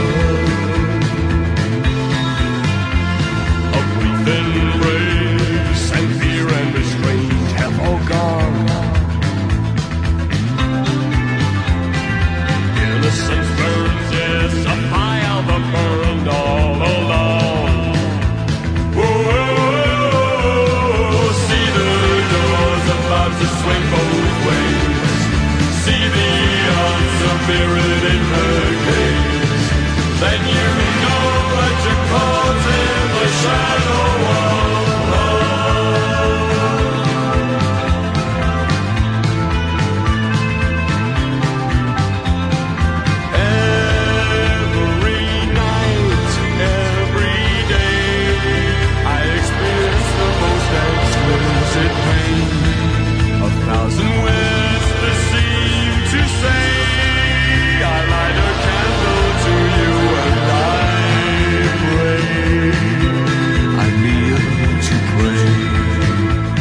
Q: A brief embrace and fear and restraint have all gone. Innocence burns, yes, a fire that burned all along. Oh, oh, oh, see the doors about to swing both ways. See the answer mirrored in her gaze. Then you know that you're caught in the shadow of love. Every night, every day, I experience the most exquisite pain. A thousand words that seem to say, I light a candle to you and I pray. I kneel to pray.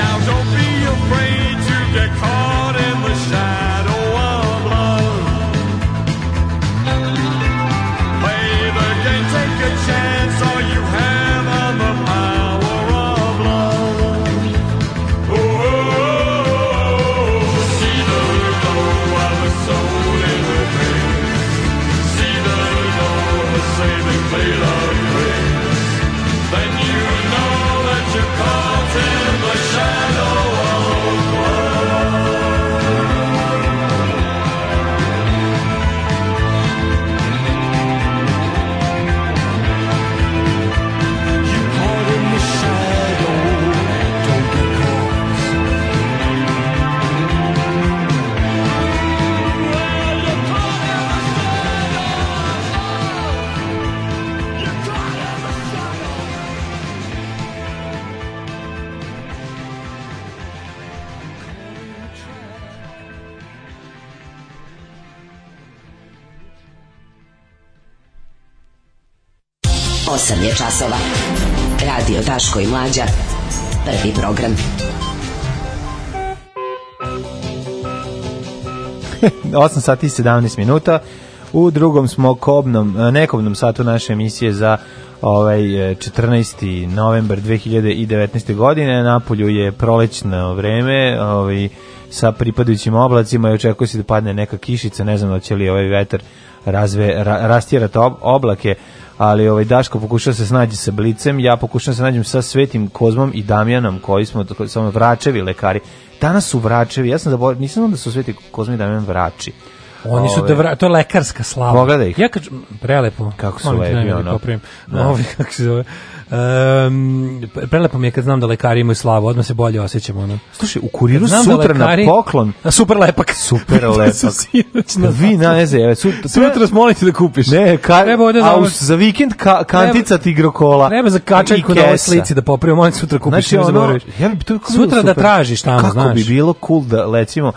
Q: Now don't be afraid to get caught in the shadow of love. Play the game, take a chance, all you have on the power of love. Oh, oh, oh, oh, see the glow of the soul in the face. See the glow of the saving blade of grace. Then you know that you're caught in the shadow of love. You're caught in the shadow. Don't get caught. Well, you're caught in the shadow. You're caught in the
E: Osam je časova. Radio Daško i Mlađa. Prvi program.
H: Eto, 8 sati i 17 minuta. U drugom smo kobnom, e, nekobnom satu naše emisije za ovaj e, 14. novembar 2019. godine. Napolju je prolećno vreme, ovaj sa pripadajućim oblacima i očekuje se da padne neka kišica, ne znam da će li ovaj vetar razve, ra, rastjerati ob, oblake, ali ovaj Daško pokušao se snađi sa Blicem, ja pokušao se nađem sa Svetim Kozmom i Damjanom koji smo, koji su ono vračevi lekari. Danas su vračevi, ja sam zaboravio, nisam znao da su Sveti Kozma i Damjan vrači.
G: Oni su
H: Ovaj,
G: da vra- to je lekarska slava.
H: Pogledaj ih.
G: Ja kad prelepo.
H: Kako su
G: Molim te,
H: lepi,
G: daj mi da
H: ono.
G: popravim.
H: Da.
G: Ovi, kako se zove. Um, prelepo mi je kad znam da lekari imaju slavu, odmah se bolje osjećam ono.
H: Slušaj, u kuriru
G: Znam da
H: sutra
G: lekari-
H: na poklon.
G: A super lepak.
H: Super lepak. Vi na ne znam, sutra,
G: Sutra smo molite da kupiš.
H: Ne, ka,
G: Treba ovde za
H: a
G: ovo-
H: uz- za vikend ka, kantica tigrokola.
G: Treba za kačaljku
H: I
G: na ovoj
H: kesa.
G: slici da popravim, molim sutra kupiš.
H: Znači,
G: ne
H: ono,
G: zaboraviš.
H: ja, bi- to bi bilo
G: Sutra da
H: super.
G: tražiš tamo,
H: Kako
G: znaš.
H: bi bilo cool da, recimo,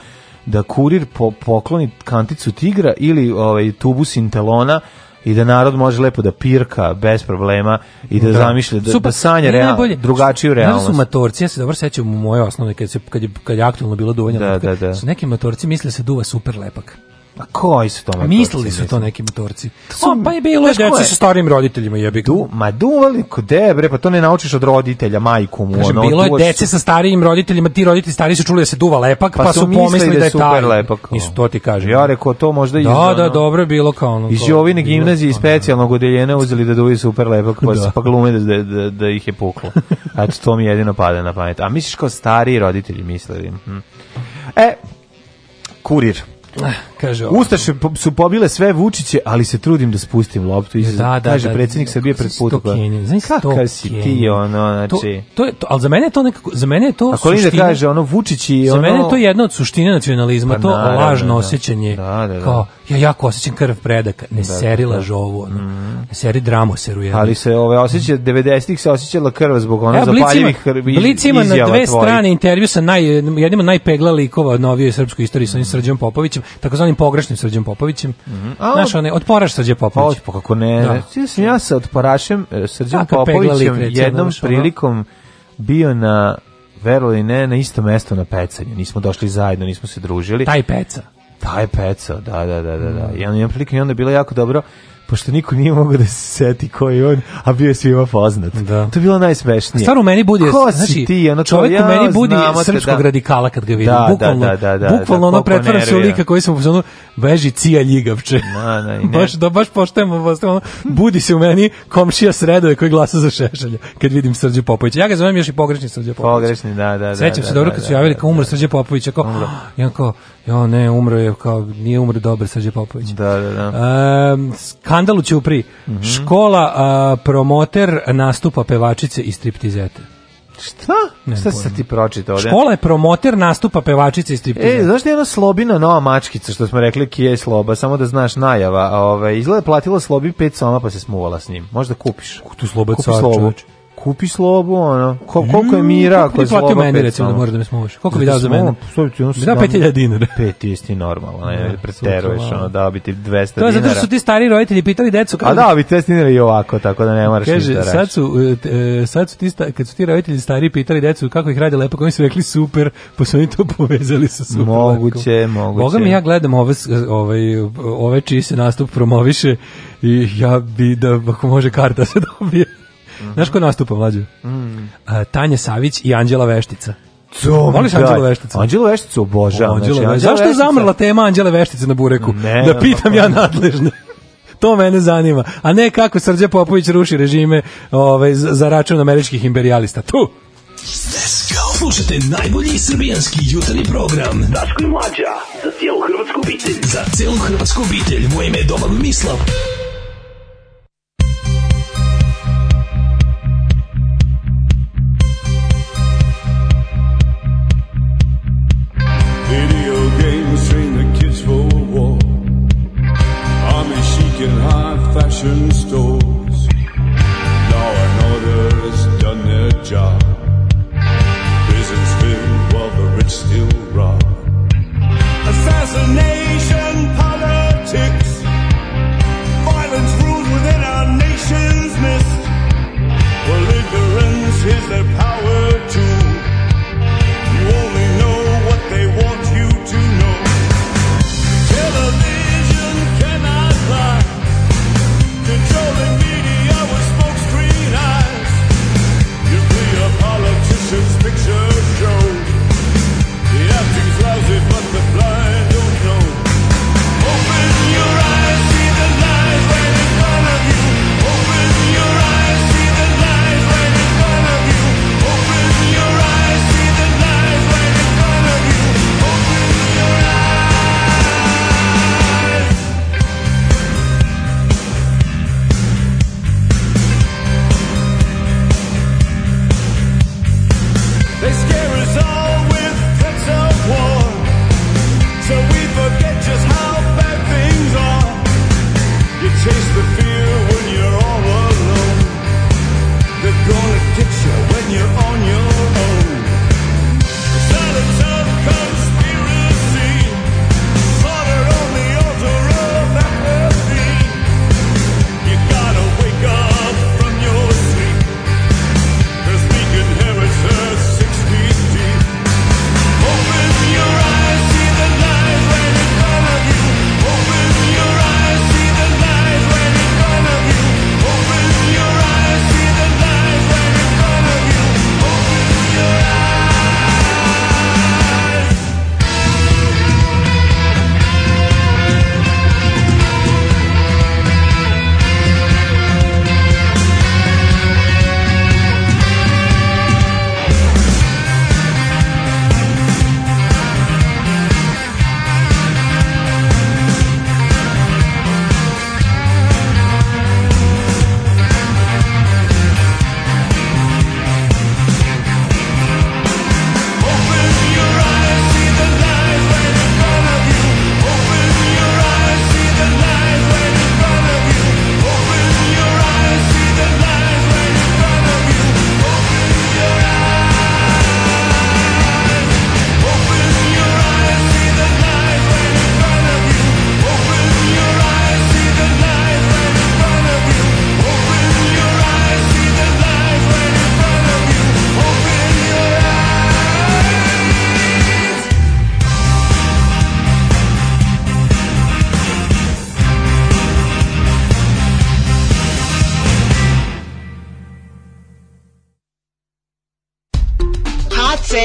H: da kurir po, pokloni kanticu tigra ili ovaj, tubu sintelona i da narod može lepo da pirka bez problema i da, zamišlja, da, da
G: Super.
H: sanja
G: I
H: real,
G: najbolje,
H: drugačiju
G: znaš da
H: realnost.
G: su matorci, ja se dobro sećam u mojoj osnovnoj, kad, se, kad, je, kad je aktualno bilo duvanje
H: Da,
G: lepak,
H: da, da.
G: su neki matorci mislili da se duva super lepak.
H: A koji su to motorci?
G: Mislili su to
H: mislim?
G: neki motorci.
H: su-
G: O, pa je bilo je
H: znaš ko
G: dece
H: je?
G: sa starim roditeljima, jebi ga.
H: Du, ma duvali, kde bre, pa to ne naučiš od roditelja, majku mu. ono,
G: Kažem, bilo je dece sa starijim roditeljima, ti roditelji stari su čuli da se duva lepak, pa, su pomislili da je
H: super
G: taj.
H: lepak. ono.
G: Nisu to ti kažem.
H: Ja rekao, to možda iz...
G: Da,
H: ono,
G: da, dobro je bilo kao ono.
H: Iz
G: to-
H: Jovine
G: bilo- ono,
H: gimnazije i specijalnog odeljenja uzeli da duvaju super lepak, pa,
G: Da.
H: se pa glume da, da, da, da ih je puklo. Eto, to mi jedino pada na pamet. A misliš kao stariji roditelji mislili? Hm. E, kurir.
G: eh, Kaže ovo.
H: Ustaše po- su pobile sve Vučiće, ali se trudim da spustim loptu. Iz,
G: Da, da,
H: kaže
G: da.
H: predsjednik Srbije
G: Kako
H: pred
G: si
H: putu.
G: to Kenjan, znaš
H: Kakav
G: to
H: si
G: Kenjan.
H: ti, ono,
G: To,
H: znači...
G: to je to, ali za mene je to nekako, za mene je to
H: Ako li da
G: suština-
H: kaže, ono, Vučić i
G: Za
H: ono...
G: mene je to jedna od suštine nacionalizma,
H: Pa
G: to
H: naravno,
G: lažno
H: da.
G: osjećanje.
H: Da, da, da.
G: Kao, ja jako osjećam krv predaka, ne
H: Da, da,
G: seri
H: da. Mhm.
G: lažovu, ono. ne seri dramoseru. Jedan.
H: Ali se ove osjeća 90-ih se osjećala krv zbog onih
G: Evo, Blic ima,
H: Ono, zapaljivih krvi
G: Blic ima na
H: izjava
G: dve
H: tvojih.
G: strane intervju sa naj, jednim od najpegla likova od novije srpskoj istoriji
H: Mm.
G: sa onim Srđom Popovićem, takozvanim pogrešnim Srđom Popovićem.
H: Mm-hmm. A,
G: Znaš,
H: od-
G: one, otporaš Srđe
H: Pa
G: Popović.
H: hoće, pa kako ne.
G: Da.
H: Ja sam ja sa otporašem eh, Srđan
G: Kakav
H: Popovićem
G: peglanik, recimo,
H: jednom
G: znaš, ono.
H: prilikom bio na verovali ne, na isto mesto na pecanju. Nismo došli zajedno, nismo se družili.
G: Taj Mm. peca.
H: Taj pecao, da, da, da, da. da. I onda imam prilike i onda je bilo jako dobro pošto niko nije mogao da se seti ko je on, a bio je svima poznat. Da. To je bilo najsmešnije.
G: Stvarno u meni budi,
H: Ko si
G: znači,
H: ti? Ono, kao,
G: čovjek u
H: ja,
G: meni budi
H: znamo te,
G: srpskog
H: da.
G: radikala kad ga vidim.
H: Da, da,
G: bukvalno,
H: da, da, da,
G: bukvalno
H: da, koliko
G: ono pretvara se u
H: nervira.
G: lika koji sam u fazonu beži cija ljigavče.
H: Na, na, i ne.
G: baš, da, baš poštajemo, baš ono, budi se u meni komšija sredove koji glasa za Šešelja kad vidim Srđe Popovića. Ja ga zovem još i pogrešni Srđe Popović.
H: Pogrešni, da, da, da.
G: Sećam
H: da,
G: se dobro
H: da,
G: kad su
H: da,
G: javili
H: da,
G: kao umro Srđe Popović, ja kao, i on kao, jo ne, umro je, kao, nije umro dobar Srđe Popović.
H: Da, da, da.
G: Um, skandal u Ćupri.
H: Mhm.
G: Škola a, promoter nastupa pevačice i striptizete.
H: Šta? Šta si sad ti pročitao? ovde?
G: Škola je promoter nastupa pevačice i
H: E,
G: striptizete.
H: znaš da je ona slobina nova mačkica, što smo rekli kije je sloba, samo da znaš najava. a, Ove, izgleda je platila slobi pet soma pa se smuvala s njim. Možda kupiš.
G: tu sloba
H: Kupi
G: car,
H: slobu.
G: čoveč.
H: Kupi slobu, ono. Ko, koliko je mira ako
G: Mm, Koliko bi
H: je sloba
G: platio meni,
H: pet
G: recimo, da
H: soma?
G: moraš da me smuvaš? Koliko bi
H: Zato
G: dao za
H: smo,
G: mene?
H: stoji ti ono
G: Bi dao
H: 17
G: 5000 dinara.
H: Pet ti isti normalno, ne,
G: Da,
H: preteruješ,
G: apsolutno,
H: ono, dao bi ti 200
G: To je
H: dinara.
G: zato što su ti stari roditelji pitali decu
H: A
G: kako
H: dao bi 200 dinara i ovako, tako da ne moraš ništa
G: Kaže,
H: reći.
G: sad su, e, t- e, sad su ti, sta- kad su ti roditelji stari pitali decu kako ih radi lepo, oni su rekli super, pa su oni to povezali sa super
H: Moguće,
G: lepkom.
H: moguće.
G: Boga mi ja gledam ove, s- ovaj, ove čiji se nastup promoviše i ja bi da, ako može, karta se dobije. Znaš ko nastupa, mlađo?
H: Mm.
G: A, Tanja Savić i Anđela Veštica.
H: To mi
G: Voliš
H: daj.
G: Anđelu Vešticu?
H: Anđelu Vešticu obožavam.
G: Anđela
H: znači,
G: Ve-
H: Anđela
G: Zašto je
H: Veštica-
G: zamrla tema Anđele Veštice na Bureku?
H: Ne,
G: da pitam
H: pa-
G: ja nadležne. To mene zanima. A ne kako Srđe Popović ruši režime ovaj, za za račun američkih imperialista. Tu!
P: Slušajte najbolji srbijanski jutarnji program. Daško i Mlađa, za cijelu hrvatsku obitelj. Za cijelu hrvatsku obitelj. Moje ime je Domagoj Mislav.
Q: Video games train the kids for war. Army chic in high fashion stores. Law and order has done their job. Prisons filled while the rich still rob. Assassination politics. Violence rules within our nation's midst. Well, ignorance is their power too. You only know what they want you to know. Television cannot lie. Controlling media with smoke screen eyes. You be a politician's picture show. The acting's lousy, but the blind don't know. Open your eyes, see the lies right in front of you. Open your eyes, see the lies right in front of you. Open your eyes, see the lies right in front of you. Open your eyes. They scare us all with threats of war, so we forget just how bad things are. You chase the fear when you're all alone. They're gonna get you when you're on your own. The silence of conspiracy, slaughter on the altar of apathy. You gotta wake up from your sleep, 'cause we can inherit the six feet deep. Open your eyes, see the lies right in front of you.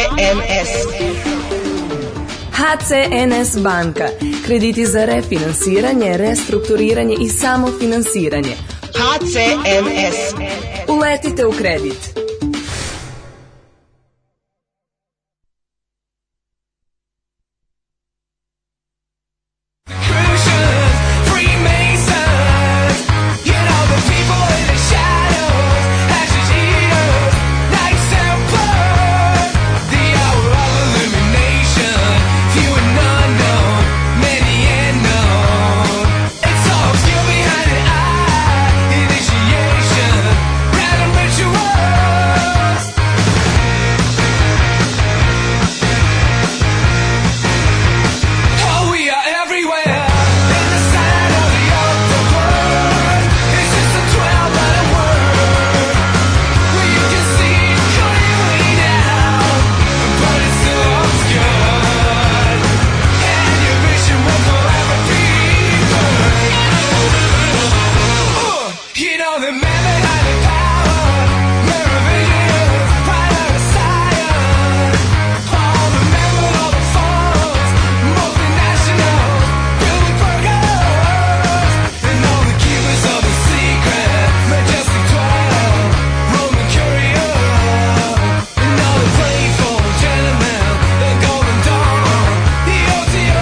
K: HCNS. HCNS banka. Krediti za refinansiranje, restrukturiranje i samofinansiranje. HCNS. Uletite u kredit.
I: Oh, You know the man behind the power, mirror vision, pride of the science. All the men with all the phones, multinational, filled with burgers, and all the keepers of the secret, majestic twelve, Roman curio, and all the playful gentlemen, the golden dawn, the OTO.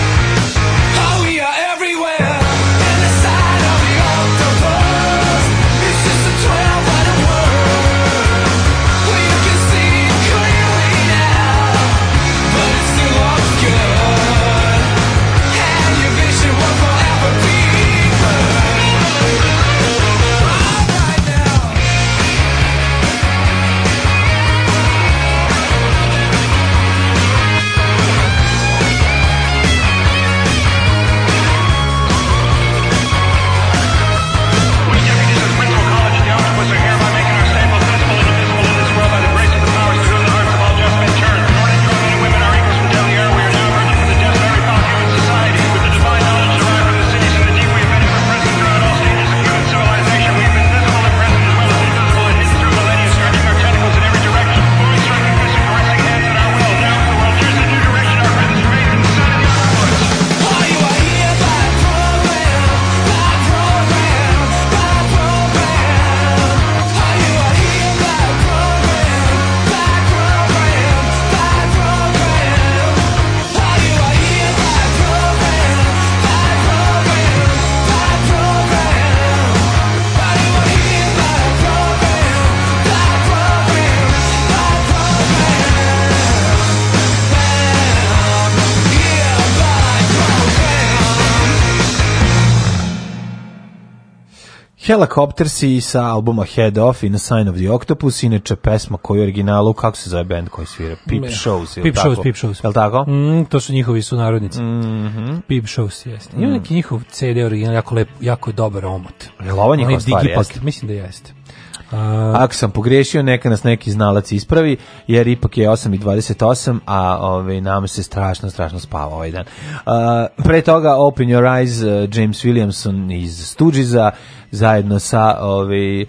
I: Oh, we are everywhere. In the side of the octopus. This is the 12 letter word. Well, you can see it clearly now. But it's still obscure. And your vision will forever be blurred.
H: Helicoptersi sa albuma Head Off in a Sign of the Octopus, inače pesma koju je u originalu, kako se zove band koji svira? Pip
G: Ne.
H: Shows, ili
G: Peep
H: tako?
G: Shows, Peep Shows.
H: Jel tako? Mhm.
G: Mm, to su njihovi sunarodnici. Peep Shows, jeste. Ima neki njihov CD original, jako, lep, jako je dobar omot.
H: Jel ovo njihova
G: Onaj
H: stvar,
G: Digipak,
H: jeste?
G: Mislim da jeste.
H: Ako sam pogrešio, neka nas neki znalac ispravi, jer ipak je 8.28, a ove, nam se strašno, strašno spava ovaj dan. A, pre toga Open Your Eyes, eh, James Williamson iz Stoogiesa, zajedno sa ove,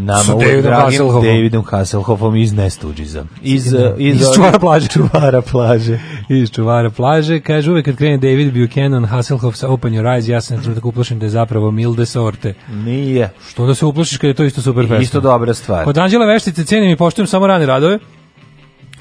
H: nama
G: Sa
H: uvek
G: Davidom
H: dragim
G: Hasselhoffom.
H: Davidom Hasselhoffom iz Ne Stoogiesa. Iz, eh,
G: Iz čuvara plaže.
H: čuvara plaže.
G: Iz čuvara plaže. Kaže, uvek kad krene David Buchanan, Hasselhoff sa Open Your Eyes, ja se na trenutak uplašim da je zapravo Milde Sorte.
H: Nije.
G: Što da se uplašiš kad je to isto super pesma?
H: Isto dobra stvar.
G: Od Anđela Veštice cenim i poštujem samo rane radove,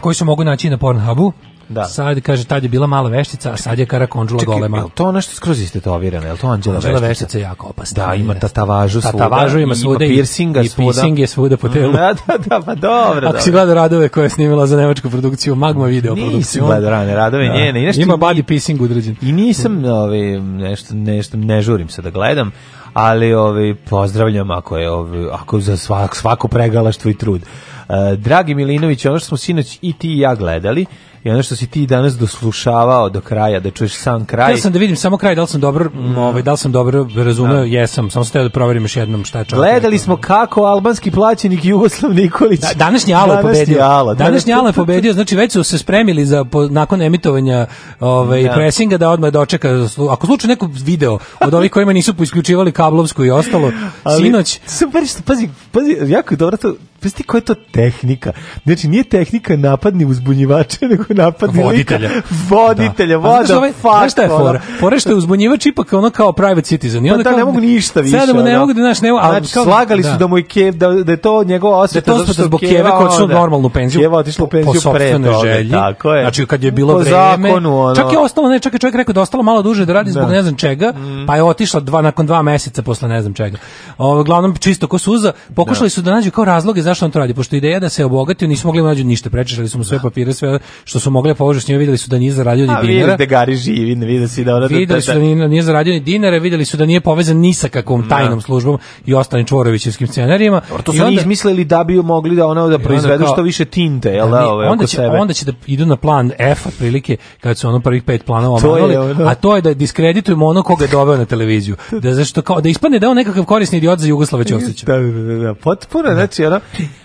G: koji se mogu naći i na Pornhubu.
H: Da.
G: Sad, kaže, tad je bila mala veštica, a sad je kara konžula
H: Čekaj,
G: golema.
H: jel to ono što skroz istetovirano, jel to Anđela
G: Anđela
H: Veštica?
G: Veštica je jako opasna.
H: Da, ima tatavažu svuda.
G: Tatavažu ima svuda i-
H: Ima piercinga
G: i
H: svuda.
G: piercing je svuda po telu.
H: Da, da, da, pa dobro.
G: Ako si
H: dobro.
G: gledao radove koje je snimila za nemačku produkciju, Magma video
H: Nisi
G: produkciju.
H: gledao rane radove njene, i nešto
G: Ima
H: i-
G: body pissing udrađen.
H: I nisam, ovaj, nešto, nešto, ne žurim se da gledam, ali ovaj, pozdravljam ako je ovaj, ako za svak, svako pregalaštvo i trud. E, dragi Milinović, ono što smo sinoć i ti i ja gledali i ono što si ti danas doslušavao do kraja, da čuješ sam kraj.
G: Ja sam da vidim samo kraj, da li sam dobro,
H: Mm.
G: ovaj, da li sam dobro razumeo, jesam, samo sam teo da proverim još jednom šta je čovjek.
H: Gledali smo kako albanski plaćenik Jugoslav Nikolić.
G: Da, današnji Alo je pobedio.
H: Alo,
G: današnji Alo je pobedio, znači već su se spremili za po, nakon emitovanja ovaj
H: Da.
G: presinga da odmah dočeka slu- ako slučajno neko video od ovih kojima nisu isključivali kablovsku i ostalo
H: Ali,
G: sinoć
H: Super, što, pazi, pazi, jako je dobro to, pazi ti koja je to tehnika. Znači, nije tehnika napadni uzbunjivača, nego napadni
G: voditelja.
H: Lika, voditelja,
G: A znaš
H: voda,
G: ovaj-
H: fuck,
G: Znaš šta je
H: ono.
G: fora? Fora što je uzbunjivač ipak ono kao private citizen. I
H: Pa
G: onda
H: da,
G: kao,
H: ne mogu ništa više.
G: Sad mu ne
H: ono.
G: mogu da, znaš, ne, ali
H: znači, slagali su da mu je Kev, da, da je to njegova
G: Da je
H: osveta.
G: to
H: zato
G: smeta
H: što
G: zbog
H: Keva,
G: Keva koja je otišla u
H: onda-
G: normalnu penziju.
H: Keva otišla u
G: po
H: penziju pre
G: sopstvenoj
H: toga.
G: želji.
H: Tako je.
G: Znači kad je bilo
H: po
G: vreme.
H: Zakonu, ono.
G: Čak je ostalo, ne, čak je čovjek rekao da je ostalo malo duže da radi zbog
H: Da. Mm.
G: ne znam čega, pa je otišla dva, nakon dva meseca posle ne znam čega. Ovo, uglavnom čisto ko suza, pokušali su da nađu kao razloge zašto on to radi, pošto ideja da se obogatio, nisu mogli da nađu ništa, prečešali su mu sve papire, sve što su mogli pobožu s njima, videli su da nije zaradio ni
H: A
G: dinara.
H: vidi Pa, da Gari živi, ne vidi si da ona...
G: Videli su da nije, nije zaradio ni dinara, videli su da nije povezan ni sa kakvom tajnom službom i ostalim čvorovićevskim scenarijima.
H: To
G: I
H: su oni
G: onda-
H: izmislili da bi mogli da ono da
G: onda
H: proizvedu
G: kao-
H: što više tinte, jel
G: Ne,
H: da, ove,
G: onda
H: oko
G: će,
H: sebe.
G: onda će da idu na plan F otprilike kad su ono prvih pet planova
H: To je
G: omanuli,
H: ono.
G: a to je da diskreditujemo ono koga je doveo na televiziju. Da zašto kao da ispadne da je on nekakav korisni idiot za Jugoslava Ćosića.
H: Da, da, da, da, potpuno, znači, ono,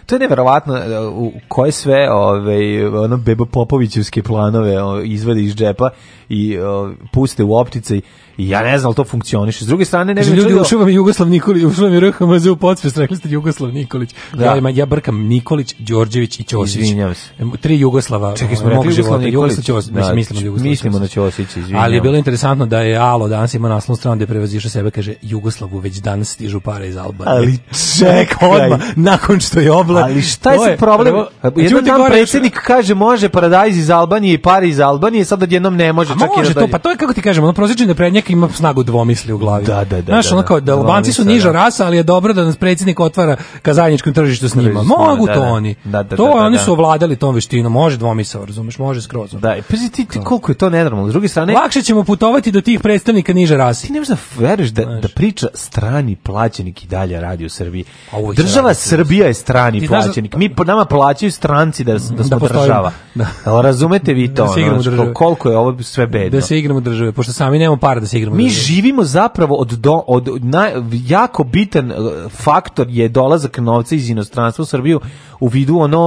H: to je neverovatno e, u koje sve ove, ono, Bebo Popovićevske planove o, izvade iz džepa i o, puste u optice i ja ne znam, ali to funkcioniše. S druge strane, ne
G: Kaže,
H: bi
G: ljudi,
H: čudilo-
G: ušao vam je Jugoslav Nikolić, ušao vam je RHMZ u podsvest, rekli ste Jugoslav Nikolić.
H: Da.
G: Ja, ima- ja brkam Nikolić, Đorđević i Ćosić.
H: Izvinjavam se.
G: Tri Jugoslava
H: Čekaj, smo
G: ovaj,
H: rekli
G: mog
H: Jugoslav
G: života.
H: Nikolić?
G: Jugoslav Ćosić,
H: Da,
G: mislim, mislimo na Jugoslava
H: mislimo na
G: Ćosića.
H: Ćosića, izvinjavam.
G: Ali je bilo interesantno da je Alo danas ima naslovnu stranu da prevaziše sebe, kaže Jugoslavu već danas stižu pare iz Albanije.
H: Ali čekaj.
G: Odmah, nakon što je oblak.
H: Ali šta je
G: To
H: sa problem?
G: prvo-
H: Jednom
G: Đuri
H: dan
G: Goreš-
H: predsjednik kaže može paradajz iz Albanije i pare iz Albanije, sad odjednom ne može.
G: A
H: čak i
G: može
H: da
G: to,
H: dođe.
G: pa to je kako ti kažemo, ono prosječni naprednjak ima snagu dvomisli u glavi.
H: Da, da, da,
G: Znaš,
H: da,
G: ono
H: da.
G: kao da Albanci su
H: Dvomisla,
G: niža
H: da.
G: rasa, ali je dobro da nas predsjednik otvara ka zajedničkom tržištu s njima.
H: Tržištu,
G: Mogu
H: da,
G: to
H: da.
G: oni.
H: Da, da,
G: to
H: da, da,
G: oni
H: da.
G: su ovladali tom veštinom, može dvomisao, razumeš, može skroz. ono.
H: Da, i pazi ti, ti koliko je to nenormalno. S druge strane,
G: Lakše ćemo putovati do tih predstavnika niže rasi.
H: ti ne možeš da veruješ da, da priča strani plaćenik i dalje radi u Srbiji.
G: A uvek se
H: Država
G: radi u Srbiji.
H: Srbija je strani
G: Ti znaš da-
H: plaćenik. Mi po nama plaćaju stranci da, da smo
G: postojimo.
H: država.
G: Da.
H: Jel Razumete vi to?
G: Da se igramo
H: ono, znači,
G: države.
H: koliko je ovo sve bedno.
G: Da se igramo države, pošto sami nemamo para da se igramo
H: Mi
G: države.
H: živimo zapravo od, do, od na, jako bitan eh, faktor je dolazak novca iz inostranstva u Srbiju u vidu ono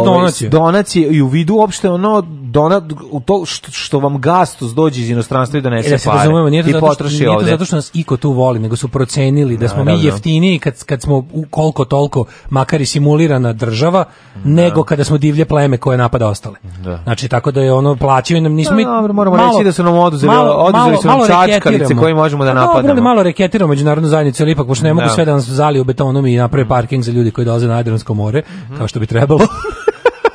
H: ovaj,
G: donacije.
H: donacije i u vidu uopšte ono dona, u to što, što vam gastos dođe iz inostranstva i donese
G: E, da se
H: pare
G: razumemo, nije to,
H: i
G: zato što,
H: potroši
G: nije to
H: ovde.
G: zato što nas Iko tu voli, nego su procenili da smo mi
H: Naravno.
G: jeftiniji kad, kad smo u koliko toliko, makar i simulirana država, nego kada smo divlje pleme koje napada ostale.
H: Da.
G: Znači, tako da je ono, plaćaju nam, nismo
H: Pa,
G: mi...
H: dobro, moramo reći da su nam oduzeli- oduzeli su nam čačkalice
G: reketiramo.
H: koje možemo da
G: Pa Dobro,
H: napadamo.
G: ali malo reketiramo međunarodnu zajednicu, ali ipak, pošto ne mogu
H: Da. Mhm.
G: sve da nas zali u betonom i naprave parking za ljudi koji dolaze na Adriansko more, kao što bi trebalo.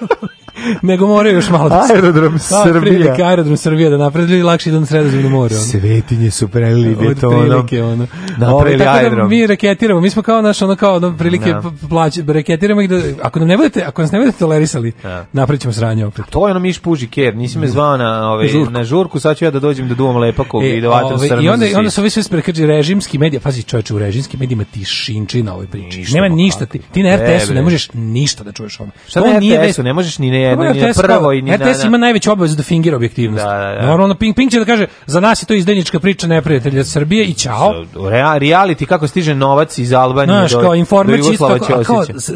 G: nego moraju još malo da se-
H: Aerodrom
G: Da,
H: Srbija.
G: Pa, otprilike aerodrom Srbija da napravi ljudi lakše idu na sredozemno more. ono.
H: Svetinje su prelili betonom.
G: Otprilike, ono. Ovaj,
H: Napravili
G: tako da
H: aerodrom.
G: mi reketiramo, mi smo kao naš ono kao ono prilike
H: Da.
G: p- plaći reketiramo ih da ako nam ne budete ako nas ne budete tolerisali
H: Da.
G: napravićemo sranje opet.
H: To je ono miš puži ker, nisi me zvao na, ovaj,
G: Žurku.
H: na žurku, sad ću ja da dođem da duvam lepakog i da vatam
G: ovaj,
H: srnu
G: I onda,
H: za
G: onda
H: sisa.
G: su ovi sve sprekrđi režimski medija, pazi čoveče, u režimskim medijima ti šinči na ovoj priči.
H: Ništa,
G: Nema
H: ma
G: ništa, ti, ti na
H: Ne,
G: RTS-u ne
H: bre.
G: možeš ništa da čuješ ovome.
H: Šta na
G: nije
H: RTS-u, ne možeš ni na jedno,
G: Dobro,
H: ni na
G: RTS kao-
H: prvo, i ni na...
G: RTS ima najveću obavezu da fingira objektivnost.
H: Da, da, da.
G: Normalno, Pink, Pink će da kaže, za nas je to izdajnička priča neprijatelja Srbije i čao.
H: Rea, reality kako stiže novac iz Albanije
G: Znaš,
H: do,
G: kao
H: do
G: informer čisto,
H: Jugoslava
G: a kao,
H: Ćosića.
G: s-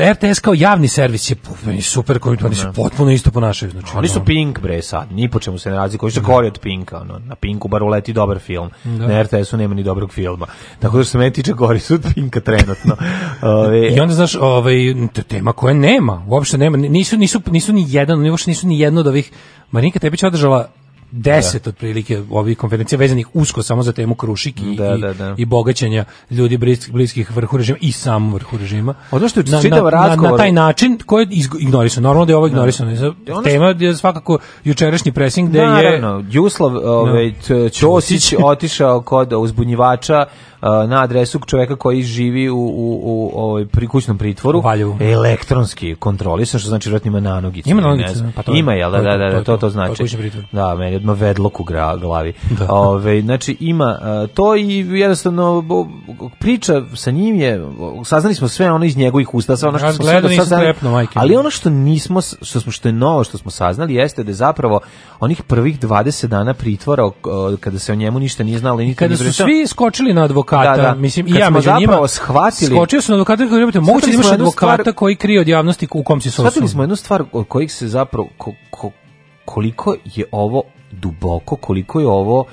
G: e, RTS kao javni servis je pu- meni super, koji oni se potpuno isto ponašaju. Znači,
H: Oni su
G: ono,
H: Pink bre sad, ni po čemu se ne razlikuju, što gori od Pinka, ono, na Pinku bar uleti dobar film,
G: Da.
H: na RTS-u nema ni dobrog filma, tako da što se meni tiče gori su od Pinka trenutno. Ove,
G: I onda znaš, ovaj t- tema koje nema, uopšte nema, nisu nisu nisu ni jedan, oni uopšte nisu ni jedno od ovih Marinka Tepić je održala 10 otprilike ovih konferencija vezanih usko samo za temu Krušik i,
H: Da,
G: i,
H: da, da.
G: i bogaćenja ljudi bliskih, bliskih vrhu režima i sam vrhu režima.
H: Ono što je
G: na,
H: čitav
G: na, na, na
H: razgovor- Ono
G: taj način koji ignorisano. Normalno da je ovo ignorisano.
H: što-
G: Tema je svakako jučerašnji presing gde je
H: Naravno, Juslav ovaj, Ć- Ćosić otišao kod uzbunjivača a, na adresu čoveka koji živi u, u, u, ovaj, pri kućnom pritvoru. Elektronski kontrolisan, što znači vjerojatno ima nanogicu.
G: Ima
H: ne
G: nanogicu,
H: znam.
G: pa to je-
H: Ima, jel? Da,
G: to
H: da,
G: je to,
H: da,
G: to
H: da, to,
G: je to.
H: to
G: To je
H: znači.
G: kućni pritvor.
H: Da, meni odmah vedlok u gra, glavi.
G: Da.
H: Ove, znači, ima a, to i jednostavno bo- priča sa njim je, saznali smo sve ono iz njegovih usta, sve ono što
G: Ja
H: smo
G: gledao,
H: sve do sad
G: nisam
H: saznali.
G: trepnuo, majke mi.
H: ali ono što nismo, s- što, smo, što je novo što smo saznali jeste da je zapravo onih prvih 20 dana pritvora o- kada se o njemu ništa nije znalo i nikad
G: Kada
H: nije
G: su
H: izrečeno-
G: svi skočili na advokata,
H: Da, da.
G: mislim, i
H: Kad
G: ja
H: smo
G: među njima,
H: zapravo shvatili-
G: skočio su na advokata, koji je moguće da
H: Shvatili
G: imaš
H: smo jednu
G: advokata
H: stvar-
G: koji krije od javnosti u kom si se
H: Shvatili
G: osnovno.
H: smo jednu stvar od kojih se zapravo ko- ko- koliko je ovo duboko, koliko je ovo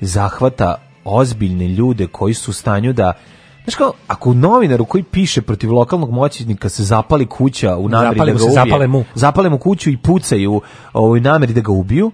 H: zahvata ozbiljne ljude koji su u stanju da Znaš kao, ako novinaru koji piše protiv lokalnog moćnika se zapali kuća u nameri da
G: Zapali mu
H: ga
G: se,
H: ubije,
G: zapale mu.
H: zapale mu kuću i pucaju ovaj, u nameri da ga ubiju,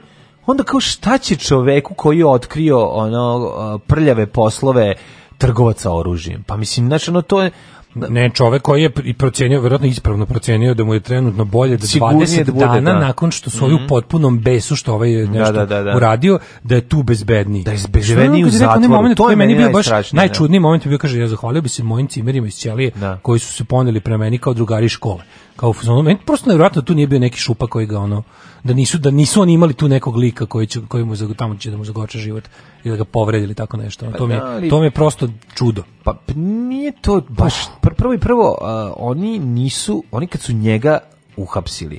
H: onda kao šta će čoveku koji je otkrio ono a, prljave poslove trgovaca oružjem? Pa mislim, znači ono to je...
G: Ne, čovek koji je i procenio, verovatno ispravno procenio da mu je trenutno bolje da
H: Sigurnije
G: 20
H: da bude,
G: dana
H: da.
G: nakon što su ovi u
H: Mhm.
G: potpunom besu što ovaj je nešto
H: da, da, da.
G: uradio, da je tu bezbedniji. Da je
H: bezbedniji u zatvoru, to je meni
G: bio baš
H: najstrašnije, da.
G: najčudniji moment je bio, kaže, ja zahvalio bi se mojim cimerima iz ćelije koji su se poneli prema meni kao drugari iz škole. Kao, u fazonu, meni prosto nevjerojatno da tu nije bio neki šupa koji ga ono, da nisu, da nisu oni imali tu nekog lika koji, će, koji mu, zag- tamo će da mu zagoče život ili da ga povredi ili tako nešto. Ono,
H: Pa
G: to, mi, je-
H: da, ali-
G: to mi je prosto čudo.
H: Pa p- nije to baš pr- prvo i prvo a, oni nisu oni kad su njega uhapsili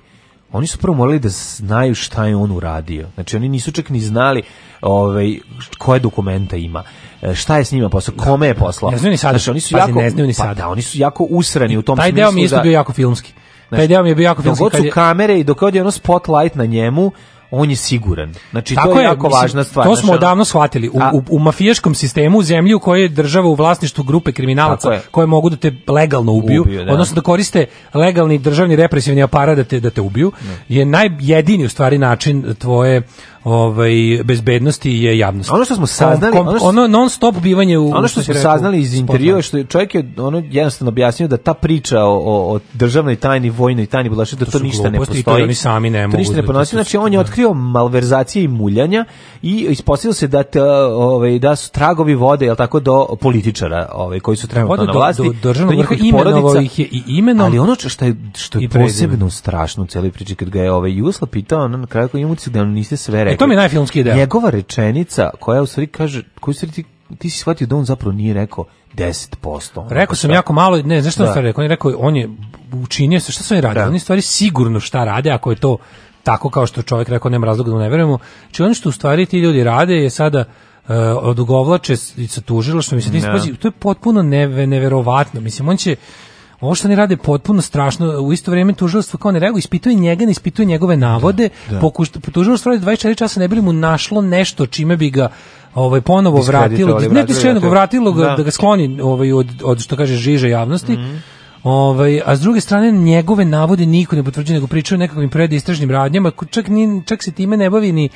H: oni su prvo morali da znaju šta je on uradio. Znači oni nisu čak ni znali ovaj koje dokumenta ima. e, Šta je s njima poslao, kome je poslao.
G: Ne znaju ni sada.
H: Znači, oni su
G: Pazi,
H: jako
G: ne znaju ni
H: pa
G: sada.
H: da, oni su jako usrani u tom
G: Taj
H: smislu.
G: deo mi je isto
H: da-
G: bio jako filmski.
H: Znaš,
G: Taj deo mi je bio jako
H: Dok
G: filmski.
H: god
G: kad
H: su
G: je-
H: kamere i dok god je ono spotlight na njemu, on je siguran. Znači to je, jako
G: mislim,
H: važna stvar.
G: To
H: Znaš,
G: smo
H: ono-
G: odavno shvatili. U,
H: A-
G: u, u mafijaškom sistemu, u zemlji u kojoj je država u vlasništvu grupe kriminalaca
H: Tako je.
G: koje mogu da te legalno ubiju,
H: Ubiju, da.
G: odnosno da koriste legalni državni represivni aparat da te, da te ubiju, je najjedini u stvari način tvoje ovaj bezbednosti je javnost.
H: Ono što smo saznali-
G: Kom- kom-
H: ono
G: ono,
H: što-
G: non stop bivanje u
H: ono
G: u,
H: što
G: si
H: smo
G: rekao,
H: saznali iz intervjua je što je čovjek je ono jednostavno objasnio da ta priča o, o, o državnoj tajni, vojnoj tajni, bila da
G: To
H: to,
G: su
H: ništa ne
G: gluposti i to
H: postoji.
G: oni sami ne
H: To
G: mogu
H: ništa
G: da-
H: ne
G: to
H: ponosi.
G: su-
H: Znači on je otkrio malverzacije i muljanja i ispostavilo se da te, ovaj da su tragovi vode jel tako do političara, ovaj koji su trenutno
G: Vode
H: na
G: do-
H: vlasti,
G: do državnog vrha,
H: njihovih
G: imenovao
H: porodica.
G: ih je i imenom
H: Ali ono što je što je
G: i prezimenom.
H: posebno strašno u celoj priči kad ga je ovaj Jusla pitao, ono na kraju koji ima utisak da nam niste sve rekli.
G: E, to mi je najfilmskiji deo.
H: Njegova rečenica koja u stvari kaže, koju u stvari ti, ti si shvatio da on zapravo nije rekao ono, 10%.
G: Rekao sam jako malo, ne, znaš šta
H: Da.
G: da. rekao? On je rekao, on je učinio se, šta su oni radili? Oni u stvari sigurno šta rade, ako je to tako kao što čovjek rekao, nema razloga da mu ne verujemo. Či ono što u stvari ti ljudi rade je sada uh, odugovlače s- i sa tužilaštvom. Mislim, ti
H: Da.
G: spazi, to je potpuno neve, neverovatno. Mislim, on će, ovo što oni rade je potpuno strašno. U isto vrijeme tužilaštvo kao ne reaguje, ispituje njega, ne ispituje njegove navode.
H: da.
G: Pokušta, tužilaštvo radi 24 časa ne bi li mu našlo nešto čime bi ga ovaj ponovo vratilo,
H: Diskreditovali,
G: ne
H: vratili,
G: diskreditno, nego
H: vratili.
G: vratilo ga
H: Da.
G: da ga skloni ovaj od, od što kaže žiže javnosti. Ovaj, a s druge strane njegove navode niko ne potvrđuje nego pričaju o nekakvim predistražnim radnjama, ko- čak ni čak se time ne bavi ni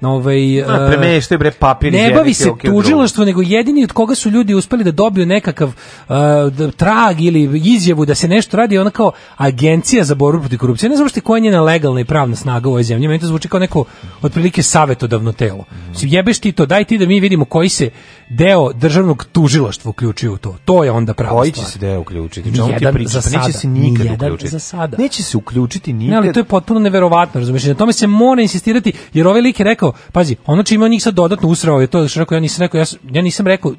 G: ovaj
H: A,
G: e,
H: premeštaj, ono, bre, papir iz
G: Ne
H: jedne
G: bavi se
H: fioke u drugu.
G: tužilaštvo, nego jedini od koga su ljudi uspeli da dobiju nekakav e, d- trag ili izjavu da se nešto radi, je ona kao agencija za borbu protiv korupcije. Ne znam što koja je njena legalna i pravna snaga u ovoj zemlji. Meni to zvuči kao neko otprilike savetodavno telo. Mislim, Jebeš ti to, daj ti da mi vidimo koji se deo državnog tužilaštva uključuje u to. To je onda prava
H: Koji će
G: stvar.
H: se deo uključiti?
G: Nijedan
H: Čemu ti pričaš?
G: za
H: Pa neće
G: sada.
H: se nikad
G: Nijedan
H: uključiti.
G: za sada.
H: Neće se uključiti nikad.
G: Ne, ali to je potpuno neverovatno, razumiješ? Na tome se mora insistirati, jer ovaj lik je rekao, pazi, ono čime on njih sad dodatno usrao je to što je rekao, ja nisam rekao, ja, s- ja nisam rekao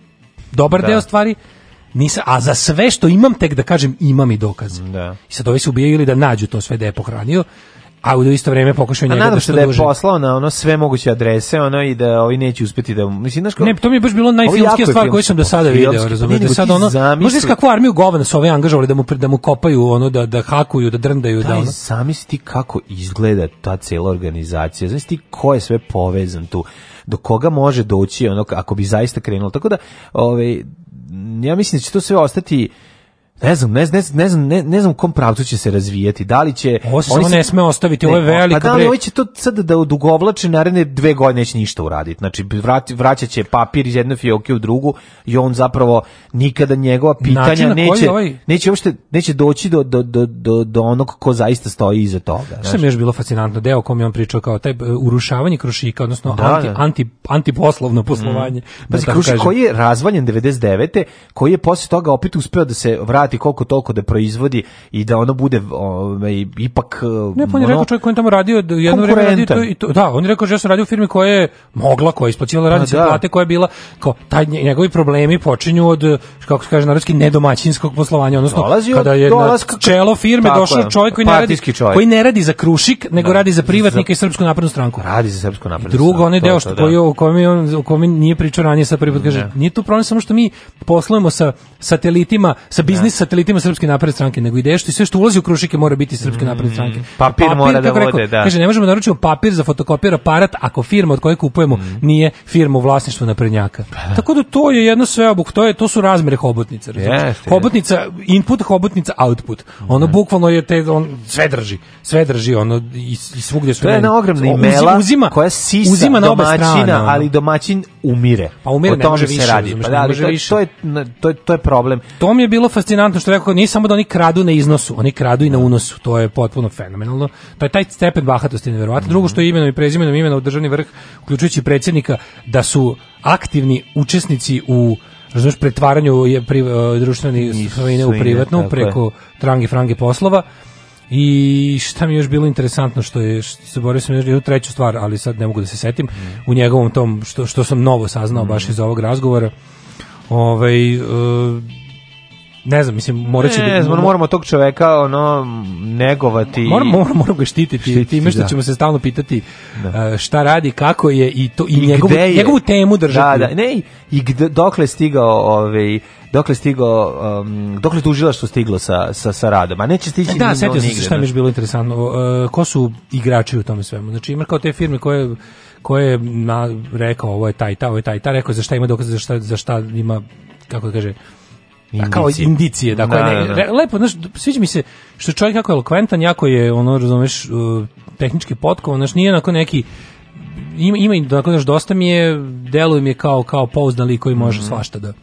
G: dobar
H: Da.
G: deo stvari, nisam, a za sve što imam tek da kažem imam i dokaz. I sad ovi se ubijaju ili da nađu to sve da je pohranio, a u isto vrijeme pokušaju
H: A
G: njega
H: nadam
G: da
H: se
G: što
H: da je
G: duže.
H: poslao na ono sve moguće adrese, ono i da ovi neće uspeti da... Mislim, znaš kao...
G: Ne, to mi je baš bilo
H: Ovo jako
G: najfilmskija
H: je
G: stvar koju sam do sada
H: filmski,
G: video,
H: pa
G: razumiješ?
H: ne,
G: Da
H: nego
G: sad
H: ti
G: ono,
H: zamisli-
G: možda kakvu armiju govana su ove angažovali da mu, pr- da mu kopaju, ono, da, da hakuju, da drndaju, da
H: Daj,
G: ono.
H: zamisli ti kako izgleda ta cela organizacija. Zamisli ti ko je sve povezan tu. Do koga može doći ono ako bi zaista krenulo. Tako da, ovaj ja mislim da će to sve ostati Ne znam, ne, ne, ne znam, ne, ne znam u kom pravcu će se razvijeti. Da li će
G: Ovo se
H: oni
G: samo ne sme ostaviti, ovo je
H: Ne,
G: veliko,
H: Pa da, ali
G: bre.
H: ovi će to sad da odugovlače naredne dve godine neće ništa uraditi. Znači vrati, vraćat će papir iz jedne fioke u drugu i on zapravo nikada njegova
G: Način
H: pitanja
G: na koji
H: neće
G: ovaj-
H: neće uopšte neće doći do do do do do onog ko zaista stoji iza toga.
G: Šta mi je još bilo fascinantno, deo o kom je on pričao kao taj e, urušavanje krušika, odnosno
H: Da,
G: anti,
H: da. Mm.
G: anti, antiposlovno poslovanje. da
H: Pazi,
G: tako
H: Krušik
G: kažem.
H: koji je razvaljen 99. koji je posle toga opet uspeo da se vrati koliko toliko da proizvodi i da ono bude ovaj, ipak... ono,
G: Ne, pa on je rekao čovjek koji je tamo radio, d- jedno vreme radio to i to. Da, on je rekao da ja sam radio u firmi koja je mogla, koja je isplaćivala radnice
H: Pa da.
G: plate, koja je bila, kao, taj, nje- njegovi problemi počinju od, eh, kako se kaže narodski, nedomaćinskog poslovanja, odnosno
H: Dolazi od
G: kada je na
H: dolaska-
G: čelo firme
H: Tako
G: došao
H: je,
G: čovjek koji ne radi,
H: partijski čovjek.
G: koji ne radi za Krušik, nego radi za privatnika i Srpsku naprednu stranku.
H: Radi za Srpsku naprednu
G: Drugo,
H: stranku,
G: onaj
H: to
G: deo
H: je
G: što
H: to, da.
G: koji je- o kome je on o kome nije pričao ranije sa prvi put kaže,
H: Ne.
G: nije tu problem samo što mi poslujemo sa satelitima, sa biznis satelitima Srpske napredne stranke, nego ideja što i sve što ulazi u Krušike mora biti iz Srpske napredne stranke.
H: Mm, Papir mora da
G: kako je
H: vode, da.
G: Kaže, ne možemo da naručimo papir za fotokopir aparat ako firma od koje kupujemo
H: Mm.
G: nije firma u vlasništvu naprednjaka.
H: Pa
G: Tako da to je jedno sveobuk, to je to su razmere hobotnice, razumeš?
H: Jeste, Mhm.
G: hobotnica input, hobotnica output. Ono bukvalno je te on sve drži, sve drži ono i, i svugdje su
H: To je
G: meni-
H: jedna ogromna
G: Uzi-
H: imela
G: uzima,
H: koja é sisa
G: uzima é na obe
H: domaćina,
G: strane, ono.
H: ali domaćin umire.
G: Pa umire,
H: o
G: ne
H: tome
G: može
H: se
G: više,
H: radi.
G: razumeš,
H: Pa
G: ne
H: da, ali
G: može
H: to,
G: više.
H: To je, na- to, je, to je problem.
G: To mi je bilo fascinantno što je rekao, nije samo da oni kradu na iznosu, oni kradu i na unosu, to je potpuno fenomenalno. To je taj stepen bahatosti neverovatno. Drugo što je imenom i prezimenom imena u državni vrh, uključujući predsjednika, da su aktivni učesnici u razumeš, pretvaranju je pri, e, društvene svojine u
H: svojine,
G: privatnu
H: tako je.
G: preko trange frange poslova. I šta mi je još bilo interesantno što je što se borio sam još jednu treću stvar, ali sad ne mogu da se setim
H: Mm.
G: u njegovom tom što što sam novo saznao baš iz ovog razgovora. Ovaj e, ne znam, mislim moraće
H: Ne znam,
G: da
H: moramo tog čoveka ono, negovati. i-
G: Moramo, moramo, moramo ga štititi,
H: Štititi,
G: time što
H: da.
G: ćemo se stalno pitati e, šta radi, kako je i to i,
H: I
G: njegovu,
H: gde je?
G: njegovu temu držati.
H: Da, da, ne, i- i gde, dokle je stigao, ovaj, dokle je stigao, um, dokle je tužilaštvo stiglo sa, sa, sa radom, a neće stići
G: E, Da,
H: ni-
G: setio sam se
H: nigde,
G: šta mi je
H: znaš.
G: još bilo interesantno. E, ko su igrači u tome svemu? Znači, ima kao te firme koje koje je na, rekao ovo je taj, ta, ovo je taj, ta, rekao je za šta ima dokaze, za šta, za šta ima, kako da kaže,
H: Indicije.
G: kao indicije. Dakle,
H: Da,
G: ne,
H: da, da.
G: re- lepo, znaš, sviđa mi se što je čovjek jako elokventan, jako je, ono, razumeš, e, tehnički potkovan, znaš, nije onako neki, ima, ima i onako, znaš, dosta mi je, deluje mi je kao, kao pouzdan lik koji
H: Mhm.
G: može svašta da,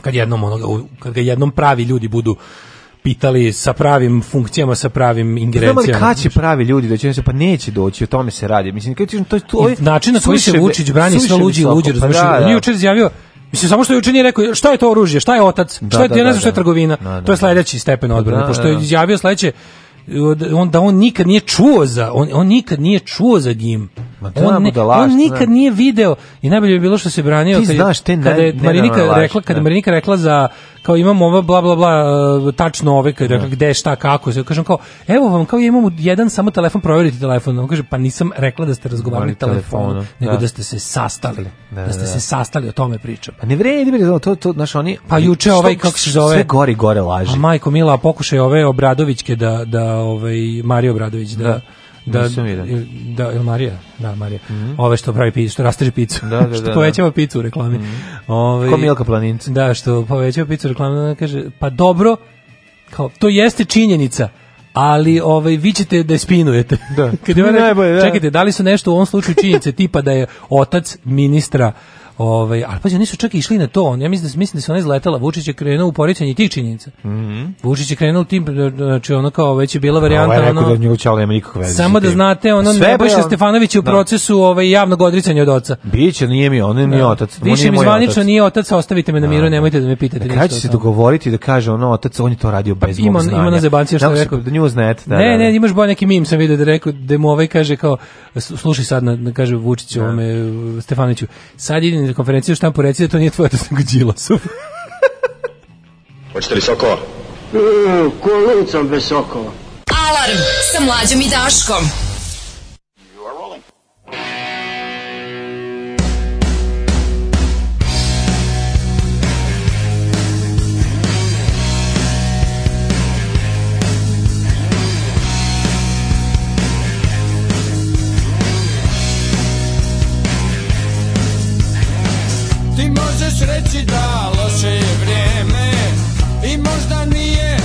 G: kad jednom onoga, u- kad ga jednom pravi ljudi budu pitali sa pravim funkcijama, sa pravim
H: Znam
G: ingerencijama.
H: ali kada će pravi ljudi doći, znači, pa neće doći, o tome se radi. Mislim, kada ti to, to, to
G: I način na koji se Vučić brani sve luđi i
H: pa
G: luđi, razumiješ? On je jučer izjavio, mislim, samo što je jučer nije rekao, šta je to oružje, šta je otac,
H: Da,
G: šta je,
H: da,
G: ja ne
H: da,
G: znam šta je
H: da.
G: trgovina,
H: Da, da,
G: to je sledeći stepen odbrane,
H: Da,
G: pošto
H: da,
G: je
H: da.
G: izjavio sledeće, on, da on nikad nije čuo za on, on nikad nije čuo za gim.
H: Ma da,
G: On, ne-
H: budalaština.
G: on nikad nije video i najbolje je bilo što se branio
H: Ti
G: kad je-
H: znaš te ne-
G: kada je Marinika
H: nenormalne
G: rekla kada
H: laži,
G: je
H: da.
G: Marinika rekla za kao imamo ovo bla bla bla e, tačno ove kad je rekla gde šta kako se kažem kao evo vam kao ja imam jedan samo telefon proverite telefon on kaže pa nisam rekla da ste razgovarali
H: Ali telefonom,
G: telefonom nego
H: da.
G: da ste se sastali da,
H: da,
G: ste se
H: da.
G: sastali o tome pričam
H: Pa ne vredi, bre, to, to, to, znaš, oni...
G: pa juče
H: što-
G: ovaj kako se zove
H: Sve gori, gore laži.
G: a majko Mila pokušaj ove Obradovićke da da ovaj Mario Obradović da da da,
H: nisam vidio. Mhm.
G: il- da il Marija da Marija ove što pravi picu što rasteže picu
H: Da, da,
G: što
H: da, da.
G: povećava picu u reklami ovaj
H: Ko Milka Planinca.
G: da što povećava picu u reklami ona kaže pa dobro kao to jeste činjenica ali ovaj vi ćete da je spinujete.
H: Da.
G: Kad je ona rekla,
H: Najbolje, da.
G: Čekajte, da li su nešto u ovom slučaju činjenice tipa da je otac ministra ovaj, ali pazi, oni su čak išli na to. On, ja mislim da, se- mislim da se ona izletela. Vučić je krenuo u poricanje tih činjenica. Vučić je krenuo tim, znači ono kao već je bila
H: Mhm. Ovaj
G: varijanta,
H: rekao da
G: ono,
H: od njegov ćala nema nikakve veze. sa
G: samo da
H: tim.
G: znate, ono,
H: Sve,
G: Nebojša
H: bre, on-
G: Stefanović je u
H: Da.
G: procesu ovaj, javnog odricanja od oca.
H: Biće, nije mi, on je mi otac. on
G: Više
H: nije
G: mi
H: moj
G: zvanično
H: otac.
G: nije otac, ostavite me na miru, nemojte da me pitate
H: Na
G: ništa.
H: kraju će
G: o
H: se
G: tome.
H: dogovoriti da kaže ono otac, on je to radio bez
G: Ima-
H: mog
G: ima
H: znanja.
G: na zebancija što
H: Tako
G: je
H: se-
G: rekao.
H: Da nju znate, da.
G: ne,
H: da, da.
G: ne, imaš bolje neki mim sam vidio da je rekao da mu ovaj kaže kao s- slušaj sad na, na kaže Vučiću ovome uh, Stefaniću. Sad idi na konferenciju štampu reci da to nije tvoj otac nego Đilasov.
R: Hoćete li sokova?
S: Kolucom bez sokova.
K: Alarm sa mlađom i Daškom.
I: Ti možeš reći da loše je vrijeme I možda nije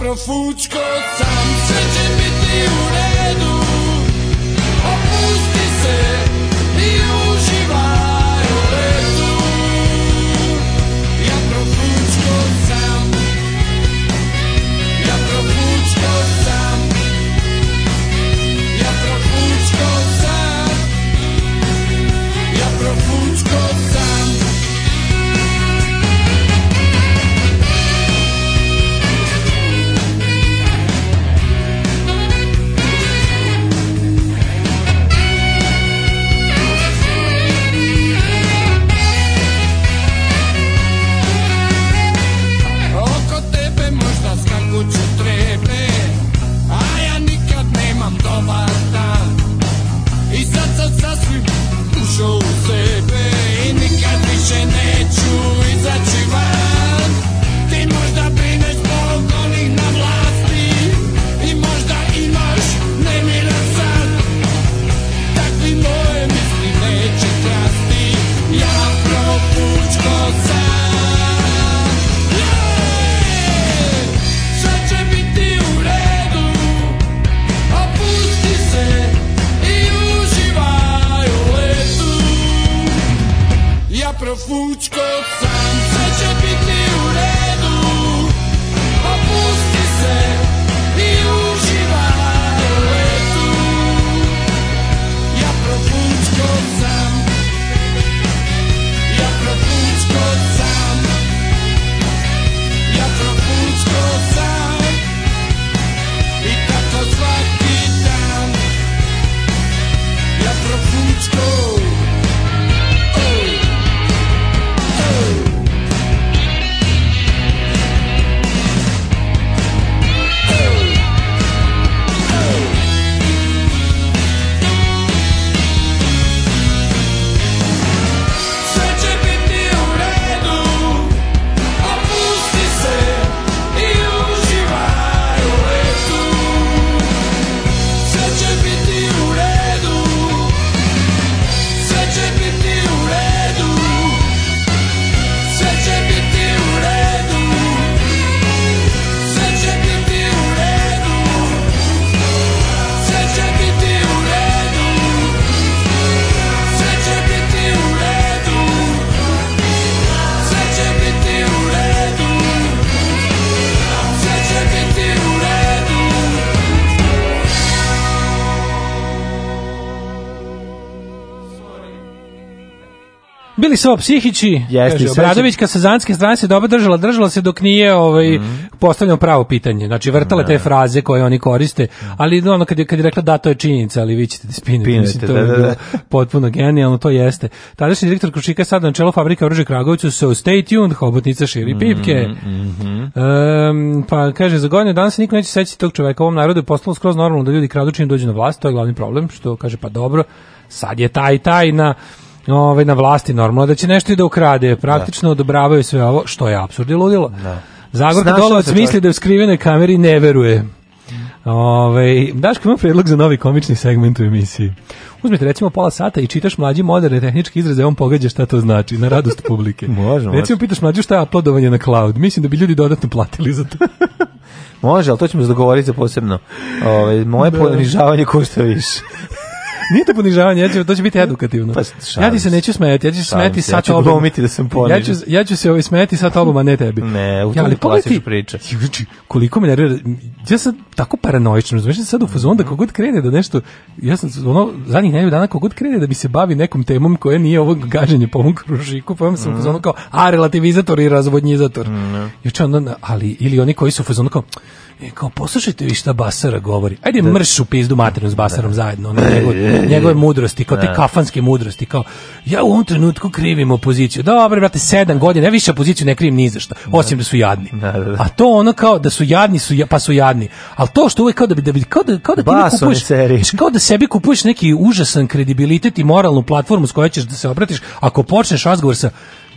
I: Dobro fučko sam Sve će biti u redu Opusti se I uživaj u letu Ja profučko sam Ja profučko sam Ja profučko sam Ja profučko sam Oko tebe možda skakuću trebe A ja nikad nemam dobar dan I sad sam sasvim ušao u sebe I nikad više neću izaći van Ti možda brineš zbog onih na vlasti I možda imaš nemiran san Takvi moje misli neće krasti Ja propučko sam sve će biti u redu Opusti se i uživaj u letu Ja profučko sam Sve će biti u redu Opusti se i uživaj u letu Ja profučko sam Ja profučko sam ja propučko sam I tak tako svaki dan Ja propučko Oj, oj Oj, oj Sve će biti u redu é Opusti se i uživaj u letu Sve će biti u redu Sve će biti u redu Sve će biti u redu Sve će biti u redu Sve će biti u redu Sve će biti u redu sve će biti u redu Sve će biti u redu
G: Bili su ovo psihići,
H: Jeste, i
G: kaže
H: sve će-
G: Obradović ka sa zanske strane se dobro držala, držala se dok nije ovaj,
H: Mhm.
G: postavljeno pravo pitanje. Znači, vrtala te fraze koje oni koriste, ali ono kad je, kad je rekla da, to je činjenica, ali vi ćete da spinete.
H: Spinete,
G: Mislim, to
H: da,
G: je
H: da,
G: bilo
H: da.
G: potpuno genijalno, to jeste. Tadašnji direktor Krušika sad na čelo fabrike oružja Kragovicu, so stay tuned, hobotnica širi pipke. Ehm, pa kaže, za godine danas se niko neće sećati tog čoveka. Ovom narodu je postalo skroz normalno da ljudi kradu čim dođu na vlast, to je glavni problem, što kaže, pa dobro, sad je taj, taj na, ovaj, na vlasti normalno, da će nešto i da ukrade. Praktično odobravaju sve ovo, što je apsurd i ludilo. Zagorka
H: Snašao
G: Dolovac
H: se
G: misli
H: čovjek.
G: da je u skrivenoj kameri ne veruje. Ove, Daško ima predlog za novi komični segment u emisiji. Uzmite recimo pola sata i čitaš mlađi moderne tehničke izraze, on pogađa šta to znači, na radost publike.
H: može.
G: Recimo pitaš mlađu šta je uploadovanje na cloud. Mislim da bi ljudi dodatno platili za to.
H: Može, ali to ćemo se dogovoriti za posebno. Ove, moje
G: Da.
H: ponižavanje košta više.
G: Nije to ponižavanje, ja ću, to će biti edukativno.
H: Pa, šalim
G: ja ti se neću smejati, ja ću se
H: Šalim
G: smejati
H: se, ja
G: sa
H: ću
G: tobom.
H: glumiti da sam ponižen.
G: Ja ću, ja ću se ovaj smejati sa tobom, a ne tebi. Ne,
H: u tom klasična priča.
G: znači, koliko me nervira, ja sam tako paranoičan, razumiješ, ja sam sad u fazonu da kogod krene da nešto, ja sam ono, zadnjih nedelju dana kogod krene da mi se bavi nekom temom koja nije ovo gaženje po ovom kružiku, pa ja sam u
H: Mm.
G: fazonu kao, a, relativizator i razvodnjizator. Juče onda na- ali, ili oni koji su u fazonu kao, e, kao, poslušajte vi šta Basara govori. Ajde mrš u pizdu materinu s Basarom zajedno, ono, njegove, njegove mudrosti, kao te
H: Da.
G: kafanske mudrosti, kao, ja u ovom trenutku krivim opoziciju. Dobre, brate, sedam godina, ja više opoziciju ne krivim ni za šta, osim da su jadni. A to ono kao da su jadni, su, ja- pa su jadni. Ali to što uvek kao da bi, da bi kao da, kao da ti uvek
H: Baso ne
G: kupuješ,
H: seri.
G: znaš, kao da sebi kupuješ neki užasan kredibilitet i moralnu platformu s kojoj ćeš da se obratiš, ako počneš razgovor sa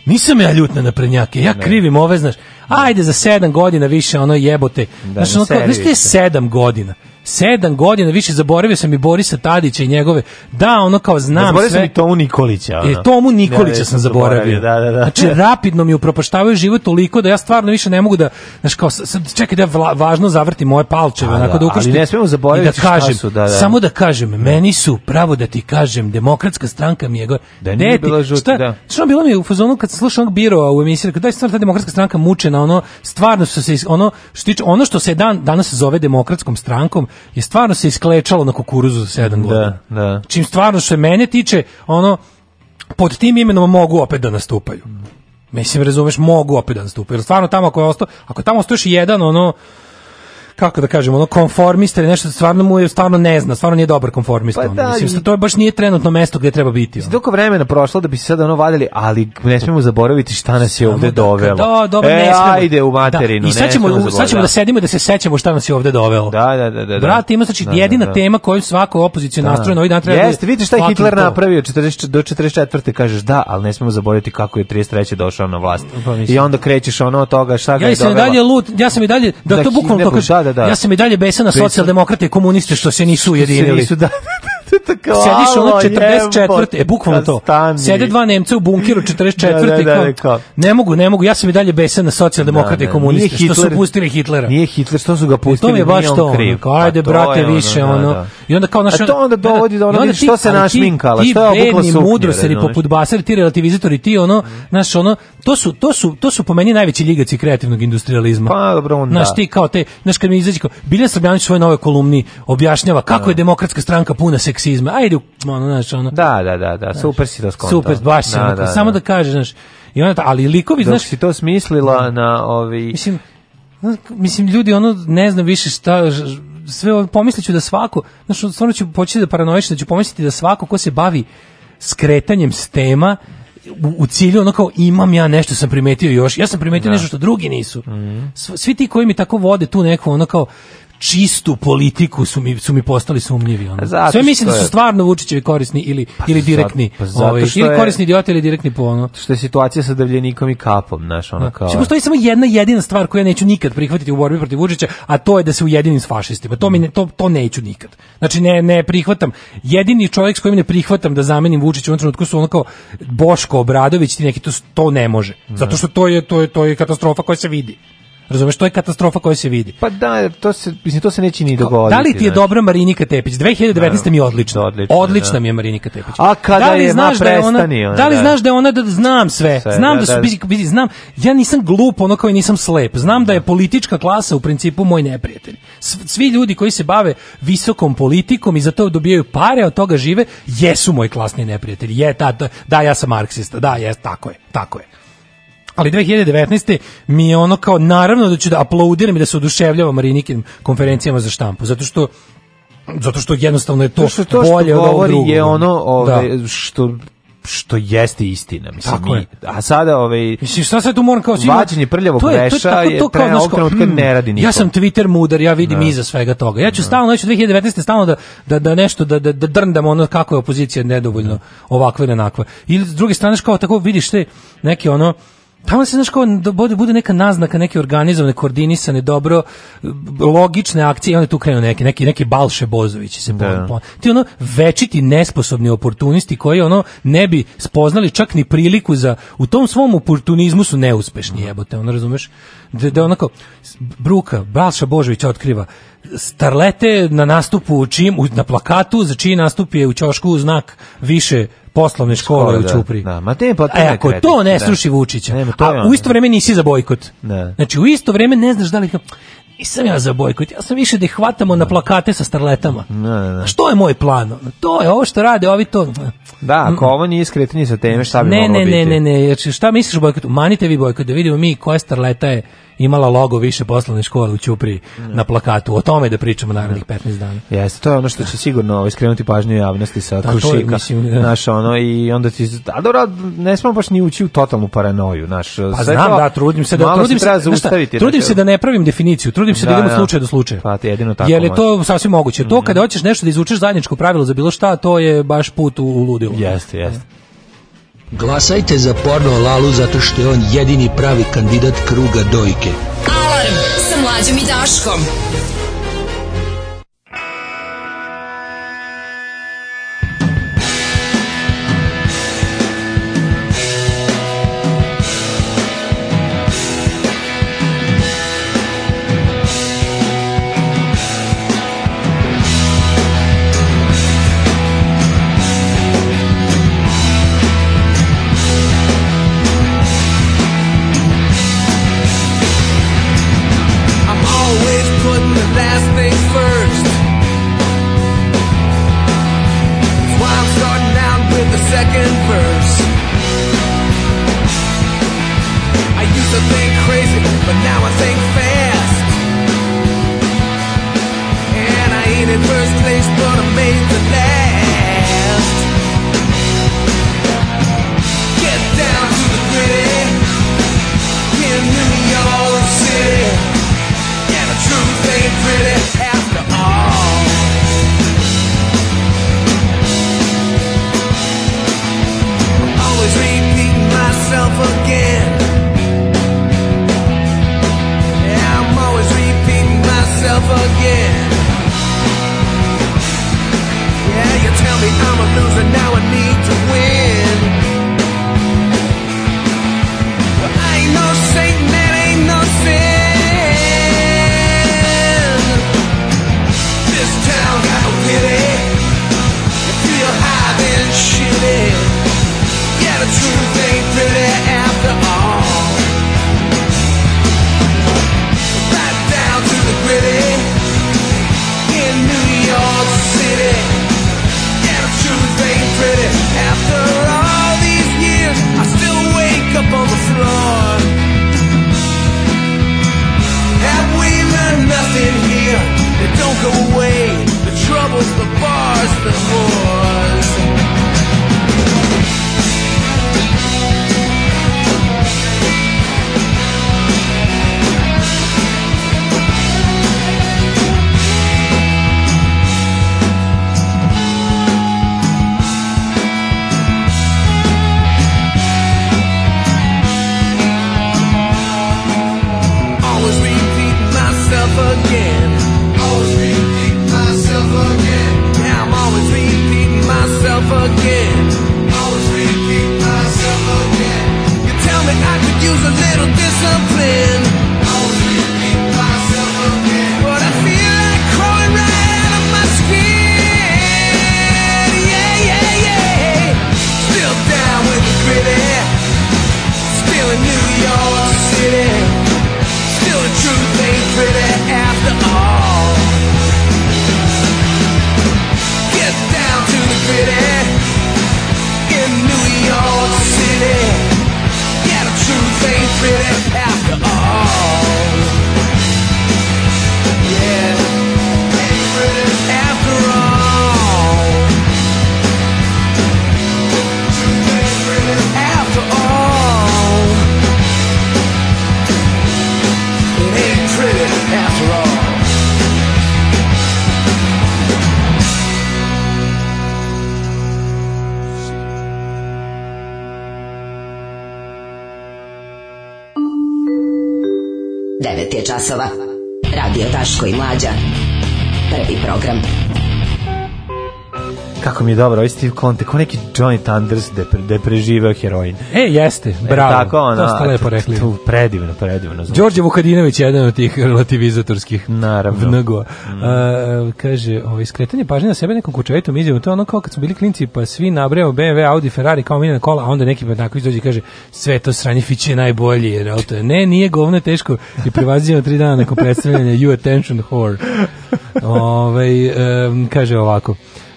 G: Nisam ja ljutna na prednjake, ja krivim ove, znaš, ajde za sedam godina više, ono jebote.
H: Da,
G: znaš,
H: ne
G: ono kao,
H: seri
G: znaš, te
H: više.
G: sedam godina. Sedam godina, više zaboravio sam i Borisa Tadića i njegove. Da, ono kao znam
H: Zaboravio
G: sve.
H: sam i Tomu Nikolića. ono.
G: E, Tomu Nikolića
H: Da, da,
G: sam zaboravio.
H: Da, da, da.
G: Znači, rapidno mi upropaštavaju život toliko da ja stvarno više ne mogu da, znaš, kao, sad, čekaj da ja vla- važno zavrti moje palčeve,
H: A,
G: onako
H: da,
G: da ukrštim.
H: ali ne smemo zaboraviti
G: i da
H: šta
G: kažem,
H: su, da, da.
G: Samo da kažem, meni su, pravo da ti kažem, demokratska stranka mi je gore.
H: Da nije bila žuta,
G: šta,
H: da.
G: Što bilo mi je u fazonu kad sam slušao onog birova u emisiji, rekao, daj stvarno ta demokratska stranka mučena, ono, stvarno su se, is- ono, što tiče, ono što se dan, danas zove demokratskom strankom, je stvarno se isklečalo na kukuruzu za sedam godina.
H: da.
G: Čim stvarno što se mene tiče, ono, pod tim imenom mogu opet da nastupaju. Mislim, razumeš, mogu opet da nastupaju. Jer stvarno tamo ako je ostao, ako je tamo ostao još jedan, ono, kako da kažem, ono konformista ili nešto stvarno mu je stvarno ne zna, stvarno nije dobar konformista.
H: Pa
G: ono.
H: da,
G: Mislim,
H: i-
G: to je baš nije trenutno mesto gdje treba biti. ono.
H: Toliko vremena prošlo da bi se sad ono vadili, ali ne smemo zaboraviti šta nas je ovde dovelo.
G: Da, dobro,
H: e,
G: ne smemo.
H: ajde u materinu.
G: Da. I sad ćemo,
H: ne smemo
G: sad ćemo da sedimo i da se sećamo šta nas je ovde dovelo.
H: Da, da, da, da. da.
G: Brate, ima znači
H: Da, da,
G: jedina
H: da.
G: tema koju svako opozicija
H: Da.
G: nastrojena ovaj dan treba. da
H: Jeste, vidite šta je
G: fucking
H: Hitler
G: to.
H: napravio 40, do 44. kažeš da, ali ne smemo zaboraviti kako je 33. došao na vlast.
G: Pa mislim.
H: I onda krećeš ono od toga šta ga
G: Ja
H: je
G: sam i
H: dovelo.
G: dalje lud, ja sam i dalje da,
H: Da,
G: to bukvalno
H: Hitleru,
G: to
H: da,
G: kažem,
H: da, da.
G: Ja sam i dalje besan na
H: Besan.
G: socijaldemokrate i komuniste što se nisu ujedinili.
H: nisu, da, Kao,
G: Sediš ono
H: alo,
G: 44.
H: jebote,
G: E, bukvalno to.
H: stani.
G: Sede dva Nemca u bunkiru 44.
H: Da, da, da,
G: kao,
H: rekao.
G: ne mogu, ne mogu, ja sam i dalje besan na
H: Da, da,
G: socijaldemokrate i komuniste
H: nije
G: što su
H: Hitler-
G: pustili Hitlera.
H: Nije Hitler, što su ga pustili,
G: to mi je baš
H: nije on
G: to, ono,
H: kriv.
G: kao, ajde,
H: Pa to
G: brate,
H: je ono,
G: više,
H: da,
G: ono.
H: da.
G: I onda kao naš,
H: A to onda dovodi do ono,
G: onda
H: vidiš,
G: ti-
H: što se
G: ali ti-
H: našminkala, što je obukla
G: Ti
H: suknju,
G: bedni mudroseri
H: razumeš? Mhm.
G: poput basari, ti relativizatori, ti ono, znaš, ono, to su, to su, to su po meni najveći ljigaci kreativnog industrializma.
H: Pa, dobro, on
G: Znaš
H: da.
G: ti kao te, znaš kad mi izađe kao, Biljan Srbljanić u svojoj nove kolumni objašnjava kako je demokratska stranka puna seksizma. Ajde, ono, znaš, ono.
H: Da, da, da, da, super si to skontao.
G: Super, baš je onako, samo da kažeš, znaš. I onda, ta- ali likovi,
H: Dok
G: znaš,
H: si to smislila na ovi...
G: mislim, znaš, mislim, ljudi, ono, ne znam više šta, ž- ž- sve ovo, pomislit ću da svako, znaš, stvarno ću početi da paranoiš, da ću pomisliti da svako ko se bavi skretanjem s tema, u, u cilju ono kao imam ja nešto sam primetio još, ja sam primetio nešto što drugi nisu.
H: Mhm.
G: Sv- Svi ti koji mi tako vode tu neku ono kao čistu politiku su mi, su mi postali sumnjivi. Ono.
H: A zato
G: Sve mislim da
H: što
G: su
H: je-
G: stvarno Vučićevi korisni ili, ili
H: zato-
G: direktni.
H: pa zato
G: ovaj,
H: što
G: ili
H: je-
G: korisni idioti ili direktni po ono.
H: Što je situacija sa davljenikom i kapom, znaš, ono kao...
G: Znači, postoji samo jedna jedina stvar koju ja neću nikad prihvatiti u borbi protiv Vučića, a to je da se ujedinim s fašistima. To, mi ne, to, to neću nikad. Znači, ne, ne prihvatam. Jedini čovjek s kojim ne prihvatam da zamenim Vučića u ovom trenutku su ono kao Boško Obradović, ti neki, to, s- to ne može. Zato što to je, to je, to je katastrofa koja se vidi. Razumeš, to je katastrofa koja se vidi.
H: Pa da, jer to se, mislim, to se neće ni dogoditi.
G: Da li ti je
H: znaš.
G: dobra Marinika Tepić? 2019. mi je odlična.
H: Odlična,
G: Odlična,
H: da.
G: mi je Marinika Tepić.
H: A kada
G: da li
H: je, ma,
G: znaš da je ona,
H: prestani, ona,
G: da li
H: da.
G: znaš da je ona da znam sve.
H: Sve,
G: znam
H: da,
G: da, su
H: da.
G: vidi- vidi, znam. Ja nisam glup, ono kao i nisam slep. Znam da je politička klasa u principu moj neprijatelj. Sv- Svi ljudi koji se bave visokom politikom i za to dobijaju pare, od toga žive, jesu moj klasni neprijatelj. Je, ta, da, da, ja sam marksista. Da, jes, tako je, tako je. Ali 2019. mi je ono kao naravno da ću da aplaudiram i da se oduševljavam Marinikinim konferencijama za štampu, zato što zato što jednostavno je to,
H: Zato što to što
G: bolje od ovog
H: govori
G: drugog.
H: je ono
G: Da.
H: ove, što što jeste istina, mislim.
G: Tako
H: mi-
G: je.
H: A sada ovaj
G: Mislim, šta sad tu moram kao... svima-
H: Vađenje prljavog
G: to je- to je
H: veša
G: tako-
H: je
G: to kao,
H: pre-
G: znaš,
H: ovog
G: kao,
H: trenutka
G: mm,
H: ne radi niko.
G: Ja sam Twitter mudar, ja vidim iza svega toga. Ja ću stalno, ja ću 2019. stalno da, da, da nešto, da, da, da drndam ono kako je opozicija nedovoljno ovakva ili onakva. Ili s druge strane, znaš, kao tako vidiš te neke ono, Tamo se, znaš, kao da bude, bude neka naznaka, neke organizovane, koordinisane, dobro, b- logične akcije, i onda tu krenu neke, neki, neki Balše Bozovići se
H: Da.
G: da. Ti ono večiti nesposobni oportunisti koji ono ne bi spoznali čak ni priliku za, u tom svom oportunizmu su neuspešni, jebote, ono razumeš? Da, da onako, Bruka, Balša Božović otkriva, starlete na nastupu, čim, u- na plakatu za čiji nastup je u ćošku znak više poslovne škole
H: Škole,
G: u
H: da,
G: Ćupri.
H: da. Ma te je potpuno
G: E, ako
H: kreativno,
G: to
H: da.
G: ne sruši Vučića,
H: Nema, to je
G: a
H: ono.
G: u isto vreme nisi za bojkot.
H: Da.
G: Znači, u isto vreme ne znaš da li... Nisam ja za bojkot, ja sam više da ih hvatamo na plakate sa starletama.
H: Da, da, da.
G: Što je moj plan? ono? To je ovo što rade ovi to.
H: Da, ako ovo nije skretanje sa teme, šta bi
G: Ne,
H: moglo
G: ne,
H: biti?
G: ne, ne, ne, jer šta misliš o bojkotu? Manite vi bojkot, da vidimo mi koja starleta je imala logo više poslovne škole u Ćupri na plakatu. O tome da pričamo narednih 15 dana.
H: Jeste, to je ono što će sigurno ovaj, skrenuti pažnju javnosti sa
G: to je,
H: krušika.
G: mislim, da.
H: Znaš, ono, i onda ti... A dobro, ne smemo baš ni ući u totalnu paranoju, znaš.
G: Pa
H: sve
G: znam,
H: to-
G: da, trudim se da
H: malo
G: trudim
H: se treba
G: znaš šta,
H: zaustaviti.
G: trudim
H: znaš,
G: se da ne pravim definiciju, trudim se da,
H: Da,
G: idem od
H: da.
G: slučaja do slučaja.
H: Pa, ti jedino tako Mhm.
G: Jer je to sasvim moguće. To kada hoćeš nešto da izučeš zajedničko pravilo za bilo šta, to je baš put u, u ludilo.
H: Jeste, jeste.
R: Glasajte za porno Lalu zato što je on jedini pravi kandidat kruga dojke.
K: Alarm sa mlađom i Daškom.
I: but now I think fast. And I ain't in first place, but I made the last. Get down to the gritty in New York City. And the truth ain't pretty after all. I'm always repeating myself again. I'm always repeating myself again. Yeah, you tell me I'm a loser, now I need to win. Well, I ain't no Satan, that ain't no sin. This town got no pity. You feel high then shitty. Yeah, the truth ain't pretty after all. Right down to the gritty in New York City. Yeah, the truth ain't pretty. After all these years, I still wake up on the floor. Have we learned nothing here? They don't go away. The troubles, the bars, the wars. Always repeat myself again. Always repeat myself again. Yeah, I'm always repeating myself again. Always repeat myself again. You tell me I could use a little discipline. Always repeat myself again. But I feel like crawling right out of my skin. Yeah, yeah, yeah. Still down with the gritty. Still in New York City. Still the truth ain't pretty after all. Get down to the gritty in New York City. Yeah, the truth ain't pretty after all. Yeah, ain't pretty after all. Truth ain't pretty after all. It ain't pretty after all.
E: Devet je časova. Radio Daško i Mlađa. Prvi program.
H: Kako mi je dobro, ovaj Steve Conte, ko neki Johnny Thunders da je, pre- da je preživeo heroin.
G: E, jeste, bravo.
H: E, tako, ono,
G: to ste lepo rekli.
H: Tu, predivno, predivno. zvuči.
G: Đorđe Vukadinović je jedan od tih relativizatorskih
H: Naravno. Mm.
G: vnago. A, kaže, ovaj, skretanje pažnje na sebe nekom kučevitom izjavom, to je ono kao kad smo bili klinci, pa svi nabrajamo BMW, Audi, Ferrari kao miljena kola, a onda neki Bednaković dođe i kaže, sve to sranje fiće je najbolji, jer auto je, ne, nije govno je teško i prevazimo tri dana nakon predstavljanja You Attention Whore. Ovaj, em, kaže ovako,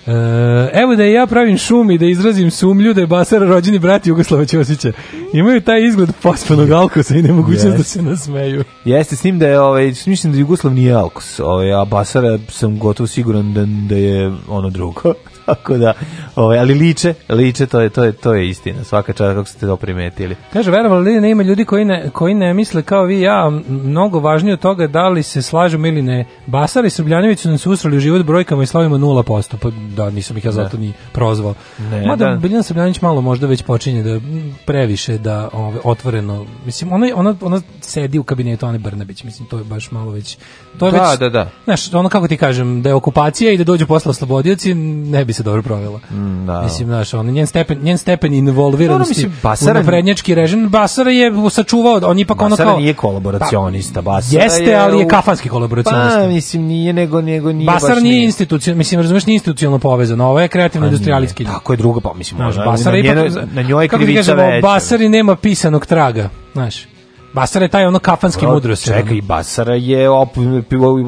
G: E, evo da i ja pravim šum i da izrazim sumlju da je Basara rođeni brat Jugoslava Ćosića. Imaju taj izgled pospanog alkosa i nemogućnost
H: Yes.
G: da se nasmeju.
H: Jeste s tim da je ovaj mislim da Jugoslav nije Alkos, ovaj a Basara sam gotovo siguran da, da je ono drugo. Tako da, ovaj ali liče, liče to je to je to je istina. Svaka čast kako ste to primetili.
G: Kaže, verovali li ne ima ljudi koji ne, koji ne misle kao vi i ja, m- mnogo važnije od toga da li se slažemo ili ne. Basar i Srbljanović su nam se usrali u život brojkama i slavimo 0%, pa da, nisam ih ja zato ni prozvao.
H: Ne,
G: Mada
H: da.
G: Biljana Srbljanović malo možda već počinje da m, previše da ove, otvoreno, mislim, ona, ona, ona sedi u kabinetu Ane Brnabić, mislim, to je baš malo već... To je
H: Da,
G: već,
H: da, da.
G: Znaš, ono kako ti kažem, da je okupacija i da dođu posle oslobodioci, ne bi se dobro provela.
H: Mm, da.
G: Mislim, znaš, on, njen stepen, njen stepen involviranosti
H: Dobro, Ono, mislim, Basara-
G: u naprednjački režim, Basara je sačuvao, on je ipak ono
H: Basara
G: kao... Pa,
H: nije kolaboracionista, Basara
G: Jeste,
H: je
G: ali je
H: u-
G: kafanski kolaboracionista.
H: Pa mislim nije nego nego nije
G: Basar
H: baš
G: nije
H: nije.
G: institucionalno, mislim, razumeš, nije institucionalno povezano, ovo je
H: Pa
G: kreativno industrijalistički.
H: nije. Tako je drugo, pa mislim,
G: Znaš,
H: ona-
G: Basar je
H: na,
G: ipak,
H: njeno- na njoj je
G: kako ti
H: krivica
G: kažemo,
H: veća.
G: Basari nema pisanog traga, znaš. Basar je taj ono kafanski
H: Dobro,
G: mudrost.
H: Čekaj, i Basara je op,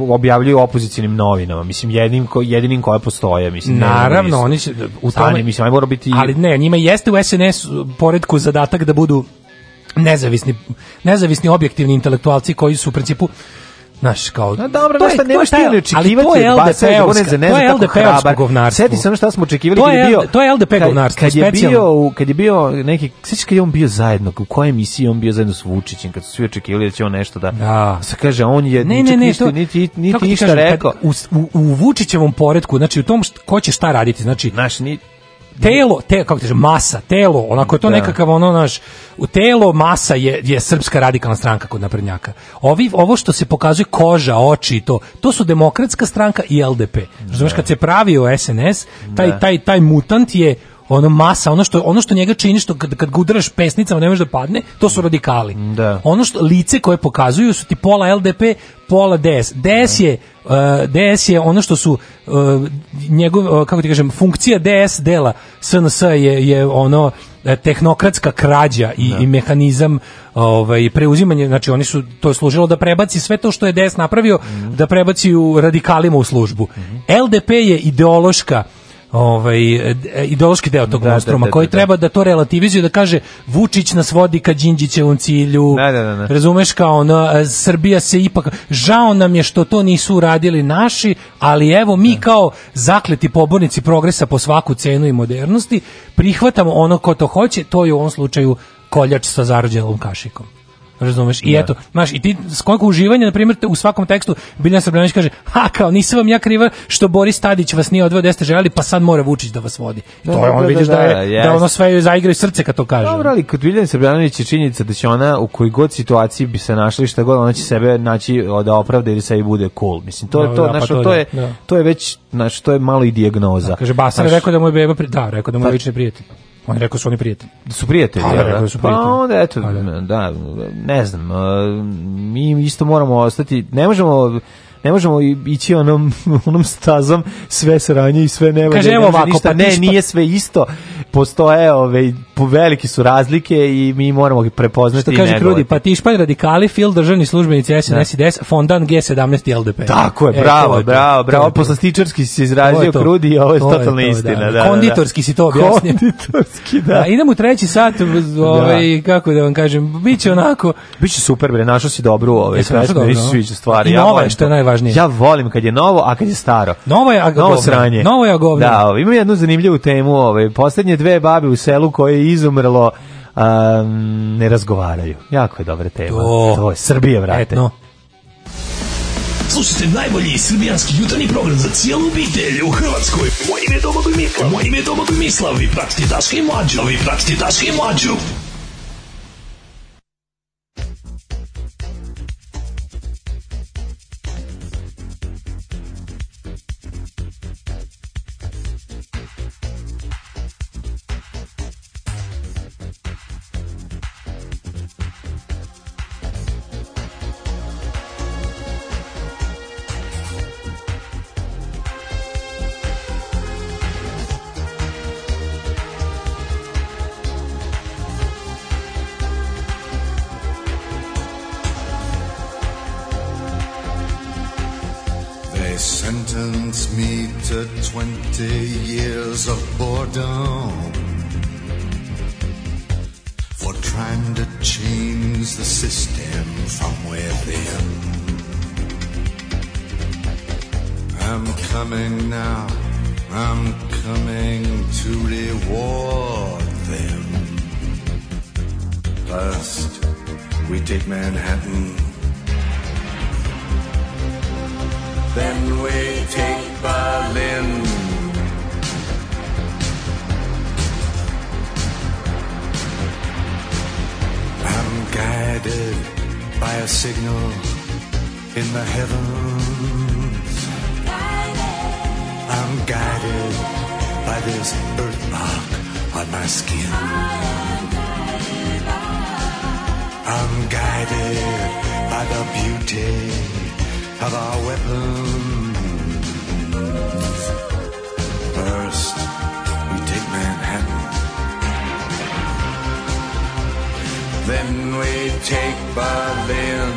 H: objavljuju opozicijnim novinama, mislim, jedinim, ko, jedinim koje postoje. Mislim, Znači, ne,
G: Naravno,
H: mislim.
G: oni će u
H: Stani,
G: tome-
H: mislim, aj mora biti...
G: uh, Ali ne, njima jeste u SNS poredku zadatak da budu nezavisni, nezavisni objektivni intelektualci koji su u principu Znaš, kao...
H: No Pa dobro,
G: to je-
H: nešto
G: to je
H: nemaš ti
G: taj-
H: ni očekivati
G: Ali to je
H: od Basa da bude
G: LDP-ovska,
H: za ne
G: to
H: znam
G: je
H: kako
G: LDP-ovsko
H: hrabar.
G: govnarstvo.
H: Seti se ono šta smo očekivali
G: To
H: kad je
G: je
H: bio...
G: L- to je LDP
H: kad-
G: govnarstvo,
H: Kad je
G: specijalno.
H: bio, u- kad je bio neki... Sjećaš kad je on bio zajedno, u kojoj emisiji je on bio zajedno s Vučićem, kad su svi očekivali da će on nešto da...
G: Da.
H: Se kaže, on je...
G: Ne,
H: ničeg
G: ne, ne,
H: ništa-
G: to,
H: Niti,
G: kako
H: niti
G: ti
H: ništa
G: kažem, kad
H: rekao.
G: U, s- u, u Vučićevom poredku, znači u tom št, ko će šta raditi, znači...
H: Znaš, ni,
G: telo, te, kako ti kažem, masa, telo, onako je to
H: Da.
G: nekakav ono naš, u telo masa je, je srpska radikalna stranka kod naprednjaka. Ovi, ovo što se pokazuje koža, oči i to, to su demokratska stranka i LDP. Razumeš, kad se pravio SNS,
H: Da.
G: taj, taj, taj mutant je ono masa, ono što, ono što njega čini, što kad, kad ga udaraš pesnicama ne možeš da padne, to su radikali.
H: Da.
G: Ono što lice koje pokazuju su ti pola LDP, pola DS. DS je uh, DS je ono što su uh, njegov uh, kako ti kažem funkcija DS dela SNS je je ono eh, tehnokratska krađa i, i mehanizam ovaj preuzimanje znači oni su to je služilo da prebaci sve to što je DS napravio
H: Mhm.
G: da prebaci u radikalima u službu LDP je ideološka ovaj eh, ideološki deo tog
H: Da, da,
G: monstruma
H: da,
G: koji
H: da, da.
G: treba da to relativizuje da kaže Vučić nas vodi ka Đinđićevom cilju
H: Da, da, da, da.
G: razumeš kao ono, e, Srbija se ipak, žao nam je što to nisu uradili naši, ali evo mi kao zakleti pobornici progresa po svaku cenu i modernosti, prihvatamo ono ko to hoće, to je u ovom slučaju koljač sa zarođenom kašikom. Razumeš? I eto, znaš, i ti s koliko uživanja, na primjer, te- u svakom tekstu Biljana Srbljanić kaže, ha, kao, nisam vam ja kriva što Boris Tadić vas nije odveo gde ste željeli, pa sad mora Vučić da vas vodi.
H: Da,
G: to je,
H: da,
G: on
H: da,
G: vidiš
H: da,
G: da,
H: da,
G: je,
H: jeste.
G: da ono sve zaigraju srce kad to kaže.
H: Dobro, ali kod Biljana Srbljanović je činjenica da će ona u kojoj god situaciji bi se našla i šta god, ona će sebe naći o, da opravda ili sebi bude cool. Mislim, to, je
G: Da,
H: to,
G: da, pa
H: znaš, ono,
G: to
H: to,
G: da,
H: je,
G: da.
H: to je već, znaš, to je malo i dijagnoza.
G: Kaže Basar je
H: Znaš,
G: rekao da mu je beba pri... da, rekao da mu je
H: Pa-
G: lični prijatelj. On je rekao su oni prijatelji.
H: da su prijatelji,
G: Pa,
H: jel
G: rekao
H: da?
G: da su
H: pa
G: prijatelji.
H: onda, eto, da, ne znam, e, mi isto moramo ostati, ne možemo ne možemo i- ići onom, onom stazom sve sranje i sve nevolje.
G: Kaže,
H: ne
G: evo
H: može
G: ovako,
H: ništa.
G: pa ti
H: ne,
G: spa-
H: nije sve isto. Postoje, ove, po velike su razlike i mi moramo ih prepoznati
G: Što
H: i
G: kaže
H: negovati.
G: Krudi, pa ti španj radikali, fil državni službenici SNS i DS, fondan G17 i LDP.
H: Tako je,
G: E,
H: bravo,
G: to je to.
H: bravo,
G: To
H: bravo.
G: je to.
H: Poslastičarski si se
G: To
H: izrazio
G: je to.
H: krudi i ovo je
G: To je
H: totalna
G: to,
H: istina. Da,
G: da.
H: da, da.
G: Konditorski si to objasnio.
H: Konditorski, da.
G: Da, idemo u treći sat, ovaj, kako da vam kažem, bit će onako,
H: Biće super, bre, našao si dobru ove
G: Jesam našao
H: pesme,
G: dobru,
H: mi se
G: no.
H: sviđa stvari.
G: I novo je,
H: volim
G: što je
H: to.
G: najvažnije.
H: Ja volim kad je novo, a kad je staro.
G: novo je
H: Novo
G: agovno.
H: sranje.
G: Novo je agovno.
H: Da, ovo, imam jednu zanimljivu temu. Ovaj. Poslednje dve babe u selu koje je izumrlo um, ne razgovaraju. Jako je dobra tema.
G: To.
H: je Srbije, vrate.
G: Etno.
P: Slušajte najbolji srbijanski jutarnji program za cijelu obitelj u Hrvatskoj. Moje ime je Domagoj Mislav. Moje ime je Domagoj Mislav. Vi pratite Daška i Mlađu. Vi pratite Daška i Mlađu.
T: They sentenced me to 20 years of boredom for trying to change the system from within. I'm coming now, I'm coming to reward them. First, we take Manhattan. Then we take Berlin. I'm guided by a signal in the heavens. I'm guided by this birthmark on my skin. I'm guided by the beauty of our weapons. First, we take Manhattan. Then we take Berlin.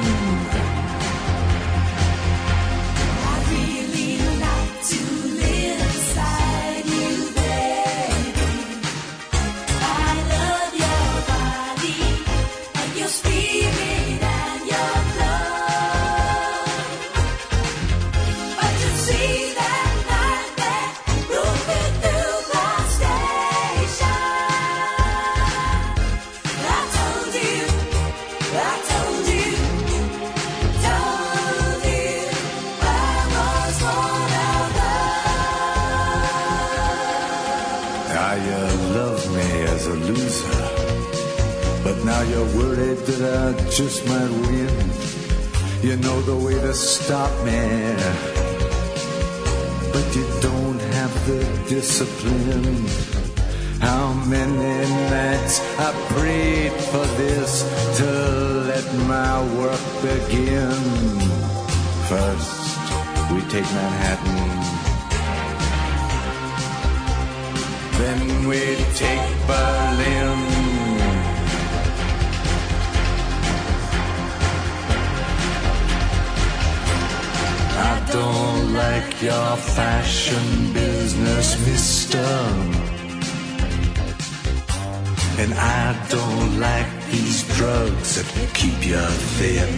U: I love your body and
T: a loser. But now you're worried that I just might win. You know the way to stop me. But you don't have the discipline. How many nights I prayed for this to let my work begin. First, we take Manhattan. Then we take Berlin. I don't like your fashion business, mister. And I don't like these drugs that keep you thin.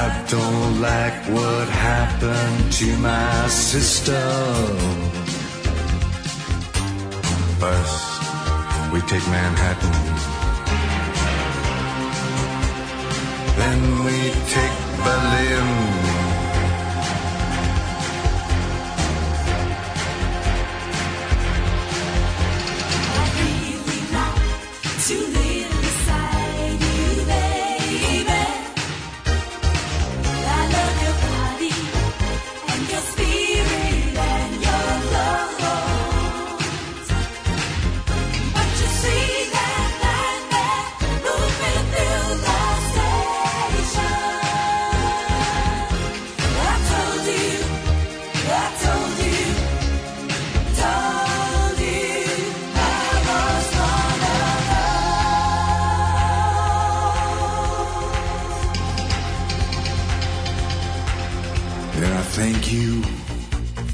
T: I don't like what happened to my sister. First, we take Manhattan. Then we take Berlin.
I: To live beside you, baby. I love your body and your spirit and your clothes. But you see that light that moving through the station. I told you, I told you, told you, I was one of
T: Then I thank you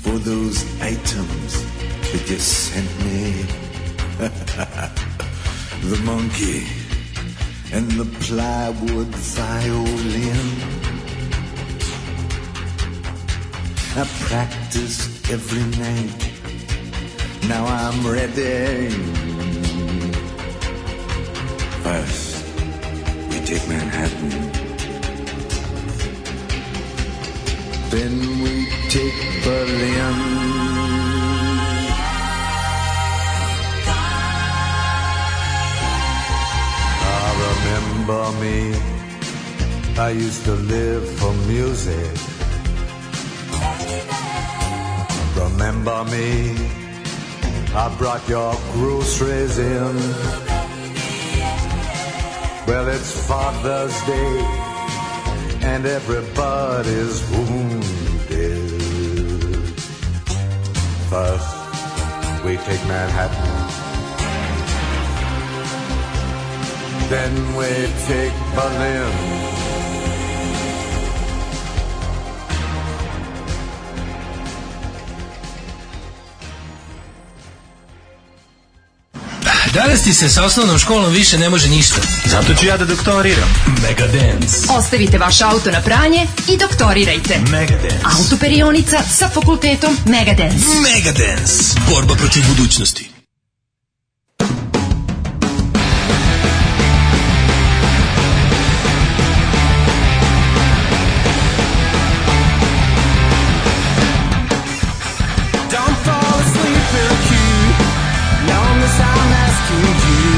T: for those items that you sent me. the monkey and the plywood violin. I practiced every night. Now I'm ready. First, we take Manhattan. Then we take Berlin. Ah, remember me. I used to live for music. Remember me. I brought your groceries in. Well, it's Father's Day, and everybody's wounded. First, we take Manhattan. Then we take Berlin.
G: Danas ti se sa osnovnom školom više ne može ništa. Zato ću ja da doktoriram. Mega Dance.
K: Ostavite vaš auto na pranje i doktorirajte.
G: Megadance.
K: Autoperionica sa fakultetom Megadance.
V: Mega Dance. Borba protiv budućnosti.
I: Don't fall asleep real cute. Long as I'm asking you.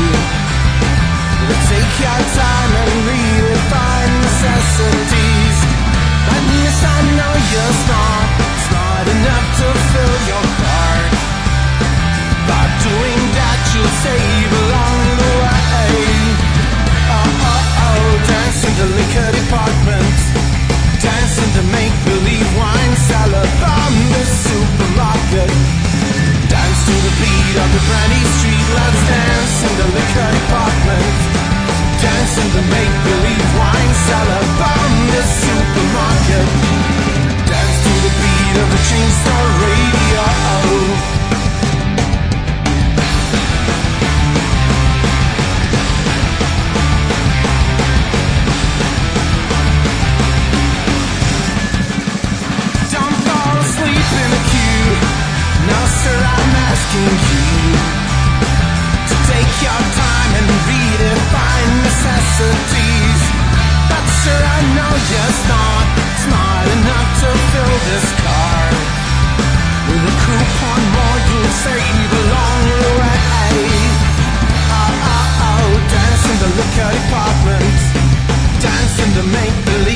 I: But take your time and really find necessities. And yes, I know you're smart. Smart enough to fill your part. By doing that, you'll save along the way. Oh, oh, oh, dance in the liquor department. Dance in the make-believe wine cellar from the supermarket. Dance to the beat of the brandy street. Let's dance in the liquor department. Dance in the make-believe wine cellar from the supermarket. Dance to the beat of the chain store radio. Don't fall asleep in the queue. No, sir, I'm asking you to take your time and redefine necessities. But sir, I know you're smart, smart enough to fill this car.
T: Oh,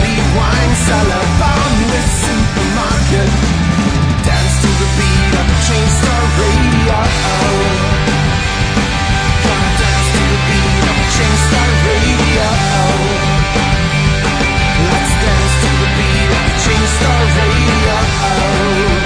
D: cellar bound with supermarket. Dance to the beat of the train star radio. Come dance to the beat of the train star radio. Let's dance to the beat of the train star radio.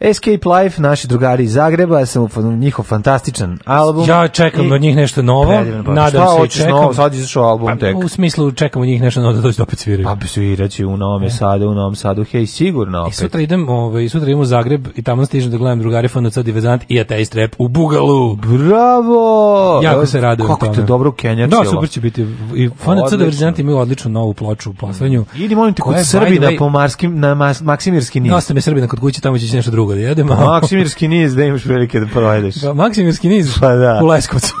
H: Escape Life, naši drugari iz Zagreba, ja sam u fan- njihov fantastičan album.
G: Ja čekam
H: I-
G: od njih nešto novo.
H: Predivno, pa.
G: Nadam
H: Šta
G: se i
H: hoćeš
G: čekam.
H: novo, sad je izašao album
G: Pa,
H: tek.
G: U smislu čekam od njih nešto novo da dođe da opet sviraju.
H: Pa sviraće u Novom Sadu, u Novom Sadu, hej, sigurno
G: I
H: opet.
G: sutra idem, ovaj, sutra idem u Zagreb i tamo stižem da gledam drugare FNC Diverzant i Ateist Rap u Bugalu.
H: Bravo!
G: Jako se radujem
H: Kako
G: tome.
H: te dobro kenjačilo.
G: Da, super će biti. I FNC
H: Odlično. Mm.
G: Diverzant imaju odličnu novu ploču u poslednju.
H: Idi, molim te,
G: koja je,
H: kod
G: by
H: Srbina
G: the way,
H: po Marskim, na Mas, Maksimirski niz.
G: Dosta mi je Srbina kod kuće, tamo će ići nešto drugo da jedem. a-
H: Maksimirski niz, da imaš prilike da provedeš.
G: Pa, Maksimirski niz
H: Pa da.
G: u Leskovcu.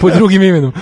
G: po drugim imenom.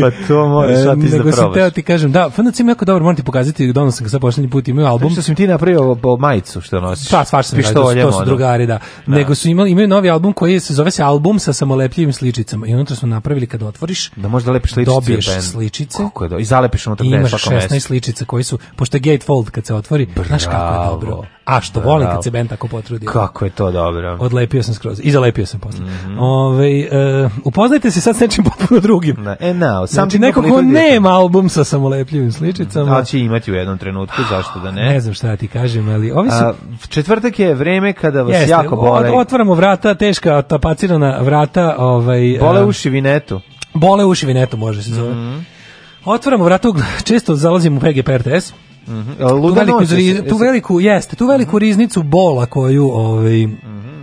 H: pa to moraš sad ti da
G: E, nego sam teo
H: probaš.
G: ti kažem, da, FNC im jako dobar, moram ti pokazati, donao sam ga sad poslednji put, imaju album.
H: Što sam ti napravio po majicu što ono? nosiš?
G: Pa, svašta sam radio, to su- to su drugari, da. Nego su imali, imaju novi album koji se zove se album sa samolepljivim sličicama i unutra su napravili kad otvoriš,
H: Da možda lepiš sličice.
G: dobiješ
H: bend.
G: sličice
H: Kako je do... I zalepiš unutra
G: i
H: gde je
G: imaš
H: svako
G: 16
H: mesto.
G: sličica koji su, pošto je gatefold kad se otvori, znaš kako je dobro. A što volim
H: Bravo.
G: kad se band tako potrudi.
H: Kako Mhm. je to dobro.
G: Odlepio sam skroz. I zalepio sam posle. Ovaj, e, upoznajte se sad s nečim potpuno drugim.
H: Na, e, now,
G: Znači,
H: something
G: neko ko
H: completely different.
G: nema album sa samolepljivim sličicama,
H: Ali će imati u jednom trenutku, zašto da ne?
G: ne znam šta da ti kažem, ali ovi su
H: A, četvrtak je vreme kada vas
G: Jeste,
H: jako bole.
G: ot- Otvaramo vrata, teška, tapacirana vrata. Ovaj,
H: Bole
G: eh,
H: uši Mhm. vinetu.
G: Bole uši, vineto može se zove. Otvaramo vrata, ugl- često zalazim u PGP RTS.
H: Mhm.
G: Tu
H: Luda
G: veliku,
H: noć Mhm. je-
G: zri- tu veliku, jeste, tu veliku riznicu bola koju ovaj,
H: Mhm,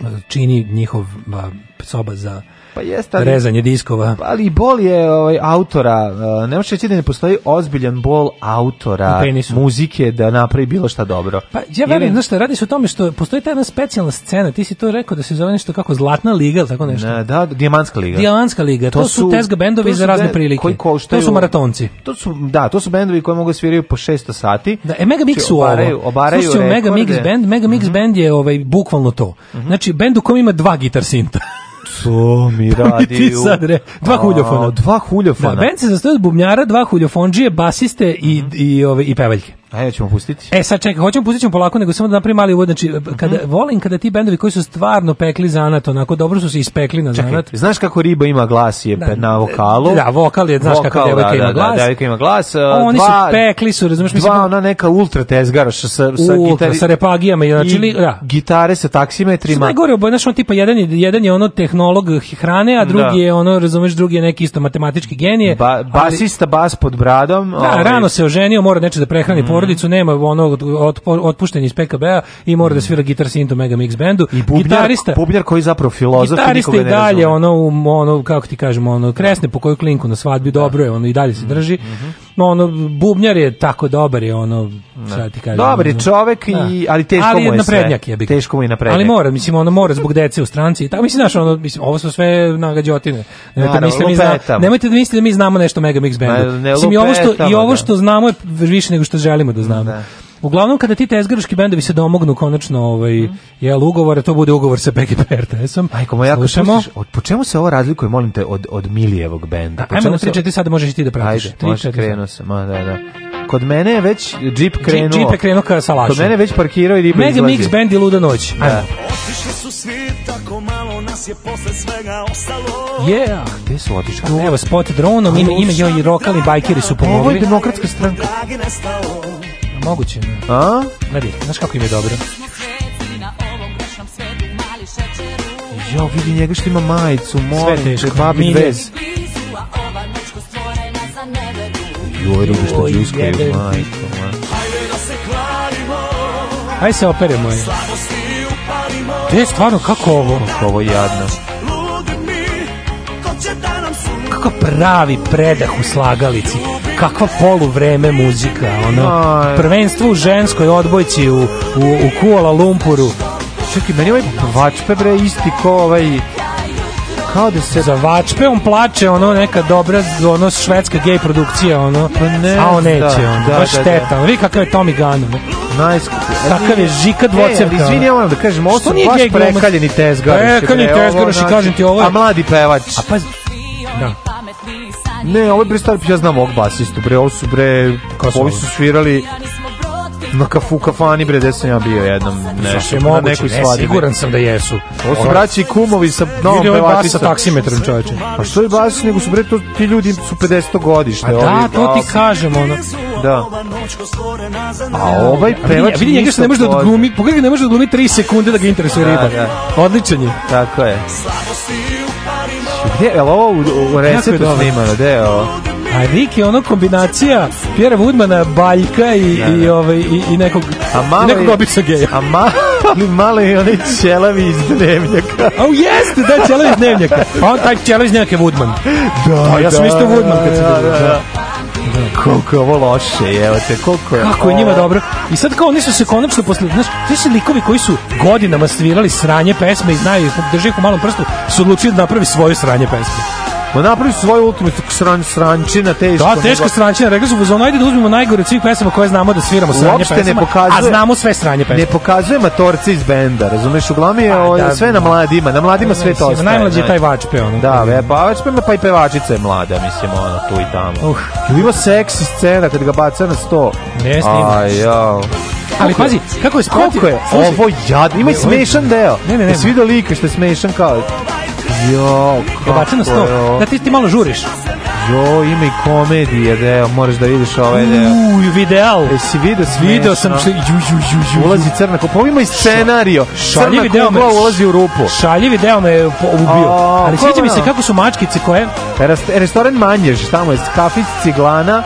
G: e, čini njihov ba, soba za
H: Pa jeste, ali-
G: rezanje diskova.
H: Ali i bol je ovaj, autora, uh, ne možeš reći da ne postoji ozbiljan bol autora
G: U penisu.
H: muzike da napravi bilo šta dobro.
G: Pa ja verujem, znaš šta, radi se o tome što postoji ta jedna specijalna scena, ti si to rekao da se zove nešto kako Zlatna liga ili tako nešto.
H: Ne, da, Dijamantska liga.
G: Dijamantska liga, to, su, tezga bendovi
H: to su
G: za razne
H: ben-
G: prilike.
H: koji koštaju-
G: to su maratonci.
H: To su, da, to su bendovi koji mogu da sviraju po 600 sati.
G: Da, e, Megamix
H: Znači,
G: su
H: obaraju,
G: ovo.
H: obaraju
G: Slušajte,
H: rekorde. Mhm.
G: Megamix band, Megamix band je ovaj, bukvalno to. Znači, band u kom ima dva gitar sinta.
H: To mi radi.
G: ti
H: u-
G: sad re, dva
H: A,
G: huljofona.
H: Dva
G: Da,
H: huljofona.
G: band se sastoji od bubnjara, dva huljofonđije, basiste i,
H: Mhm.
G: i, ove, i pevaljke.
H: Ajde, ćemo pustiti.
G: E sad čekaj, hoćemo pustit ćemo polako, nego samo da napravim mali uvod, znači
H: Mhm.
G: kada volim kada ti bendovi koji su stvarno pekli zanat, onako dobro su se ispekli na
H: Čekaj,
G: zanat.
H: znaš kako riba ima glas je pe- na vokalu?
G: Da, vokal je, znaš kako devojka
H: da,
G: ima
H: da,
G: glas.
H: Da, devojka ima glas. uh,
G: Oni su
H: dva,
G: pekli su, razumeš, mislim,
H: Dva, ona neka ultra tezgara sa, sa, sa,
G: Ultra,
H: gitari-
G: sa repagijama, i znači,
H: i
G: li- da.
H: Gitare sa
G: Što
H: taksimetrima.
G: najgore, oboje, znaš, on tipa, jedan je, jedan je ono tehnolog hrane, a drugi
H: Da.
G: je ono, razumeš, drugi je neki isto matematički genije.
H: Ba,
G: ali-
H: basista, bas pod bradom.
G: Da,
H: ovaj, Mhm.
G: rano se oženio, mora neče da prehrani porodicu, nema ono od- otpo- otpušten iz PKB-a i mora da svira gitar synth u Mega Mix bendu.
H: Mhm. I bubnjar, bubnjar koji je zapravo filozof i
G: Gitarista
H: nikoga
G: i
H: ne
G: dalje
H: razume.
G: ono u- ono kako ti kažemo ono kresne po koju klinku na svadbi dobro je ono i dalje se
H: Mhm,
G: drži. No ono bubnjar je tako dobar je ono šta ti kažem.
H: Dobar je
G: ono.
H: čovek i- ali teško
G: ali
H: mu je sve.
G: naprednjak je bi. ga.
H: Teško mu je naprednjak.
G: Ali mora, mislim ono mora zbog dece u stranci i tako mislim znaš ono mislim ovo su sve nagađotine. Nemojte da
H: Naravno,
G: mislite mi zna-
H: lupetamo.
G: nemojte da mislite da mi znamo nešto o Mega Mix bendu.
H: Ma, ne
G: Mislim i ovo što i
H: lupetamo,
G: ovo
H: da.
G: što znamo je više nego što želimo da znamo. Uglavnom kada ti tezgaraški bendovi se domognu konačno ovaj jel ugovore to bude ugovor sa PGP RTS-om.
H: Mhm. Majko moja, ako slušaš, od, po čemu se ovo razlikuje, molim te, od, od Milijevog benda? Po
G: Ajmo
H: čemu
G: na
H: se-
G: 3 4 sada možeš i ti da pratiš.
H: Ajde,
G: Tri,
H: može,
G: četiri,
H: krenuo sam, a, da, da. Kod mene je već džip krenuo.
G: džip je krenuo ka salašu.
H: Kod mene je već parkirao i riba
G: Mega
H: izlazi.
G: Mix Band i Luda noć.
H: Da.
G: Ajmo.
F: Otišli su svi, tako malo nas je posle svega ostalo.
G: Yeah.
H: Gde su otišli?
G: Evo spot dronom, ima ima joj i rokali bajkeri su pomogli.
H: Ovo je demokratska stranka.
F: Dragi nestalo.
G: Moguće. ne.
H: A?
G: Gledaj, znaš kako im je dobro.
H: Jo, vidi njega što ima majicu, molim te,
G: teško.
H: babi
G: Milje.
H: bez. Joj, riba što
G: Joj,
H: džuskaju,
G: jebe.
H: majko. moja.
F: Hajde da se kvarimo,
G: Aj se operemo. je.
F: slabosti upalimo.
G: Te stvarno kako ovo?
H: Kako ovo je jadno.
F: Ludi mi, ko će da nam su...
G: Kako pravi predah u slagalici. Kakva poluvreme muzika, ono.
H: Aj.
G: Prvenstvo u ženskoj odbojci u, u, u Kuala Lumpuru.
H: Čekaj, meni ovaj vačpe bre isti ko ovaj kao da se
G: za vačpeom plače ono neka dobra ono švedska gej produkcija ono a on neće
H: da,
G: ono
H: Pa da,
G: baš
H: da, da.
G: šteta ono. vidi kakav je Tommy Gunn ono.
H: najskuplji
G: Takav je Žika dvocevka.
H: E, ali izvini, ja moram da kažem, ovo
G: Što
H: su
G: nije
H: baš
G: gej glumac?
H: prekaljeni tezgaraši.
G: Prekaljeni
H: bre, ovo,
G: tezgaraši,
H: znači,
G: kažem ti, ovo je-
H: A mladi pevač. A
G: pa... Da.
H: Ne, ovo je bre star, ja znam ovog basistu, bre, ovo su bre,
G: Ko su
H: ovi
G: ovi?
H: su svirali na kafu kafani, bre, gde sam ja bio jednom, nešto,
G: Sasvim
H: na
G: Znači, moguće,
H: nekoj
G: ne,
H: svadbi.
G: siguran sam da jesu.
H: Ovo su
G: Ono-
H: braći i kumovi sa novom
G: Vidi ovaj bas
H: pevačicom.
G: sa taksimetrom, čoveče.
H: Pa što je bas, nego su bre, to, ti ljudi su 50 godište.
G: A Pa da, to ti kažem, ono.
H: Da. A ovaj
G: A
H: pevač...
G: vidi, vidi njega što ne može da odglumi, pogledaj ga ne može da odglumi 3 sekunde da ga interesuje
H: Da,
G: riba.
H: da.
G: Odličan je.
H: Tako je. Gde, je li ovo u, u resetu
G: dobro.
H: snimano, gde je ovo?
G: A Rik je ono kombinacija Pjera Woodmana, Baljka i,
H: Da,
G: i,
H: da.
G: ovaj, i, i nekog,
H: A malo
G: nekog
H: je-
G: običnog geja.
H: A ma, ali malo je onaj ćelavi iz dnevnjaka.
G: A u jeste, da, ćela iz dnevnjaka. Pa on taj ćela iz dnevnjaka je Woodman. Pa
H: Da,
G: ja sam
H: da,
G: isto Woodman kad sam
H: da,
G: bio,
H: da,
G: da.
H: da. Koliko je ovo loše, evo te, koliko je...
G: Kako je njima
H: ovo-
G: dobro. I sad kao oni su se konačno posle, znaš, ti su likovi koji su godinama svirali sranje pesme i znaju, ih, drže ih u malom prstu, su odlučili da napravi svoju sranje pesme.
H: Ma napravi svoju ultimate sran, srančina, teško.
G: Da, teška
H: nego-
G: srančina, rekli su fazonu, ajde da uzmemo najgore od svih pesama koje znamo da sviramo sranje
H: Uopšte ne
G: pesama,
H: pokazuje-
G: a znamo sve sranje pesme.
H: Ne pokazuje matorce iz benda, razumeš? Uglavnom je ovo-
G: Pa, da,
H: sve na mladima, na mladima sve to
G: Mislim,
H: ostaje.
G: najmlađi je taj
H: znači.
G: vačpe, ono.
H: Da, ve, pa već pa, pa i pevačica je mlada, mislim, ono, tu i tamo. Uh. Ima seksi scena kad ga baca na sto.
G: Ne, snima.
H: Aj, jao.
G: Ali pazi, kako je spratio-
H: Koliko je
G: Slušaj.
H: ovo jadno? Ima i
G: Ne, ovo je-
H: smešan deo.
G: Ne, ne, ne.
H: Jesi vidio lika što je smešan kao... Jo,
G: Ga baci na
H: kako je
G: sto.
H: ovo?
G: Da ti ti malo žuriš.
H: Jo, ima i komedije deo, moraš da vidiš ovaj deo.
G: Uj, videal.
H: Jesi vidio smešno?
G: Video sam što ju ju ju ju.
H: Ulazi crna kupa, ovo ima i scenario. Crna
G: Šaljivi deo me
H: kugla ulazi u rupu.
G: Šaljivi deo me je po- ubio.
H: A, ono?
G: Ali sviđa mi se
H: kola.
G: kako su mačkice koje
H: Rast- restoran Manjež, tamo je kafić Ciglana,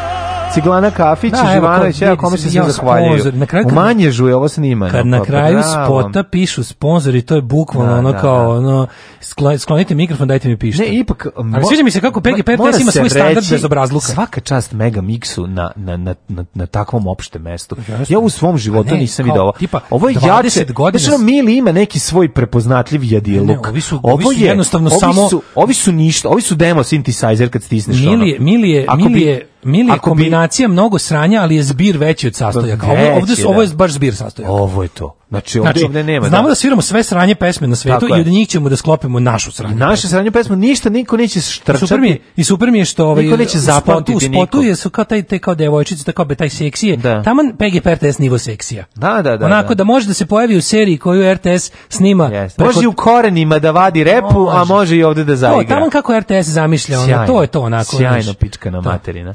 H: Ciglana Kafić
G: Da,
H: i
G: evo,
H: Živanović,
G: kad
H: evo
G: vidi
H: kome se
G: se,
H: sve
G: jao,
H: zahvaljuju.
G: sponzor, na kraju
H: U
G: kad-
H: Manježu je ovo snimano.
G: kad na
H: pa
G: kraju
H: bravo.
G: spota pišu sponzori, to je bukvalno
H: Da,
G: ono
H: da,
G: kao ono skla- sklonite mikrofon, dajte mi pište.
H: Ne, ipak...
G: Ali sviđa mi se kako PG
H: mora
G: 15 ima
H: se
G: svoj standard
H: reći,
G: bez obrazluka.
H: Svaka čast mega miksu na, na, na, na, na takvom opštem mestu.
G: Jasno.
H: Ja u svom životu
G: A ne,
H: nisam
G: kao,
H: vidio ovo.
G: tipa,
H: ovo je
G: 20
H: jače.
G: godina
H: Znači, ono, Mili ima neki svoj prepoznatljiv
G: Ne,
H: jediluk.
G: ne, ovi su- ovi su jednostavno
H: ovi
G: samo-
H: Su, ovi su ništa, ovi su demo synthesizer kad stisneš ono.
G: Mili je, Mili je,
H: Ako
G: Mili
H: bi-
G: je, Mili je
H: ako bi-
G: kombinacija mnogo sranja, ali je zbir veći od sastojaka. Ovo, ovde
H: Veći,
G: su, ovo je
H: da.
G: baš zbir sastojaka.
H: Ovo je to. Znači, ovde,
G: Znači,
H: ovde nema.
G: znamo da. sviramo sve sranje pesme na svetu
H: Tako je.
G: i od njih ćemo da sklopimo našu sranje.
H: Naše sranje pesme, ništa niko neće štrčati.
G: Super mi je, i super mi je što ovaj
H: Niko neće
G: u spotu-
H: zapamtiti
G: u spotu
H: niko.
G: je su kao taj te kao devojčice, tako be taj seksi je.
H: Da.
G: Taman PG RTS nivo seksija.
H: Da, da, da.
G: Onako
H: da.
G: da. može da se pojavi u seriji koju RTS snima.
H: Jeste. Može i u korenima da vadi repu, a može i ovde da
G: To,
H: zaigra.
G: taman kako RTS zamišlja, ono, to je to onako.
H: Sjajno
G: znaš.
H: pička na materina.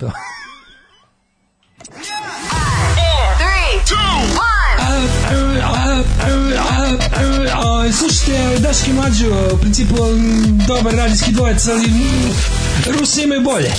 R: A, Slušajte, Daški Mađo, u principu m, dobar radijski dvojec, ali mm, Rusi imaju bolje.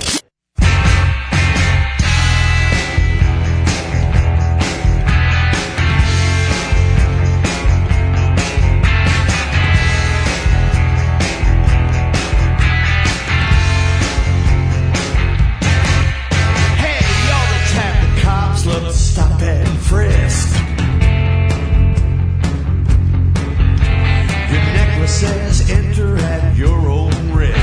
I: Hey, all the time the cops love stop and frisk. Your necklace says enter at your own risk.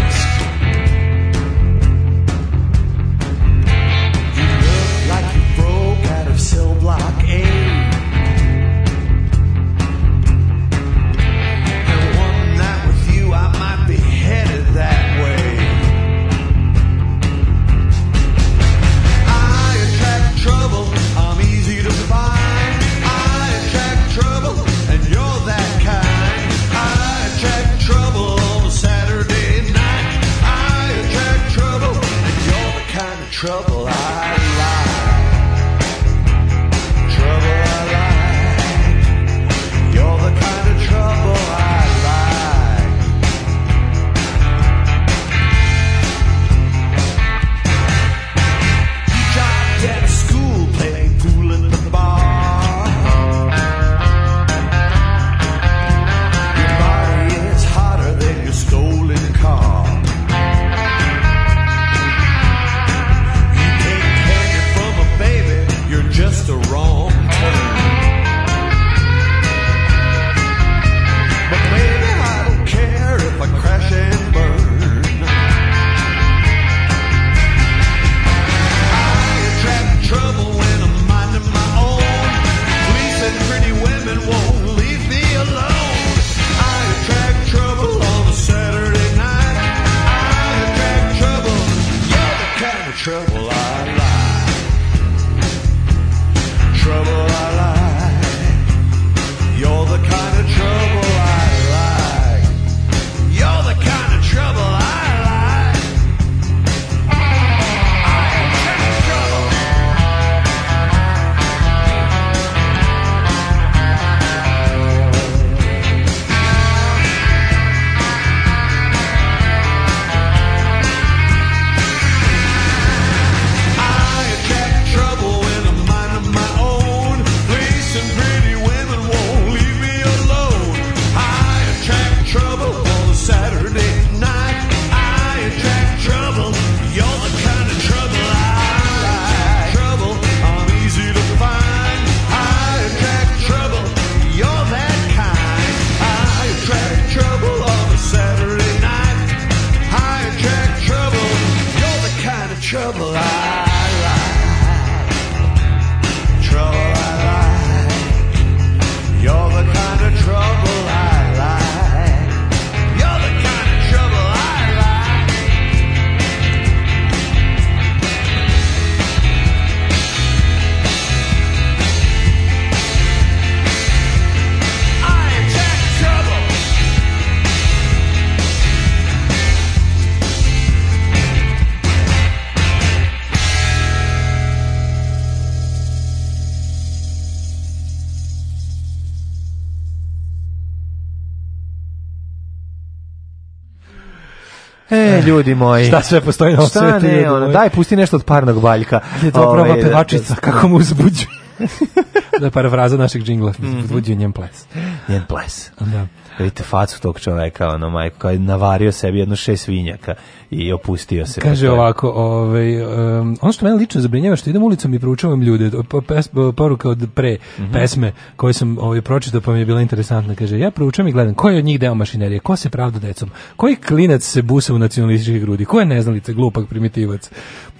H: E, ljudi moji.
G: Šta sve postoji na ovom
H: Šta
G: svetu,
H: ne,
G: ljudi
H: ono,
G: moji.
H: daj, pusti nešto od parnog valjka.
G: Je to
H: Ove,
G: prava
H: da-
G: pevačica,
H: da-
G: kako mu uzbuđuje. da je parafraza našeg džingla, uzbuđuje njen ples.
H: Njen ples. Da. Vidite facu tog čoveka, ono, majko, koji je navario sebi jedno šest svinjaka i opustio se.
G: Kaže
H: Pa to je-
G: ovako, ovaj, um, ono što mene lično zabrinjava je što idem ulicom i proučavam ljude, To je po- pes- poruka od pre
H: Mhm.
G: pesme koje sam ovaj, pročitao pa mi je bila interesantna, kaže, ja proučavam i gledam koji je od njih deo mašinerije, ko se pravda decom, koji klinac se busa u nacionalističkih grudi, ko je neznalica, glupak, primitivac,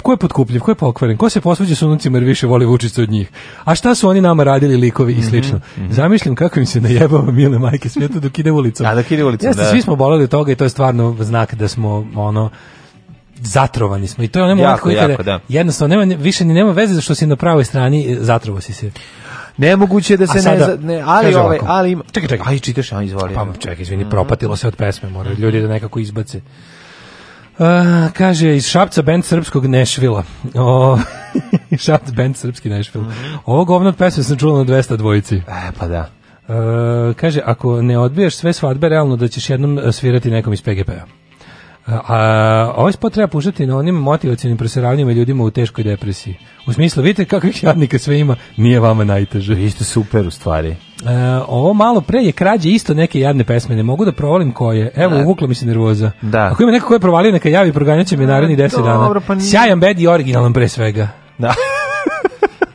G: ko je potkupljiv, ko je pokvaren, ko se posvađa s unucima jer više voli Vučića od njih, a šta su oni nama radili likovi
H: Mhm,
G: i slično. Zamišljam kako im se najebava mile majke svijetu dok ide ulicom. A
H: dok ide ulicom,
G: Jeste,
H: da.
G: svi smo boleli od toga i to je stvarno znak da smo ono zatrovani smo i to je onaj moment
H: Jako,
G: koji
H: jako,
G: kada
H: da.
G: jednostavno nema, više ni nema veze što si na pravoj strani e, zatrovo si se
H: Nemoguće je da se
G: A sada,
H: ne, za- ne ali
G: kaže
H: ovaj,
G: ovako.
H: ali ima,
G: Čekaj, čekaj.
H: Aj, čitaš, aj, izvoli.
G: pa čekaj izvini
H: mm.
G: propatilo se od pesme moraju ljudi da nekako izbace A, kaže iz Šapca band srpskog Nešvila o, Šapt band srpski Nešvil
H: Mhm.
G: ovo govno od pesme sam čula na 200 dvojici
H: e pa da
G: E, kaže, ako ne odbiješ sve svadbe, realno da ćeš jednom e, svirati nekom iz PGP-a. A, a, ovaj spot treba puštati na onim motivacijenim preseravanjima ljudima u teškoj depresiji. U smislu, vidite kakvih jadnika sve ima, nije vama najteže. Vi
H: ste super u stvari.
G: ovo malo pre je krađe isto neke jadne pesme, ne mogu da provalim koje. Evo, uvukla mi se nervoza.
H: Da.
G: Ako ima neko ko je provalio, neka javi, proganjat će me narednih 10 dana.
H: dobro, pa nije-
G: Sjajan bed i originalan pre svega.
H: Da.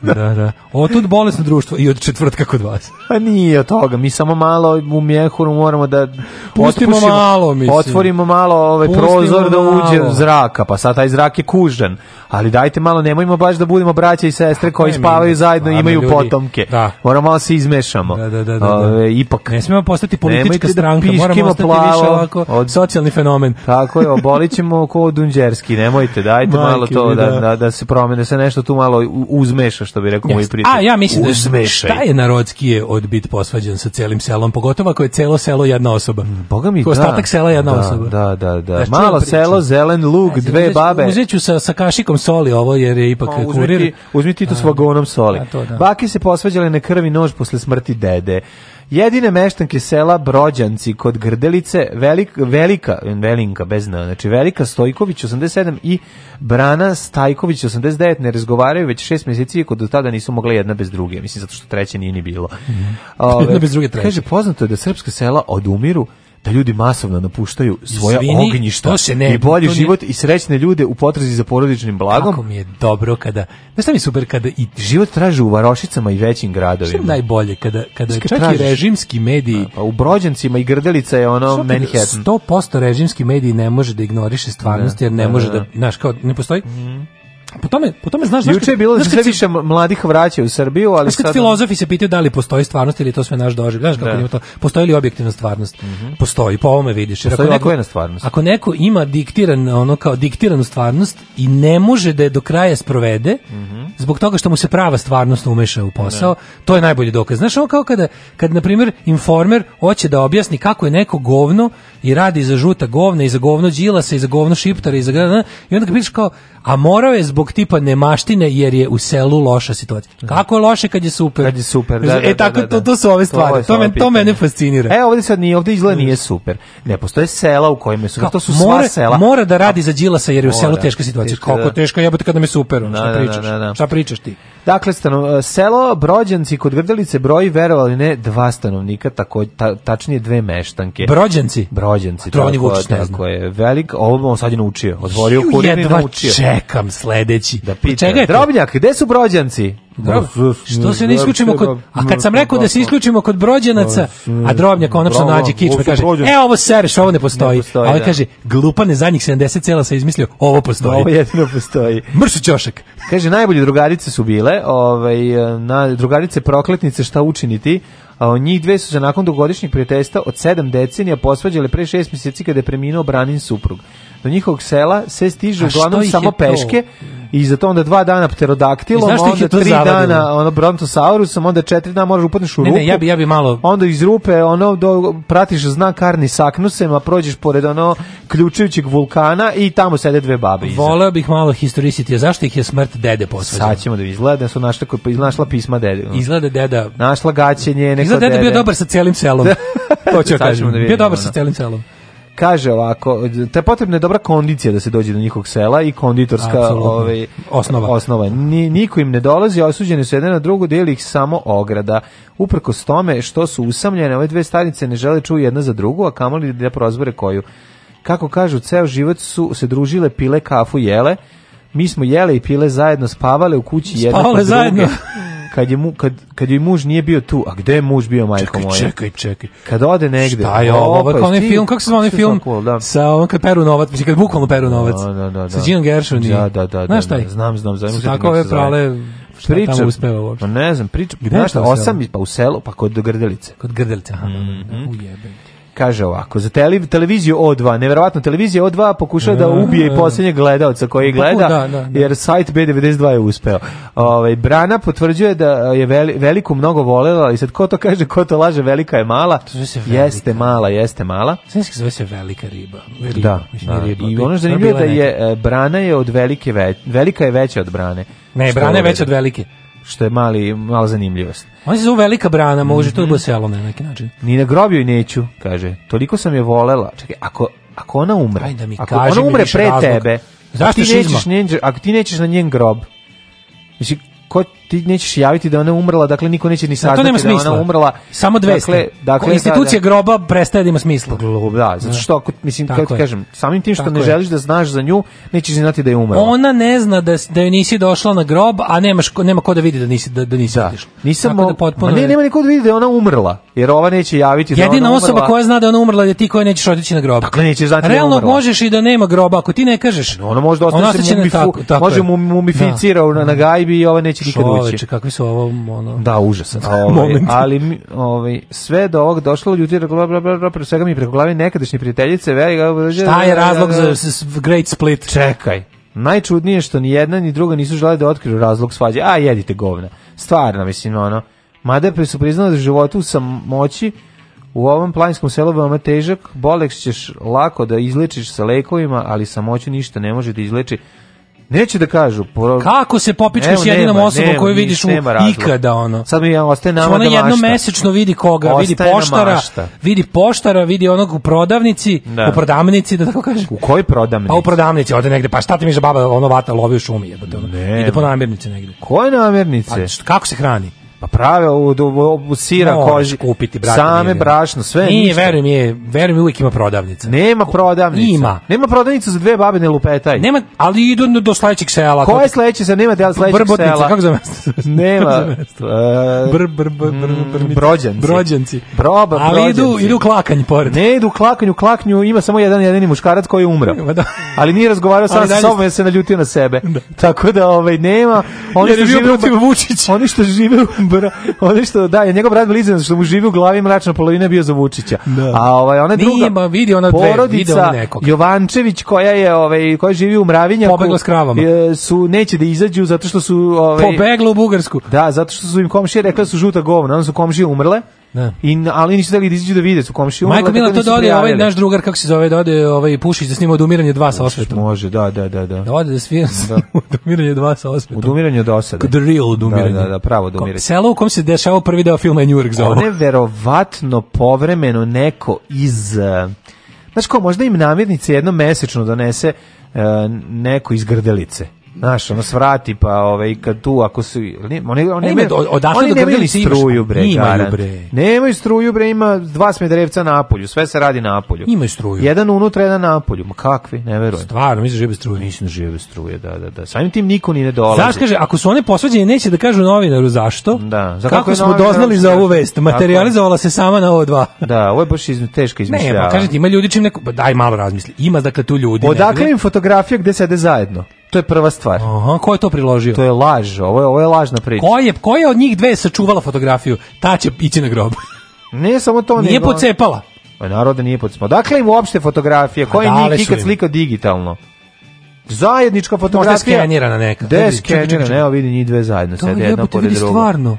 G: da, da. Ovo tu bolesno društvo i od četvrtka kod vas.
H: Pa nije od toga, mi samo malo u mjehuru moramo da
G: Pustimo
H: otpušimo-
G: malo, mislim.
H: Otvorimo malo ovaj
G: Pustimo
H: prozor da uđe
G: malo.
H: zraka, pa sad taj zrak je kužan. Ali dajte malo, nemojmo baš da budemo braća i sestre koji
G: Ne, mi-
H: spavaju zajedno i
G: stvarno,
H: imaju
G: ljudi.
H: potomke.
G: Da.
H: Moramo malo se izmešamo. Da,
G: da, da.
H: ipak.
G: Ne smemo postati politička
H: Nemojte da
G: stranka, moramo
H: piškimo
G: ostati
H: plavo
G: više ovako
H: od-
G: socijalni fenomen.
H: Tako je, obolićemo ko Dunđerski, nemojte, dajte
G: Majke
H: malo to
G: mi,
H: da,
G: da.
H: da, da se promene, da se nešto tu malo u- uzmeša, što bi rekao moj
G: Jeste.
H: prijatelj.
G: A ja mislim da
H: Uzmešaj.
G: šta je narodskije od bit posvađan sa celim selom, pogotovo ako je celo selo jedna osoba.
H: Mm, Boga mi,
G: Ko ostatak
H: da.
G: sela jedna
H: Da,
G: osoba.
H: Da, da, da.
G: Znaš, čujem
H: Malo
G: priču.
H: selo, zelen lug,
G: Znači,
H: dve
G: uzet ću-
H: babe.
G: Uzet ću sa, sa kašikom soli ovo jer je ipak
H: Pa, uzmi
G: kurir.
H: ti- Uzmi ti to s vagonom soli.
G: A, to da.
H: Bake se posvađale na krvi nož posle smrti dede. Jedine meštanke sela Brođanci kod Grdelice, velik, velika, velinka, bez zna, znači velika Stojković 87 i Brana Stajković 89 ne razgovaraju već šest mjeseci i kod do tada nisu mogle jedna bez druge, mislim zato što treće nije ni bilo. Ove,
G: Mhm. Jedna bez druge treće.
H: Kaže, poznato je da srpska sela odumiru, da ljudi masovno napuštaju svoja
G: Izvini,
H: ognjišta
G: to se ne-
H: i bolji
G: to nije-
H: život i srećne ljude u potrazi za porodičnim blagom.
G: Kako mi je dobro kada... Znaš šta mi je super kada i
H: Život traže u varošicama i većim
G: Što je
H: gradovima.
G: najbolje kada kada
H: Kad
G: čak
H: tražiš-
G: i režimski mediji
H: Pa u Brođancima i Grdelica je ono
G: Što kad
H: Manhattan.
G: 100% režimski mediji ne može da ignoriše stvarnost
H: Da,
G: jer ne
H: da,
G: može
H: da. Mhm.
G: da, znaš, kao ne postoji. Po tome, po tome znaš, znaš
H: Juče je
G: kad-
H: bilo da
G: znaš
H: se sve
G: kad si-
H: više mladih vraća u Srbiju, ali
G: Znaš kad
H: sad...
G: filozofi se pitaju da li postoji stvarnost ili je to sve naš doživljaj, znaš kako
H: Da. Mhm.
G: njima to, postoji li objektivna stvarnost? Postoji, po ovome vidiš. Jer
H: Postoji odvojena stvarnost.
G: Znači, Ako neko ima diktiran, ono kao diktiranu stvarnost i ne može da je do kraja sprovede,
H: Mhm.
G: zbog toga što mu se prava stvarnost umeša u posao, to je najbolji dokaz. Znaš, ono kao kada, kad, na primjer, informer hoće da objasni kako je neko govno i radi za žuta govna i za govno đilasa i za govno šiptara i za govno- i onda ga pitaš kao, a morao je zbog tipa nemaštine jer je u selu loša situacija. Kako je loše kad je super?
H: Kad je super, da,
G: e,
H: da,
G: tako,
H: da, da.
G: To, to su ove
H: To
G: stvari.
H: je
G: To,
H: samo
G: men, to mene
H: pitanje.
G: fascinira.
H: E, ovdje sad nije, ovdje izgleda nije super. Ne, postoje sela u kojima su, to su
G: mora,
H: sva sela.
G: mora da radi za Đilasa jer je u
H: Mora.
G: selu teška situacija.
H: Teško,
G: Kako
H: da.
G: teško jebote kada me super, ono,
H: Da,
G: šta
H: da, da,
G: pričaš?
H: da, da.
G: Šta pričaš ti?
H: Dakle, stano, selo Brođanci kod Grdelice broji, verovali ne, dva stanovnika, tako, ta, tačnije dve meštanke.
G: Brođanci?
H: Brođanci,
G: To oni
H: tako,
G: Vučić ne zna.
H: tako je. Velik, ovo on sad je naučio. Otvorio
G: Ju,
H: kurir i
G: jedva
H: naučio.
G: čekam sledeći. Da
H: Pita, Drobnjak, gde su Brođanci?
G: Dobro.
H: Ma, s-
G: Što se ne
H: s-
G: isključimo kod A kad sam rekao da se isključimo kod brođanaca, a drobnjak konačno
H: Bravo,
G: nađe kič
H: ovo
G: pa
H: su
G: kaže:
H: Brođanci.
G: "E ovo sereš, ovo ne postoji."
H: postoji,
G: a on
H: da.
G: kaže: "Glupan je zadnjih 70 cela se izmislio, ovo
H: Ovo
G: postoji."
H: jedino postoji.
G: Mršu ćošak.
H: Kaže, najbolje drugarice su bile, ovaj, na, drugarice prokletnice šta učiniti, a od njih dve su se nakon dugogodišnjeg prijateljstva od sedam decenija posvađale pre šest mjeseci kada je preminuo Branin suprug. Do njihovog sela se stiže
G: A što
H: uglavnom
G: ih je
H: samo
G: to?
H: peške i za to onda dva dana pterodaktilom,
G: I zašto ih je
H: onda
G: to
H: tri
G: zavadilo?
H: dana ono, brontosaurusom, onda četiri dana moraš upadneš u
G: Ne,
H: rupu.
G: ne, ja bi ja bi malo
H: Onda iz rupe ono do, pratiš znak Arni saknusem, a prođeš pored ono ključujućeg vulkana i tamo sede dve babe iza.
G: Voleo bih malo historisiti, a zašto ih je smrt dede posvađala?
H: Sad ćemo da vidimo. izgleda da su našla, koji- našla pisma dede. ono.
G: Izgleda deda
H: Našla gaće njene kod
G: Izgleda da je bio
H: dede.
G: dobar sa celim selom. to ću
H: Sad ćemo
G: kažem.
H: da
G: bio
H: vidimo,
G: dobar sa
H: ono.
G: celim selom.
H: Kaže ovako, te potrebna je dobra kondicija da se dođe do njihovog sela i konditorska
G: Apsolutno.
H: ovaj,
G: Osnova.
H: osnova. Ni, niko im ne dolazi, osuđeni su jedan na drugu, deli ih samo ograda. Uprkos tome što su usamljene, ove dve starice ne žele čuju jedna za drugu, a kamoli da prozbore koju. Kako kažu, ceo život su se družile, pile kafu, jele. Mi smo jele i pile zajedno, spavale u kući jedna
G: Spavale
H: kod druge.
G: zajedno.
H: Kad je, mu, kad, kad joj muž nije bio tu, a gde je muž bio, majko
G: Čekaj,
H: moja?
G: čekaj, čekaj.
H: Kad ode negde.
G: Šta je ovo? Ovo je
H: Opa,
G: kao onaj
H: jesi ti-
G: film, kako se zove onaj
H: što
G: film?
H: sam cool, da.
G: Sa ovom kad peru novac, mislim kad bukvalno peru novac.
H: Da, da, da,
G: Sa
H: da.
G: Gene Gershon i...
H: Da, da, da,
G: Znaš
H: da,
G: taj?
H: da, znam, znam, znam,
G: Su
H: znam
G: tako
H: kako
G: ove
H: se zove.
G: prale, šta
H: Priča-
G: tamo uspeva uopšte.
H: Pa ne znam, priča,
G: Gde je
H: znaš šta,
G: to u selu?
H: osam je, pa u selu, pa kod Grdelice.
G: Kod Grdelice, aha,
H: Mhm.
G: ujebe.
H: Kaže ovako, za tele- televiziju O2, neverovatno, televizija O2 pokušava da
G: E,
H: ubije
G: e.
H: i posljednjeg gledalca koji
G: Pa,
H: gleda,
G: da, da, da.
H: jer sajt B92 je uspeo. Ovaj Brana potvrđuje da je veli- veliku mnogo volela i sad ko to kaže, ko to laže, velika je mala. Jeste mala, jeste mala.
G: Znaš kako se zove se velika riba. Riba,
H: Da,
G: mislim,
H: da.
G: riba.
H: I
G: Bi-
H: ono što
G: to
H: zanimljivo
G: bila
H: da
G: neka.
H: je e, Brana je od velike ve- velika je veća od Brane.
G: Ne,
H: Što
G: Brana je
H: ovaj-
G: veća od velike.
H: Što je mali, mala zanimljivost.
G: Ona se zove velika brana, može
H: Mhm.
G: to da bude selo na neki način.
H: Ni na grobju i neću, kaže. Toliko sam je volela. Čekaj, ako, ako ona umre,
G: da mi
H: ako
G: kaži
H: ona
G: mi
H: umre
G: više
H: pre
G: razlog.
H: tebe,
G: Zašto
H: ti
G: šizma?
H: nećeš njen, ako ti nećeš na njen grob, znači, ko ti nećeš javiti da ona je umrla, dakle niko neće ni
G: Da, to
H: saznati
G: nema
H: da je
G: smisla.
H: ona umrla.
G: Samo 200.
H: Dakle, dakle,
G: institucija
H: da,
G: groba prestaje da ima smisla.
H: da, zato što ako, mislim,
G: Tako
H: kako ti
G: je.
H: kažem, samim tim što
G: Tako
H: ne
G: je.
H: želiš da znaš za nju, nećeš ni znati da je umrla.
G: Ona ne zna da s- da joj nisi došla na grob, a nemaš ko- nema ko da vidi da nisi da, da nisi otišla.
H: Nisam
G: Tako da
H: mo-
G: potpuno
H: Ma ne,
G: je-
H: nema niko da vidi da je ona umrla, jer ova neće javiti da je
G: Jedina
H: ona
G: osoba
H: umrla.
G: koja zna da je ona umrla je ti koja nećeš otići na grob.
H: Dakle, nećeš znati da je
G: Realno
H: umrla.
G: možeš i da nema groba ako ti ne kažeš.
H: Ona može da
G: Ona
H: ostane
G: ostaće
H: ono se
G: Ono na
H: mumifu,
G: tako- tako
H: može
G: je.
H: mu mumificira na, na gajbi i ova neće nikad
G: Čoveče,
H: ući.
G: kakvi su ovo ono
H: Da, užasan. A, ovaj,
G: Moment.
H: ali mi- ovaj, sve do ovog došlo ljudi, bla, bla, bla, bla, pre svega mi preko glave nekadašnje prijateljice. Veli,
G: Šta je razlog za s- s- Great Split?
H: Čekaj. Najčudnije je što ni jedna ni druga nisu žele da otkriju razlog svađe. A, jedite govna. Stvarno, mislim, ono. Mada pre su priznali da životu sam moći u ovom planinskom selu veoma težak, boleks ćeš lako da izlečiš sa lekovima, ali samoću ništa ne može da izleči. Neće da kažu. Pro...
G: Kako se popičkaš
H: Evo,
G: jedinom
H: nema,
G: osobom
H: nema,
G: koju
H: niš,
G: vidiš u
H: nema razloga.
G: ikada ono?
H: Sad mi ja ostaje nama da
G: ona jednom
H: mašta.
G: mesečno vidi koga,
H: Ostaje
G: vidi
H: nam
G: poštara,
H: mašta.
G: vidi poštara, vidi onog u prodavnici,
H: Da.
G: u prodavnici, da tako kažem.
H: U kojoj prodamnici?
G: Pa u prodavnici, ode negde, pa šta ti mi za baba ono vata lovi u šumi, jebote, ono.
H: Ne.
G: Ide po namirnici negde.
H: Koje namirnice?
G: Pa št- kako se hrani?
H: Pa prave od, od, od sira,
G: Moraš
H: koži,
G: kupiti, brate,
H: same,
G: nije.
H: brašno, sve
G: Nije,
H: ništa.
G: verujem je, verujem je, uvijek ima prodavnica.
H: Nema prodavnica.
G: Ima.
H: Nema prodavnica za dve babine lupetaj.
G: Nema, ali idu do- do sledećeg sela.
H: Koje
G: kod-
H: sledeće se nema dela sledećeg
G: Brbotnica,
H: sela?
G: kako zove mesto?
H: Nema.
G: Kako zove mesto?
H: e,
G: Br, br, br, br, brmice.
H: brođanci.
G: Brođanci.
H: Proba,
G: Ali idu,
H: brođanci.
G: idu klakanj pored.
H: Ne idu u klakanju, u klaknju ima samo jedan jedini muškarac koji je umro.
G: Ma Pa da.
H: Ali nije razgovarao sam
G: Ali
H: sa
G: dalje
H: sobom
G: ste-
H: jer se naljutio na sebe. Tako da ovaj nema. Oni
G: Jer je
H: što
G: bio
H: žive u-
G: protiv Vučića.
H: Oni što žive u bra, oni što da, je njegov brat Blizan što mu živi u glavi mračna polovina je bio za Vučića. A ovaj ona druga
G: Nije, ma vidi ona dve, vidi ona
H: porodica
G: nekog.
H: Jovančević koja je ovaj koja živi u Mravinjaku.
G: Pobegla s kravama.
H: je- Su neće da izađu zato što su ovaj
G: Pobegla u Bugarsku.
H: da, zato što su im komšije rekle da su žuta govna, onda su komšije umrle.
G: Da.
H: I, ali nisu hteli da izađu da vide, su komšije umrle.
G: Majko
H: tako
G: Mila, to
H: nisu
G: da ode ovaj
H: prijavili.
G: naš drugar, kako se zove, da ode ovaj Pušić da snima odumiranje dva sa osvetom.
H: Može, da, da, da, da.
G: Da ode da svira da. odumiranje dva sa osvetom.
H: Odumiranje od osade.
G: The real odumiranje.
H: Da, da, da, pravo odumiranje.
G: Ko- Selo u kom se dešava prvi deo filma je Njurek za ovo.
H: One verovatno povremeno neko iz... eh, Znaš ko, možda im namirnice jednom mesečno donese eh, neko iz grdelice. Znaš, ono svrati, pa ovaj, kad tu, ako su... Oni, oni, oni,
G: Ime,
H: nemaju-
G: od- odakle
H: oni
G: do
H: nemaju ni
G: Grdelice imaš?
H: struju, bre,
G: Imaju,
H: garant.
G: bre.
H: Nemaju struju, bre, ima dva smederevca na polju, sve se radi na polju.
G: Imaju struju.
H: Jedan unutra, jedan na polju. Ma kakvi, ne verujem.
G: Stvarno, mislim žive struje.
H: Mislim da žive bez struje, da, da, da. Samim tim niko ni ne dolazi.
G: Znaš, kaže, ako su one posvađene, neće da kažu novinaru zašto.
H: Da, za
G: Za
H: kako
G: kako
H: je
G: smo
H: novinaru
G: doznali za ovu
H: zašto?
G: vest?
H: Tako je.
G: Materializovala se sama na ovo dva.
H: Da, ovo je baš iz, teška
G: Ne,
H: izmišljava.
G: pa kažete, ima ljudi čim neko... pa Daj malo razmisli. Ima, dakle, tu ljudi.
H: Odakle
G: negde.
H: im fotografija gde sede zajedno? To je prva stvar.
G: Aha, ko je to priložio?
H: To je laž, ovo je, ovo je lažna priča.
G: Ko je, ko je od njih dve sačuvala fotografiju? Ta će ići na grob.
H: Ne samo to,
G: Nije
H: nego...
G: pocepala.
H: Pa naravno da nije pocepala. Odakle im uopšte fotografije? Ko je njih
G: dale su
H: ikad
G: im.
H: slikao digitalno? Zajednička fotografija.
G: Možda je skenirana neka.
H: Gde
G: Vidi,
H: je
G: čekaj, čekaj,
H: skenirana?
G: čekaj.
H: Evo vidi njih dve zajedno,
G: To
H: sede
G: je
H: jedna
G: jebote
H: pored Znači,
G: vidi
H: druga.
G: stvarno.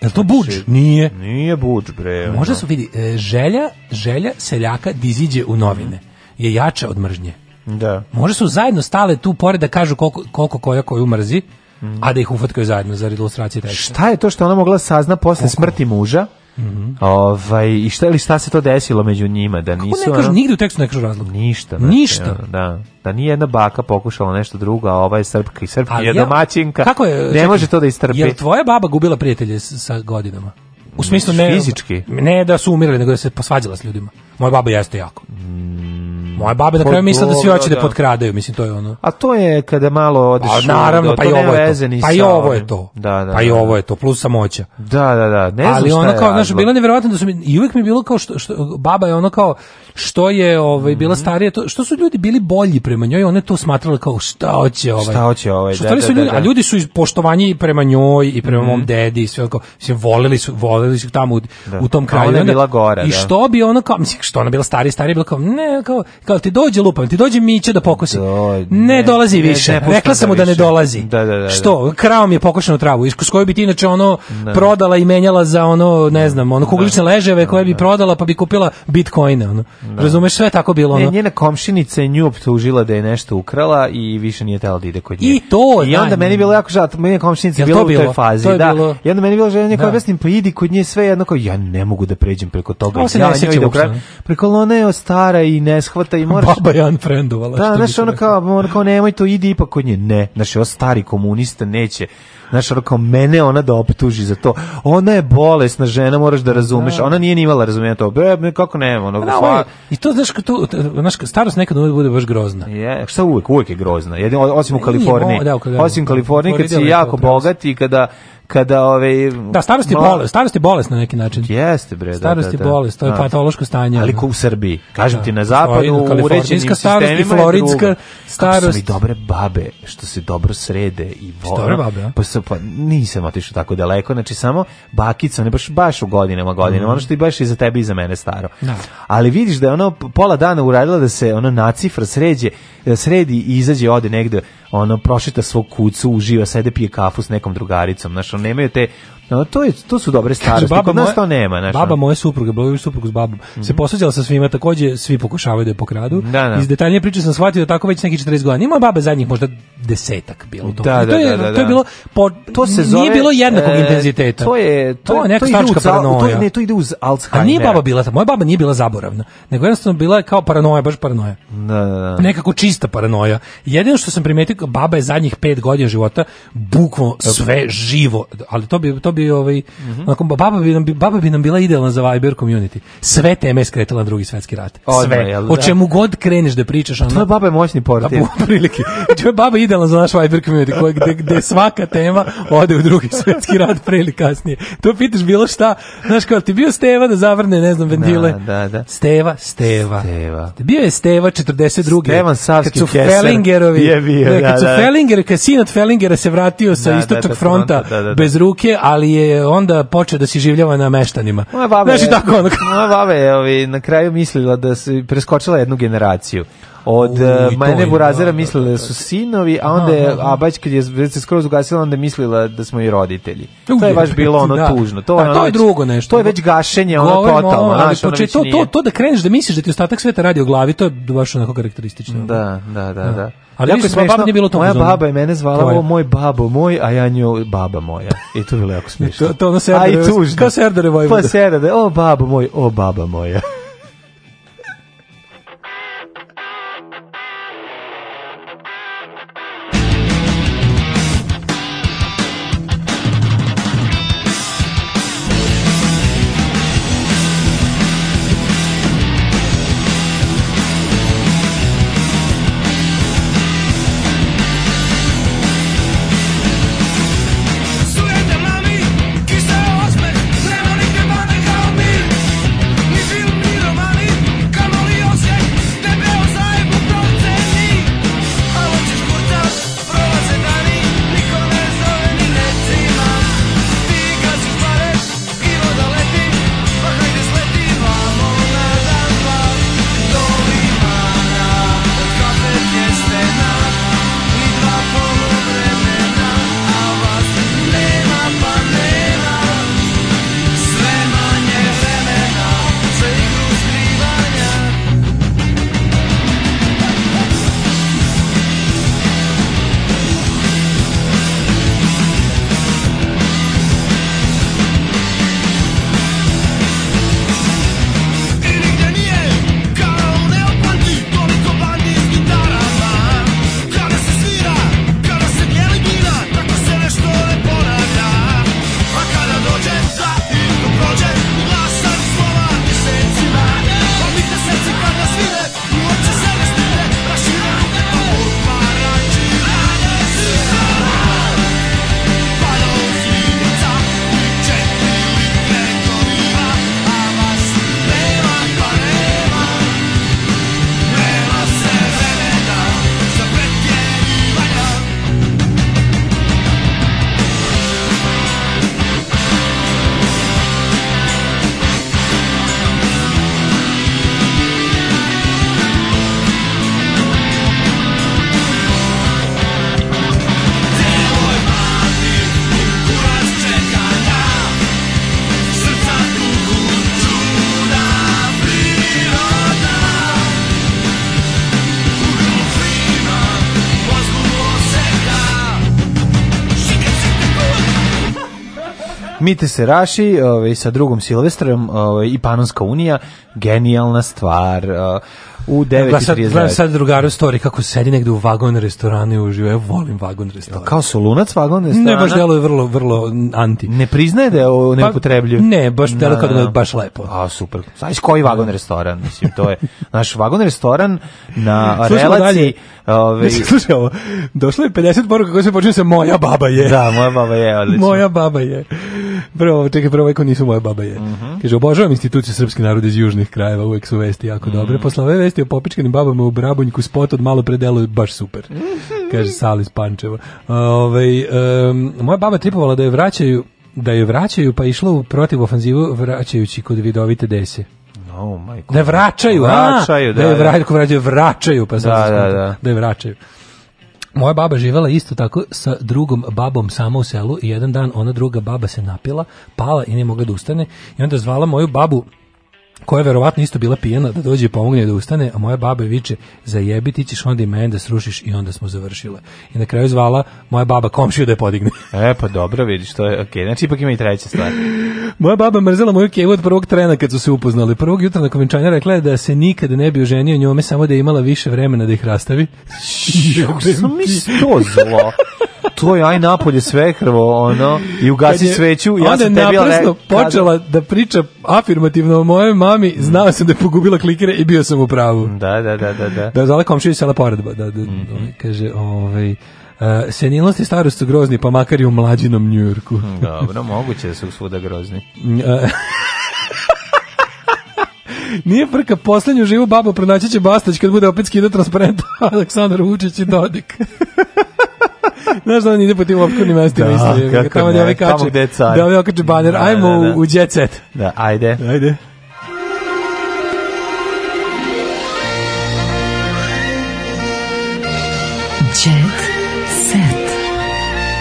G: Je to buč? Nije.
H: Nije buč, bre. ono.
G: Možda su vidi, e, želja, želja seljaka da iziđe u novine je jača od mržnje.
H: Da.
G: Možda su zajedno stale tu pored da kažu koliko, koliko koja koju mrzi, a da ih ufatkaju zajedno za ilustracije teksta.
H: Šta je to što ona mogla sazna posle smrti muža?
G: Mhm.
H: Ovaj i šta ili šta se to desilo među njima da nisu
G: ne kažu,
H: ono-
G: nigde u tekstu ne kažu razlog.
H: Ništa.
G: Ništa.
H: ono, da. Da nije jedna baka pokušala nešto drugo, a ova je srpka i srpka je
G: ja-
H: domaćinka.
G: Pa Kako je,
H: ne
G: čekaj,
H: može to da istrpi.
G: Je li tvoja baba gubila prijatelje s- sa godinama? U smislu ne...
H: Fizički?
G: Ne da su umirali, nego da se posvađala s ljudima. Moja baba jeste jako. Moja baba na
H: pa
G: kraju mislila da svi
H: dobro,
G: hoće da
H: da.
G: potkradaju, mislim, to je ono.
H: A to je kada malo odeš.
G: Pa
H: u-
G: naravno,
H: da,
G: pa
H: to
G: i
H: nema
G: ovo je
H: veze
G: to.
H: ni
G: Pa
H: sa
G: i ovo je
H: ovim.
G: to.
H: Da, da,
G: Pa i
H: da.
G: ovo je to, plus samoća.
H: Da, da, da. Ne znam
G: ali
H: šta
G: ono
H: je
G: kao znaš
H: razlog.
G: bilo je neverovatno da su mi i uvek mi je bilo kao što, što baba je ono kao što je
H: Mhm.
G: ovaj bila starija to što su ljudi bili bolji prema njoj one to smatrale kao šta hoće ovaj
H: Šta hoće ovaj,
G: što
H: da,
G: stvari
H: da,
G: su
H: da,
G: ljudi,
H: da.
G: a ljudi su iz poštovanja i prema njoj i prema mom
H: Mhm.
G: dedi i sve ono kao mislim voleli su voleli su tamo u,
H: Da.
G: u tom
H: A
G: kraju
H: ona je
G: I onda-
H: bila gora,
G: i
H: da.
G: što bi ono kao mislim što ona bila starija starija bila kao ne kao kao ti dođe lupam ti dođe miće da pokosi ne, dolazi
H: ne,
G: više
H: ne puštam
G: rekla sam
H: ga
G: mu da ne
H: više.
G: dolazi
H: Da, da, da, da.
G: što krao mi je pokošenu travu iz s koju bi ti inače ono
H: Da.
G: prodala i menjala za ono ne znam ono kuglične leževe koje bi prodala pa bi kupila bitcoine ono razumeš sve je tako bilo
H: Ne,
G: ono
H: njena komšinica je nju optužila da je nešto ukrala i više nije tela da ide kod nje.
G: I to,
H: I onda
G: da.
H: meni je bilo jako žao, meni je komšinica
G: Jel
H: bila
G: to
H: u toj
G: bilo?
H: fazi.
G: To je
H: da.
G: bilo-
H: I onda meni je bilo žao, neko
G: Da.
H: objasnim, pa idi kod nje sve jedno kao, ja ne mogu da pređem preko toga.
G: Ovo se ne
H: ja njoj
G: sjeća
H: idem
G: uopšte,
H: krajem.
G: ne?
H: Preko ona je stara i ne shvata i moraš...
G: baba je unfriendovala
H: Da,
G: što bi
H: znaš,
G: se
H: ono
G: reklo.
H: kao, ono kao, nemoj to, idi ipak kod nje. Ne, znaš, ovo stari komunista neće. Znaš, ono kao, mene ona da optuži za to. Ona je bolesna žena, moraš da razumeš.
G: Da.
H: Ona nije ni imala razumijena to. Be, kako ne, ono,
G: Pa da, ovo
H: fa-
G: je- i to znaš kad tu znaš kad starost nekad uvijek bude baš grozna
H: je, šta uvek, uvek je grozna. Jedin, osim u
G: Nije,
H: Kaliforniji.
G: mo- da, u Kaliforniji.
H: osim u Kaliforniji kad si
G: Florida je
H: jako
G: to pravo.
H: bogat i kada kada ovaj, ove
G: da starost je bolest starost je bolest na neki način
H: Jeste bre, da,
G: starost
H: da,
G: je
H: da.
G: bolest to je
H: Da.
G: patološko stanje
H: Ali
G: ono.
H: ko u Srbiji, kažem
G: Da.
H: ti na zapadu,
G: Florida,
H: u uređenim
G: kalifornijska starost i
H: sistemima je
G: floridska
H: drugo. Kako
G: starost.
H: su mi dobre babe, što se dobro srede i vole.
G: dobre babe, a?
H: Pa, se- pa nisam otišao tako daleko, znači samo bakica, ne baš, baš u godinama, godinama,
G: Mhm.
H: ono što je baš i za tebe i za mene staro.
G: Da.
H: Ali vidiš da je ono pola dana uradila da se ono nacifra sređe, da sredi i izađe ode negde, ono prošeta svog kucu, uživa, sede pije kafu s nekom drugaricom, znaš, ono nemaju te, ono, to, je, to su dobre starosti, kod nas to nema, znaš.
G: baba
H: ono. Mhm.
G: moje supruge, bila supruga s babom, se posvađala sa svima, takođe svi pokušavaju da je pokradu.
H: Da, da.
G: Iz detaljnije priče sam shvatio da tako već neki 40 godina. Ima baba zadnjih možda desetak bilo to.
H: Da, da,
G: to, je,
H: da, da,
G: to je
H: da.
G: bilo po, to se nije bilo jednakog
H: e,
G: intenziteta.
H: To je to,
G: je neka
H: ide
G: staračka
H: uz al- To,
G: paranoja.
H: je- ne, to ide uz Alzheimer.
G: A nije baba bila, ta- moja baba nije bila zaboravna, nego jednostavno bila je kao paranoja, baš paranoja.
H: Da, da, da.
G: Nekako čista paranoja. Jedino što sam primetio, kao baba je zadnjih pet godina života bukvalno sve živo, ali to bi, to bi ovaj,
H: Mhm.
G: onako, baba, bi nam, baba bi nam bila idealna za Viber community. Sve teme je skretala na drugi svetski rat.
H: Odmah,
G: Sve.
H: jel da?
G: O čemu god kreneš da pričaš, ono, ona...
H: Tvoja baba je moćni portir.
G: Da, u prilike. Tvoja baba je idealna za naš Viber community, koja, gde, gde svaka tema ode u drugi svetski rat pre ili kasnije. To pitaš bilo šta, znaš kao, ti bio Steva da zavrne, ne znam, ventile.
H: Da, da, da.
G: Steva, Steva.
H: Steva.
G: Bio je Steva 42.
H: Stevan Savski
G: Kad su
H: Keser
G: Fellingerovi,
H: je bio,
G: ne,
H: da,
G: kad su
H: da.
G: Fellingeri, kad je sin od Fellingera se vratio sa
H: Da, da,
G: istočnog
H: da,
G: fronta
H: fronta, da, da, da.
G: bez ruke, ali je onda počeo da se življava na meštanima.
H: Moja baba
G: Znaš i
H: je-
G: tako ono.
H: Moja baba je ovi, na kraju mislila da se preskočila jednu generaciju. Od
G: U, i
H: uh,
G: to
H: Majne
G: je,
H: Burazera
G: da, da,
H: mislila da su sinovi, a onda je
G: Aha, aha.
H: Abać kad je već se skroz ugasila, onda je mislila da smo i roditelji.
G: U,
H: To je baš bilo ono
G: da.
H: tužno. To,
G: Da,
H: ono
G: to je
H: već-
G: drugo nešto.
H: To je već gašenje, ono
G: Govorimo
H: totalno.
G: ovome, ali
H: znaš, ono
G: poče-
H: već
G: to,
H: nije.
G: to, to da kreneš da misliš da ti ostatak sveta radi o glavi, to je baš onako karakteristično.
H: Da, da, da, da. Jako
G: Ali jako
H: je
G: smo
H: smešno,
G: baba nije bilo to.
H: Moja baba je mene zvala ovo moj babo moj, a ja nju baba moja. I to je bilo jako smešno.
G: To, to ono
H: a i
G: serdare,
H: tužno.
G: kao serdare Vojvoda.
H: Pa serdare, o babo moj, o baba moja.
I: Sujete mami, ki se osme, nema nigdje vani kao mi Ni film, ni
H: Mite se raši ovaj, sa drugom Silvestrom ovaj, i Panonska unija. Genijalna stvar. eh, u
G: Gledam sad, gledam
H: 9.39.
G: sad drugaru story kako sedi negde u vagon restoranu i uživa. Ja volim vagon restoran.
H: Kao su lunac vagon restorana?
G: Ne, baš deluje vrlo, vrlo anti.
H: Ne priznaje da je ovo neupotrebljiv?
G: Pa, ne, baš deluje kao da mu je baš
H: lepo. A, super. Znaš koji vagon restoran? Mislim, to je naš vagon restoran na
G: Slušamo
H: relaciji...
G: dalje.
H: Ovaj,
G: Mislim, slušaj ovo. Došlo je 50 poruka koje se počinje sa moja baba je.
H: Da, moja baba je, odlično.
G: Moja baba je. Prvo, čekaj, prvo eko nisu moja baba je.
H: Mhm.
G: Kaže, obožavam instituciju srpski narod iz južnih krajeva, uvek su vesti jako
H: Mhm.
G: dobre. Posle ove vesti o popičkanim babama u Brabunjku spot od malo predelo je baš super.
H: Mhm.
G: Kaže, Salis Pančeva. Ovaj, em, moja baba tripovala da je vraćaju da je vraćaju pa išla u protiv ofanzivu vraćajući kod vidovite dese.
H: Oh, majko.
G: Da je vraćaju, a?
H: Vraćaju, da,
G: da je
H: da.
G: vraćaju, vraćaju, vraćaju, pa sam
H: Da,
G: se
H: da,
G: skonto,
H: da.
G: da je vraćaju. Moja baba živela isto tako sa drugom babom sama u selu i jedan dan ona druga baba se napila, pala i nije mogla da ustane i onda zvala moju babu koja je verovatno isto bila pijena da dođe i pomogne da ustane, a moja baba je viče zajebi ti ćeš onda i mene da srušiš i onda smo završile. I na kraju zvala moja baba komšiju da je podigne.
H: E, pa dobro, vidiš, to je okej. Znači, ipak ima i treća stvar.
G: Moja baba mrzela moju kevu od prvog trena kad su se upoznali. Prvog jutra na kovenčanja rekla je da se nikada ne bi oženio njome, samo da je imala više vremena da ih rastavi.
H: Kako sam mislio to zlo? To je aj napolje svekrvo, ono, i ugasi
G: Kad je-
H: sveću, ja
G: onda
H: sam
G: je
H: tebi ale...
G: naprasno počela da priča afirmativno o mojoj mami, znao sam da je pogubila klikere i bio sam u pravu.
H: Da, da, da, da, da.
G: Da je zala komšiju iz sela pored, ba- da, da,
H: Mm.
G: ovaj, kaže, ovaj, e, senilnost i starost su grozni, pa makar i u mlađinom
H: Mm.
G: Njujorku.
H: Dobro, moguće da su svuda grozni.
G: E, Nije frka, poslednju živu babu pronaći će Bastać kad bude opet skidao transparent Aleksandar Vučić i Dodik. Znaš da on ide po tim opkornim mestima
H: Da,
G: isto. jebi ga,
H: kako
G: Tamo
H: ne,
G: gde ovi
H: tamo
G: kače,
H: gde je car.
G: da ovi okače baner.
H: Da,
G: Ajmo
H: da, da.
G: u, u jet set.
H: Da, ajde.
G: Ajde.
K: Jet set.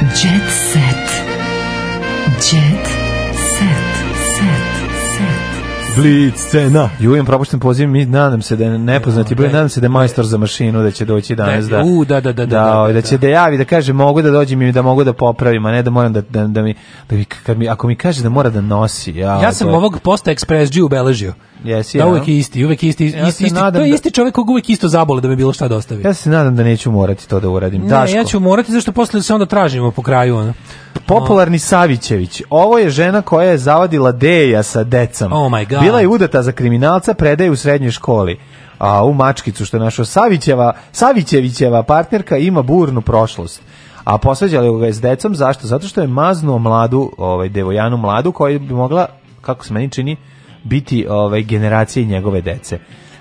K: Jet set. Jet set. Set. Set.
H: Blitz scena. Jujem propušten poziv, mi nadam se da je nepoznati broj, nadam se da je majstor za mašinu da će doći danas da.
G: u, da, da, da, da,
H: da,
G: da,
H: ovaj, da će da javi da kaže mogu da dođem i da mogu da popravim, a ne da moram da da, da mi da mi kad mi ako mi kaže da mora da nosi, ja. ovaj,
G: Ja sam
H: to je-
G: ovog posta Express G ubeležio.
H: Jesi,
G: da,
H: ja?
G: uvek je isti, uvek je isti, isti,
H: Ja se
G: isti, to
H: nadam
G: je
H: da-
G: isti čovjek kog uvek isto zabole da mi bilo šta dostavi.
H: Ja se nadam da neću morati to da uradim.
G: Ne,
H: Daško.
G: ja ću morati zašto posle se onda tražimo po kraju. Ono.
H: Popularni Savićević. Ovo je žena koja je zavadila Deja sa decom.
G: Oh my God.
H: Bila je udata za kriminalca, predaje u srednjoj školi. A u mačkicu što je našo Savićeva, Savićevićeva partnerka ima burnu prošlost. A posvađali ga je s decom, zašto? Zato što je maznuo mladu, ovaj, devojanu mladu, koja bi mogla, kako se meni čini, biti ovaj, generacije njegove dece.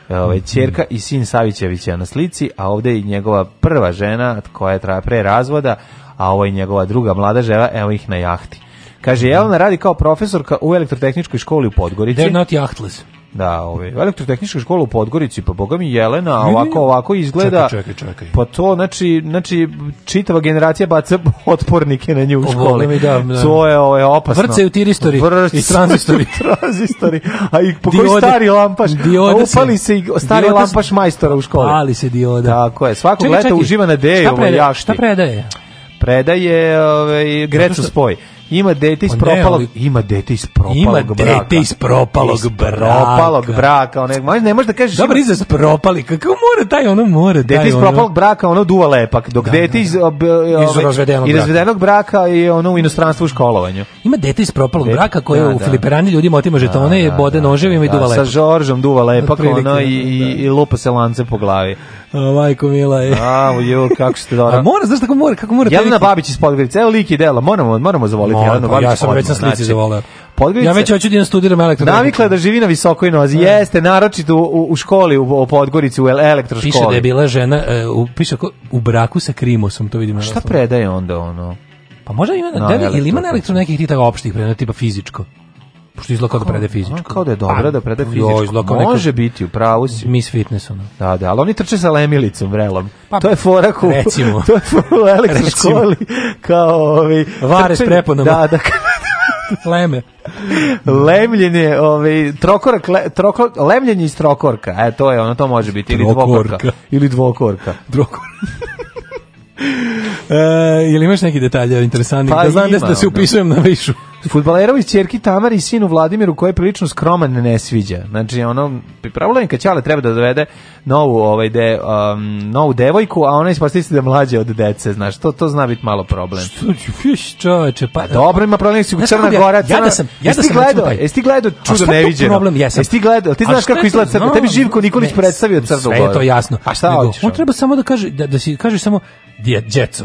H: Ovaj, čerka i sin Savićevića na slici, a ovde je i njegova prva žena koja je traja pre razvoda, a ovo je njegova druga mlada žena, evo ih na jahti. Kaže, Jelena radi kao profesorka u elektrotehničkoj školi u Podgorici.
G: They're not yachtless.
H: Da, ovaj, u elektrotehničkoj školi u Podgorici, pa boga mi Jelena, a ovako, ovako izgleda...
G: Čekaj, čekaj, čekaj.
H: Pa to, znači, znači, čitava generacija baca otpornike na nju u školi.
G: volim i da, da.
H: To je ovaj, opasno.
G: Vrcaju tiristori
H: Vrcaju
G: i tranzistori.
H: tranzistori. A i po koji
G: Diode.
H: stari lampaš.
G: Diode
H: A upali
G: se-
H: se i stari
G: diode se-
H: lampaš majstora u školi.
G: Pali se dioda.
H: Tako je. Svakog
G: Čekaj,
H: leta
G: čekaj.
H: uživa na deju.
G: Šta
H: ovoj
G: predaje?
H: jahti.
G: Šta predaje?
H: Predaje ovaj, Grecu spoj. Ima dete iz
G: Pa ne,
H: propalog,
G: ali-
H: ima dete iz propalog
G: Ima
H: braka.
G: dete iz propalog
H: Iz
G: braka.
H: propalog braka, onaj, ma- ne možeš da kažeš
G: Dobar
H: ima-
G: izraz propali. Kako mora taj ono mora taj
H: Dete iz
G: ono.
H: propalog braka, ono duva lepak, dok dete iz, ob- ovaj,
G: razvedenog
H: i
G: braka.
H: razvedenog braka. je ono u inostranstvu u školovanju.
G: Ima dete iz propalog
H: Dete-
G: braka koje
H: da,
G: u
H: da.
G: filiperani ljudima otima žetone, E, bode noževima i
H: Da,
G: duva
H: sa
G: lepo.
H: Žoržom duva lepak,
G: Otprilike,
H: ono, i, i, i lupa se lance po glavi.
G: O, majko mila je.
H: A, jo, kako ste dobro.
G: A mora, znaš tako mora, kako mora. taj
H: Jelena
G: lik-
H: Babić iz Podgorice, evo lik i dela, moramo, moramo zavoliti
G: Mora,
H: Jelenu
G: pa
H: Babić.
G: ja sam već na
H: odmah,
G: slici
H: znači.
G: zavoleo.
H: Podgorica-
G: Ja već hoću da idem studiram elektrotehniku.
H: Navikla je da živi na visokoj nozi. Jeste, naročito u, u školi u, u Podgorici, u el- elektroškoli.
G: Piše da je bila žena, e, u, piše ako, u braku sa Krimosom, to vidim. na
H: Šta
G: naslovu.
H: predaje onda ono?
G: Pa možda ima,
H: Na
G: da li, ili ima
H: elektro-
G: na elektro nekih tih tako opštih predmeta, tipa fizičko? Pošto izgleda kao da prede
H: Ono
G: fizičko.
H: kao da je dobro
G: Pa,
H: da preda
G: jo,
H: fizičko.
G: izgleda kao neka-
H: Može biti, u pravu si.
G: Miss Fitness, ono.
H: Da, da, ali oni trče sa lemilicom, vrelom. to je forak u,
G: Pa, recimo.
H: to je forak u elektroškoli. Kao ovi...
G: Vare s
H: trčanje-
G: preponama.
H: Da, da,
G: Leme.
H: lemljenje, ovaj trokorak, le, troko, lemljenje iz trokorka. E to je, ono to može biti ili
G: Trokorka.
H: dvokorka, ili dvokorka.
G: Droko. E, jel imaš neki detalje interesantni?
H: Pa
G: da znam
H: ima,
G: da, da se
H: ono.
G: upisujem na višu.
H: Futbalerovi ćerki Tamari i sinu Vladimiru koji je prilično skroman ne sviđa. Znači ono problem kad Ćale treba da dovede novu ovaj de, um, novu devojku, a ona ispostavi se da je mlađa od dece, znaš. To to zna biti malo problem.
G: Što ću, fiš, čoveče, pa...
H: Dobro, ima problem, si u
G: Znaš
H: Crna
G: kako bi ja-
H: Gora,
G: Ja
H: Crna-
G: da sam, ja da
H: Jesi ti
G: sam...
H: gledao?
G: načupan.
H: Jesi ti gledao
G: A
H: Čudo
G: šta je tu
H: neviđeno?
G: problem? Jesam.
H: Jesi ti gledao? Ti
G: A
H: znaš
G: šta
H: kako
G: je
H: izgleda
G: to?
H: Crna-
G: No,
H: tebi Živko Nikolić
G: ne,
H: predstavio Crnu
G: Sve je
H: Goru.
G: to jasno.
H: A šta
G: Nego,
H: hoćeš,
G: On
H: ono?
G: treba samo da kaže, da, da si kaže samo, "Dje- djeco,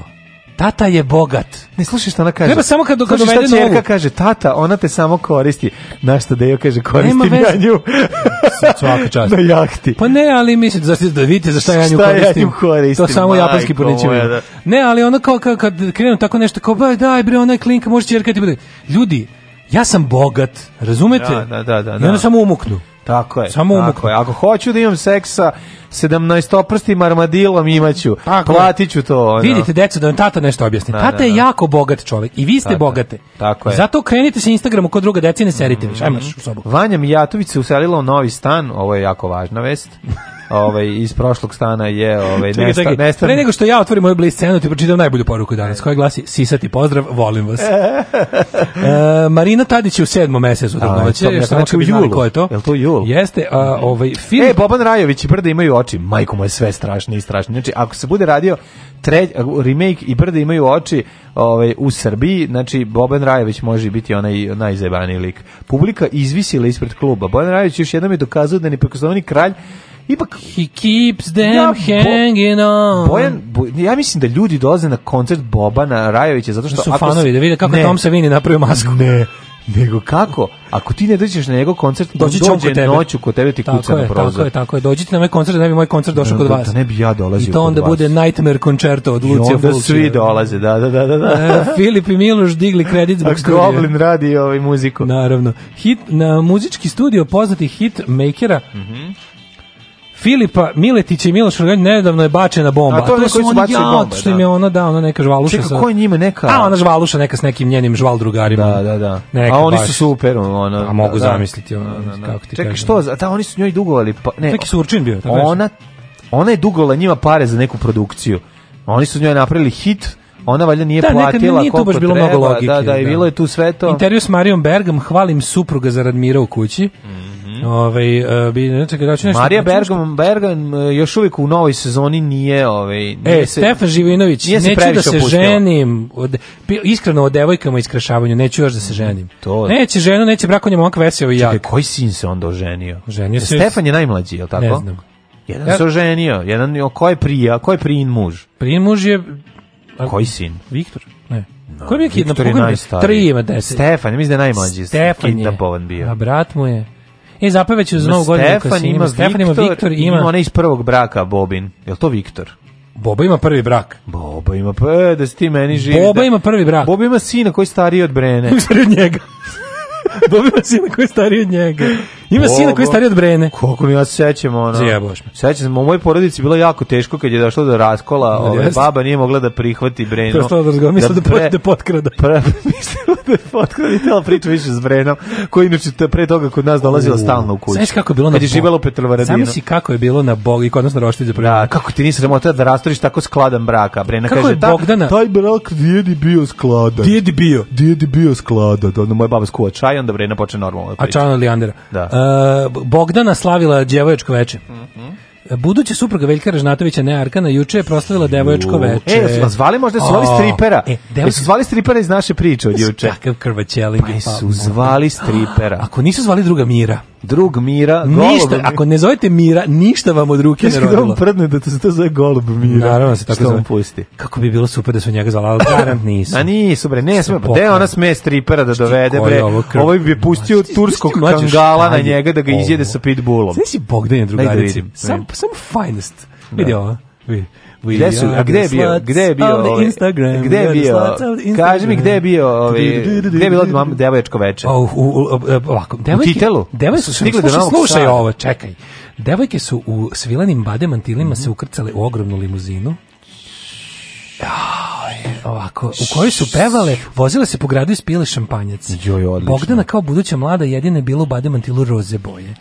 G: tata je bogat.
H: Ne slušaj šta ona kaže.
G: Treba samo kad- kad
H: Slušaj šta
G: dovede novu.
H: ćerka kaže, tata, ona te samo koristi. Naš Tadejo kaže,
G: Nema
H: koristim
G: veze.
H: Pa ja nju.
G: Svaka čast.
H: Na jahti.
G: Pa ne, ali mislim da, da vidite zašto ja nju
H: Šta ja nju
G: koristim.
H: koristim,
G: To samo
H: majko
G: japanski porniče.
H: moja,
G: imaju.
H: da.
G: Ne, ali ono kao kad, kad krenu tako nešto kao, ba, daj bre, onaj klinka može čerkati. Bude. Ljudi, ja sam bogat, razumete?
H: Da, da, da, da,
G: I onda
H: da.
G: samo umuknu.
H: Tako je.
G: Samo umuknu.
H: tako je. Ako hoću da imam seksa 17-oprstim armadilom imaću.
G: Tako je.
H: Platit ću to. Ono.
G: Vidite, deco, da vam tata nešto objasni.
H: Da,
G: tata
H: da,
G: je
H: da.
G: jako bogat čovjek i vi ste
H: Tako je.
G: bogate.
H: Tako je. Mhm.
G: Zato krenite se Instagramu kod druga deca i ne serite više. Ajmo u sobu.
H: Vanja Mijatović se uselila u novi stan, ovo je jako važna vest. Ovaj iz prošlog stana je ovaj
G: Čekaj,
H: nesta,
G: čekaj.
H: nestan-
G: Pre nego što ja otvorim moju bliz scenu, ti pročitam najbolju poruku danas, koja glasi Sisati pozdrav, volim vas. E, Marina Tadić je u sedmom mesecu trudnoće,
H: to mi je znači
G: što znači
H: u
G: bi znali
H: julu.
G: ko je to.
H: Jel to jul?
G: Jeste, a, ovaj, film...
H: E, Boban Rajović i Brda imaju oči. Majko mu je sve strašnije i strašnije. Znači, ako se bude radio tre, remake i Brda imaju oči ovaj, u Srbiji, znači, Boban Rajović može biti onaj najzajebaniji lik. Publika izvisila ispred kluba. Boban Rajović još jednom je dokazao da je neprikosnoveni kralj Ipak,
G: He keeps them
H: Ja, Bo-
G: hanging on.
H: Bojan, Bo- ja mislim da ljudi dolaze na koncert Bobana Rajovića zato što
G: Da su
H: ako
G: fanovi,
H: s-
G: da vide kako
H: Ne.
G: Tom Savini napravio masku.
H: Ne, nego kako? Ako ti ne dođeš na njegov koncert, on
G: Doći će on
H: dođe
G: kod tebe.
H: noću kod tebe ti
G: Tako
H: kuca
G: je,
H: na prozor.
G: Tako je, tako je. Dođite na moj koncert, da ne bi moj koncert
H: Da,
G: došao kod
H: da,
G: vas.
H: da ne bi ja dolazio
G: I to
H: kod
G: onda
H: vas.
G: bude Nightmare koncerto od Lucija
H: I onda
G: Fulcija.
H: svi dolaze, da, da, da, da. da.
G: E, Filip i Miloš digli kredit
H: A
G: zbog studija.
H: Goblin radi ovaj muziku.
G: Naravno. Hit, na muzički studio poznatih hit makera Filipa Miletića i Miloš Rogan nedavno je bačena bomba.
H: A to je
G: to
H: koji su
G: oni,
H: bacili
G: ja,
H: bombe,
G: Što
H: da.
G: im je ona da, ona neka žvaluša.
H: Čekaj,
G: sa-
H: ko je njima neka-
G: A, ona žvaluša neka s nekim njenim žval drugarima.
H: Da, da, da.
G: Neka
H: A oni
G: baš.
H: su super, ono.
G: A mogu
H: da, da.
G: zamisliti, ono, kako ti
H: Čekaj,
G: kažem. E,
H: što? za- Da, oni su njoj dugovali, pa ne.
G: Neki surčin bio, tako nešto.
H: Ona ona je dugovala njima pare za neku produkciju. Oni su njoj napravili hit. Ona valjda nije
G: Da, nekad
H: platila
G: nije tu
H: koliko
G: baš bilo
H: treba,
G: mnogo logike.
H: Da, da, i bilo je tu sve to.
G: Intervju s Marijom Bergom, hvalim supruga zarad mira u kući. Mm Ove, bi, ne, čekaj, da ću nešto...
H: Mhm. Marija
G: da ću nešto-
H: Bergam, Bergam e, još uvijek u novoj sezoni nije, ovaj, nije
G: E, Stefan Živinović,
H: nije se
G: neću da
H: previše
G: se
H: opustila.
G: ženim. Od- pi- iskreno, o devojkama i iskrašavanju, neću još da se ženim.
H: Mm, To-
G: Neće ženu, neće brak, on je momak veseo i
H: Čekaj,
G: jak.
H: E, koji sin se onda oženio?
G: Ženio se-
H: Stefan je najmlađi, je li tako?
G: Ne znam.
H: Jedan
G: Ja-
H: se oženio, jedan, o, ko je prija, ko je prijin muž?
G: Prijin muž je... a-
H: Koji sin?
G: Viktor? Ne. Ko je bio kidnap?
H: Viktor je
G: Koga je bio?
H: najstariji.
G: Tri ima deset.
H: Stefan, ja mislim da je najmlađi
G: Stefan je.
H: kidnapovan bio.
G: A brat mu je... E, zapevaću za
H: Ima
G: novu godinu. koja
H: Stefan
G: se
H: ima
G: Stefan
H: Viktor,
G: ima Viktor,
H: i ima...
G: ima...
H: onaj iz prvog braka, Bobin. Je li to Viktor?
G: Boba ima prvi brak.
H: Boba ima, pa, e, da si ti meni živi.
G: Boba
H: da-
G: ima prvi brak.
H: Boba ima sina koji je stariji od Brene.
G: stariji od njega. Boba ima sina koji je stariji od njega. Ima sina koji
H: Bobo.
G: je stariji od Brene.
H: Koliko mi ja se sećam, ono...
G: Zajebaš me.
H: Sećam se, u mojoj porodici bilo jako teško kad je došlo do raskola,
G: Ali
H: ovaj,
G: jeste.
H: baba nije mogla da prihvati Brenu.
G: To je stvarno razgovor, mislila da
H: pre-
G: pot- da potkrada.
H: pre- mislila da je potkrada i htjela priča više s Brenom, koji inače te- pre toga kod nas dolazila
G: U.
H: stalno u kuću.
G: Znaš kako je bilo na
H: Kad je
G: Bo-
H: živela u Petrovaradinu.
G: Zamisli kako je bilo na Bog i kod nas na roštilju prvi.
H: Da, kako ti nisi sramota da rastoriš tako skladan braka? Brena
G: Kako
H: kaže,
G: je
H: "Ta-
G: Bogdana-
H: taj brak djedi bio skladan.
G: Djedi bio.
H: Djedi bio skladan. Onda moja baba skuva čaj, onda Brena počne normalno da
G: A
H: priča.
G: Čana Lijandera.
H: Da.
G: E, B- Bogdana slavila djevojačko veče.
H: Mhm.
G: Buduća supruga Veljka Ražnatovića, ne Arkana, juče je proslavila devojačko veče.
H: E, jesu vas zvali možda, su zvali
G: O,
H: stripera.
G: E,
H: E,
G: devo-
H: su zvali stripera iz naše priče od juče.
G: Kakav krvaćeling
H: Pa
G: je
H: su zvali stripera.
G: Ako nisu zvali druga Mira,
H: Drug Mira,
G: ništa,
H: golub-
G: ako ne zovete Mira, ništa vam od ruke ne
H: Znaš kako on
G: rodilo.
H: prdne da to se to zove golub Mira.
G: Naravno se tako
H: Što
G: zove.
H: on pusti.
G: Kako bi bilo super da su njega zvali, ali garant nisu.
H: A nisu bre, ne sme, pa gde ona sme stripera da dovede
G: koji
H: bre.
G: je ovo krv-
H: Ovaj bi pustio turskog
G: ti mlađe
H: kangala na
G: šalje
H: njega da ga
G: ovo?
H: izjede sa pitbullom.
G: Znaš si Bogdan je
H: Daj da
G: drugarici.
H: vidim,
G: Sam,
H: vidim.
G: sam finest. Vidi ovo. Vidi. We
H: Gde su,
G: are
H: a gde je
G: the
H: bio,
G: sluts
H: gde je bio,
G: of the
H: ovaj,
G: Instagram.
H: gde je
G: We are the
H: bio,
G: sluts of the
H: kaži mi
G: Instagram.
H: gde je bio, ovaj, gde je bilo mam- devojačko veče?
G: O, u, u, u, ovako, devojke,
H: e, titelu?
G: Devojke
H: Su
G: su,
H: stigle do
G: slušaj,
H: Novog
G: slušaj
H: Sada.
G: ovo, čekaj. Devojke su u svilenim bademantilima se ukrcale u ogromnu limuzinu. Aj, ovako, u kojoj su pevale, vozile se po gradu i spijele šampanjac.
H: Joj, odlično.
G: Bogdana kao buduća mlada jedina je bila u bademantilu roze boje.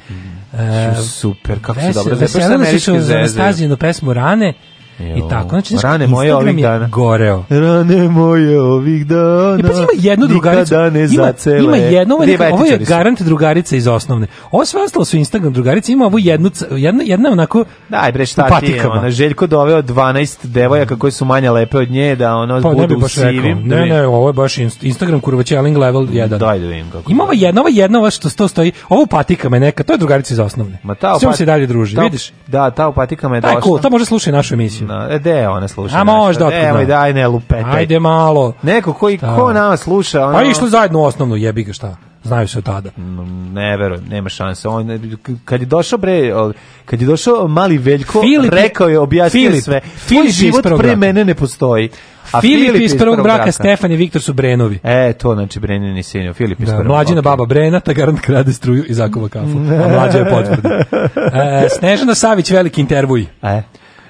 G: E,
H: Ju, Super, Mm. kako su
G: Ves-
H: dobro. Znaš, baš
G: Veselile su
H: američke
G: se uz
H: zvezde.
G: Anastazijinu pesmu Rane, i
H: Jo.
G: tako. Znači, znači,
H: Rane moje
G: Instagram
H: ovih
G: je
H: dana.
G: goreo.
H: Rane moje ovih dana.
G: Ja, pa ima jednu drugaricu.
H: Nikada ne
G: ima,
H: zacele.
G: ima jednu, ovo je, neka- ovo je
H: Dijabetičari su.
G: garant drugarica iz osnovne. Ovo sve ostalo su Instagram drugarice, ima ovu jednu, c- jedna, jedna je onako
H: Daj bre, šta ti je, ona, Željko doveo 12 devojaka koje su manje lepe od nje, da ono
G: Pa ne
H: budu
G: bi
H: u
G: baš rekao.
H: sivim. da
G: Ne,
H: vidim.
G: ne, ovo je baš inst- Instagram kurvačeling level 1.
H: Daj da vidim kako.
G: Ima ova jedna, ova jedna, ova što sto stoji, ovo u patikama je neka, to je drugarica iz osnovne. Ma
H: Ta
G: ta, S njom
H: opat-
G: se i dalje druži,
H: ta-
G: vidiš?
H: Da, ta opatika me je
G: Taj
H: došla.
G: cool, ta može slušati našu emisiju.
H: Na, e, de, ona sluša.
G: A možda,
H: nešto.
G: otkud
H: Nemoj,
G: zna.
H: daj, ne lupetaj.
G: Ajde malo.
H: Neko koji, ko nama sluša, ono-
G: Pa išli zajedno u osnovnu, jebi ga šta. Znaju se od tada.
H: Mm, Ne verujem, nema šanse. On k- kad je došao bre, o, kad je došao mali Veljko,
G: Filip je-
H: rekao je objasnio
G: Filip-
H: sve.
G: Filip
H: Tvoj
G: je iz
H: život
G: prvog
H: pre
G: braka.
H: mene ne postoji. A
G: Filip je iz prvog braka, Stefan i Viktor su Brenovi.
H: E, to znači Brenini sinio, Filip iz
G: Da,
H: prvog
G: mlađina
H: braka.
G: baba Brena, ta garant krade struju i zakuva kafu. A mlađa je potvrda. E, Snežana Savić, veliki intervuj.
H: E.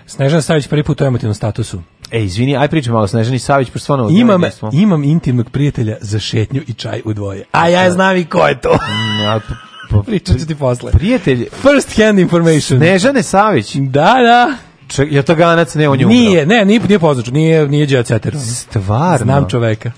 G: Snežana Savić prvi put u emotivnom statusu.
H: E, izvini, aj pričaj malo o Snežani Savić, pošto stvarno...
G: Imam,
H: odjeli smo.
G: imam intimnog prijatelja za šetnju i čaj u dvoje. A ja znam i ko je to.
H: Mm, a, p- p-
G: Pričat ću ti posle.
H: Prijatelj...
G: First hand information.
H: Snežane Savić?
G: Da, da.
H: Ček, je to ganac, ne, on je umro.
G: Nije, ne, nije, nije poznač, nije, nije Jet Setter.
H: Stvarno?
G: Znam čoveka.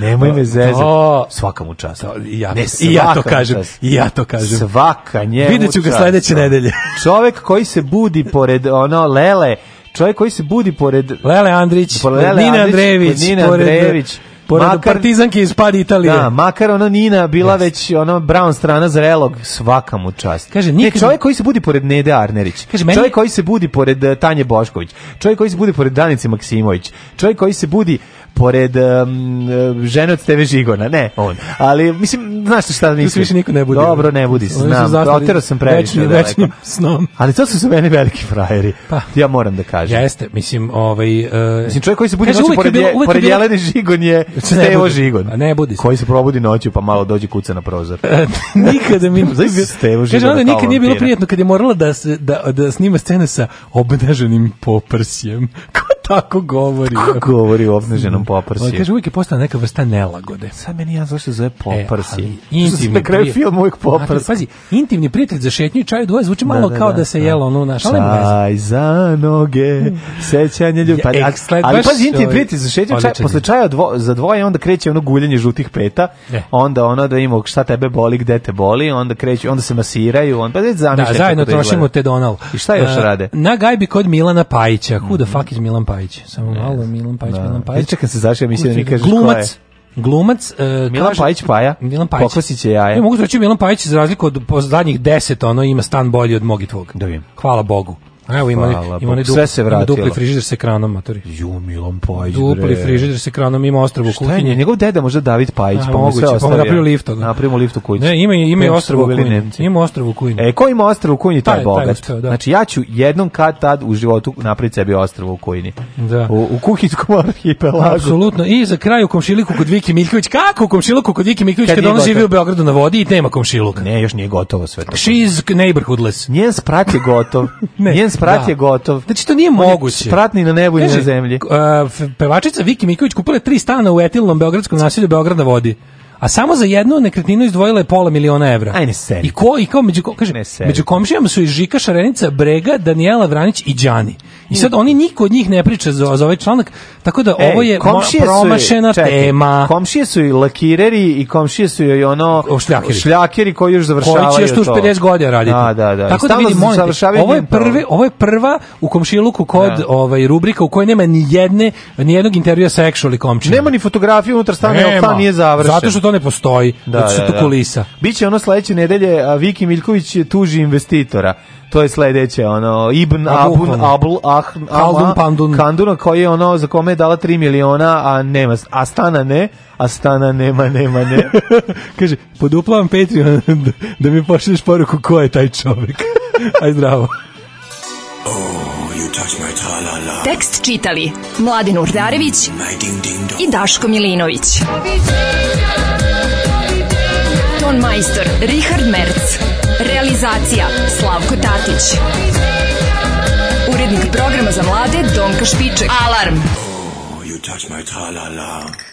H: Nemoj me zezati.
G: O,
H: Svaka mu čast.
G: i ja-
H: Ne,
G: i ja to
H: svaka mu
G: kažem,
H: čast.
G: i ja to kažem.
H: Svaka njemu
G: Vidjet ću ga
H: čast.
G: sledeće nedelje.
H: Čovek koji se budi pored ono lele, čovek koji se budi pored
G: Lele Andrić,
H: pored Pa Lele
G: Nina
H: Andrić,
G: Andrejević,
H: pored Nine
G: pored-
H: Andrejević.
G: pored
H: Makar-
G: partizanke iz Pad Italije.
H: Da, makar ona Nina bila već ono brown strana zrelog, svaka mu čast.
G: Kaže,
H: ne,
G: nikad-
H: čovjek koji se budi pored Nede Arnerić,
G: Kaže, meni-
H: čovjek koji se budi pored eh, Tanje Bošković, čovjek koji se budi pored Danice Maksimović, čovjek koji se budi pored em, eh, žene od TV Žigona, ne on. Ali, mislim, znaš šta mislim?
G: Tu se više niko ne budi.
H: Dobro, ne budi se,
G: Oni su
H: znam.
G: zastali
H: Oterao sam previše
G: večnim-
H: daleko.
G: večnim snom.
H: Ali to su za mene veliki frajeri.
G: Pa.
H: Ja moram da kažem.
G: Jeste, mislim, ovaj... Uh,
H: Mislim, čovjek koji se budi
G: Kaže,
H: noću
G: uvek je
H: pored,
G: bilo-
H: e, je,
G: uvek je
H: pored
G: bilo-
H: Jelene Žigon je
G: Se ne
H: Stevo
G: budi.
H: Žigon.
G: A ne budi se.
H: Koji se probudi noću pa malo dođe kuca na prozor.
G: nikada mi
H: Znaš, Stevo Žigon
G: Kaže, onda
H: kao
G: nikad nije bilo
H: vampir.
G: prijatno kad je morala da, se, da, da snima scene sa obnaženim poprsjem. Ko tako govori?
H: Kako govori o obnaženom
G: Ovo,
H: poprsi? E,
G: Kaže, uvijek je postala neka vrsta nelagode.
H: Sad meni ja zašto se zove poprsi.
G: E, ali
H: Zašto se na kraju
G: prijatelj-
H: film uvijek
G: Znate,
H: poprsi.
G: Pazi, intimni prijatelj za šetnju i čaj u dvoje zvuči malo kao da se jelo ono naš, ali nema veze.
H: Čaj za noge, sećanje ljubi.
G: Ja,
H: ali,
G: ek, sled-
H: ali
G: baš
H: pazi, intim
G: ovaj,
H: priti za šetnju čaj,
G: odličan je.
H: posle čaja dvo, za dvoje, onda kreće ono guljenje žutih peta,
G: E.
H: onda ono da ima šta tebe boli, gde te boli, onda kreću, onda se masiraju, onda pa već
G: Da,
H: zamišljam.
G: zajedno
H: kako to
G: trošimo
H: izgleda.
G: te Donal.
H: I šta još
G: E,
H: rade? Mhm.
G: Na gajbi kod Milana Pajića. Who the fuck is Milan Pajić? Samo malo, Milan Pajić, Milan Pajić.
H: Pajić. Čekam se zašto mislim da mi kažeš ko je.
G: Glumac, glumac e,
H: Milan
G: kaže-
H: Pajić Paja.
G: Milan Pajić.
H: Pokosiće jaje.
G: Ne mogu reći Milan Pajić za razliku od po zadnjih 10 ono ima stan bolji od mog i tvog.
H: Da vidim.
G: Hvala Bogu. A Evo ima,
H: Hvala
G: ima
H: Bogu.
G: onaj dupli,
H: Sve se
G: ima
H: vratilo.
G: dupli frižider sa ekranom, matori.
H: Ju, Milan Pajić,
G: Dupli
H: bre.
G: frižider sa ekranom, ima ostrvo u
H: Šta je
G: kuhinji.
H: nje- njegov deda možda David Pajić,
G: A,
H: pa mu je sve
G: moguće, pa mu
H: ostavio.
G: napravio lift od-
H: Napravimo lift u kući.
G: Ne, ima, ima i
H: Kojim su
G: ostrvo u
H: ubili
G: kuhinji.
H: Nemci.
G: Ima ostrvo u kuhinji.
H: E, ko ima ostrvo u kujni, taj,
G: Taj- taj
H: je bogat.
G: uspeo, da.
H: Znači, ja ću jednom kad tad u životu napraviti sebi ostrvo u kujni.
G: Da.
H: U, u kuhinskom arhipelagu.
G: Apsolutno. I za kraj u komšiluku kod Viki Miljković. Kako u komšiluku kod Viki Miljković
H: Kad
G: kad,
H: nije
G: ona živi
H: gotovo.
G: u Beogradu na vodi i nema komšiluka?
H: Ne, još nije gotovo sve to.
G: She's neighborhoodless.
H: Njen sprat je gotov. Njen sprat
G: da.
H: je gotov.
G: Znači to nije
H: On je
G: moguće.
H: Sprat ni na nebu ni
G: Kaže,
H: na zemlji.
G: k- a, f- pevačica Viki Miković kupila je tri stana u etilnom beogradskom naselju Beograd na vodi. A samo za jednu nekretninu izdvojila je pola miliona evra.
H: Aj, ne seri.
G: I ko i kao među ko- kaže
H: Ne seri.
G: među komšijama su i Žika Šarenica, Brega, Daniela Vranić i Đani. I sad oni niko od njih ne priča za, za ovaj članak, tako da ovo je mo-
H: komšije su joj-
G: promašena
H: čekaj,
G: tema.
H: Komšije su i lakireri i komšije su joj ono
G: O, šljakeri.
H: šljakeri koji još završavaju
G: koji će još tu još
H: to.
G: 50 godina raditi.
H: Da, da, da. I
G: Tako da
H: stalno
G: vidim, molim te,
H: završavaju
G: ovo je
H: njen problem.
G: prvi, ovo je prva u komšiluku kod
H: Da.
G: ovaj rubrika u kojoj nema ni jedne ni jednog intervjua sa actually komčinom.
H: Nema ni fotografije unutar stana,
G: Nema.
H: jer stan nije završen.
G: Zato što to ne postoji,
H: Da,
G: zato što
H: da,
G: je to
H: da.
G: kulisa.
H: Biće ono sledeće nedelje, a Viki Miljković tuži investitora. To je sledeće, ono, Ibn
G: A,
H: Abun,
G: bukvalno.
H: Abl, Ah,
G: Kaldun
H: Ama-
G: Pandun.
H: Kanduna, koji je ono, za kome je dala 3 miliona, a nema, a stana ne, a stana nema, nema, ne.
G: Kaže, poduplavam Patreon da, da mi pošliš poruku ko je taj čovek. Aj zdravo.
K: Tekst čitali Mladin Urdarević i Daško Milinović. Ton majstor Richard Merc. Realizacija Slavko Tatić. Urednik programa za mlade Donka Špiček. Alarm!
P: You touch my tra-la-la.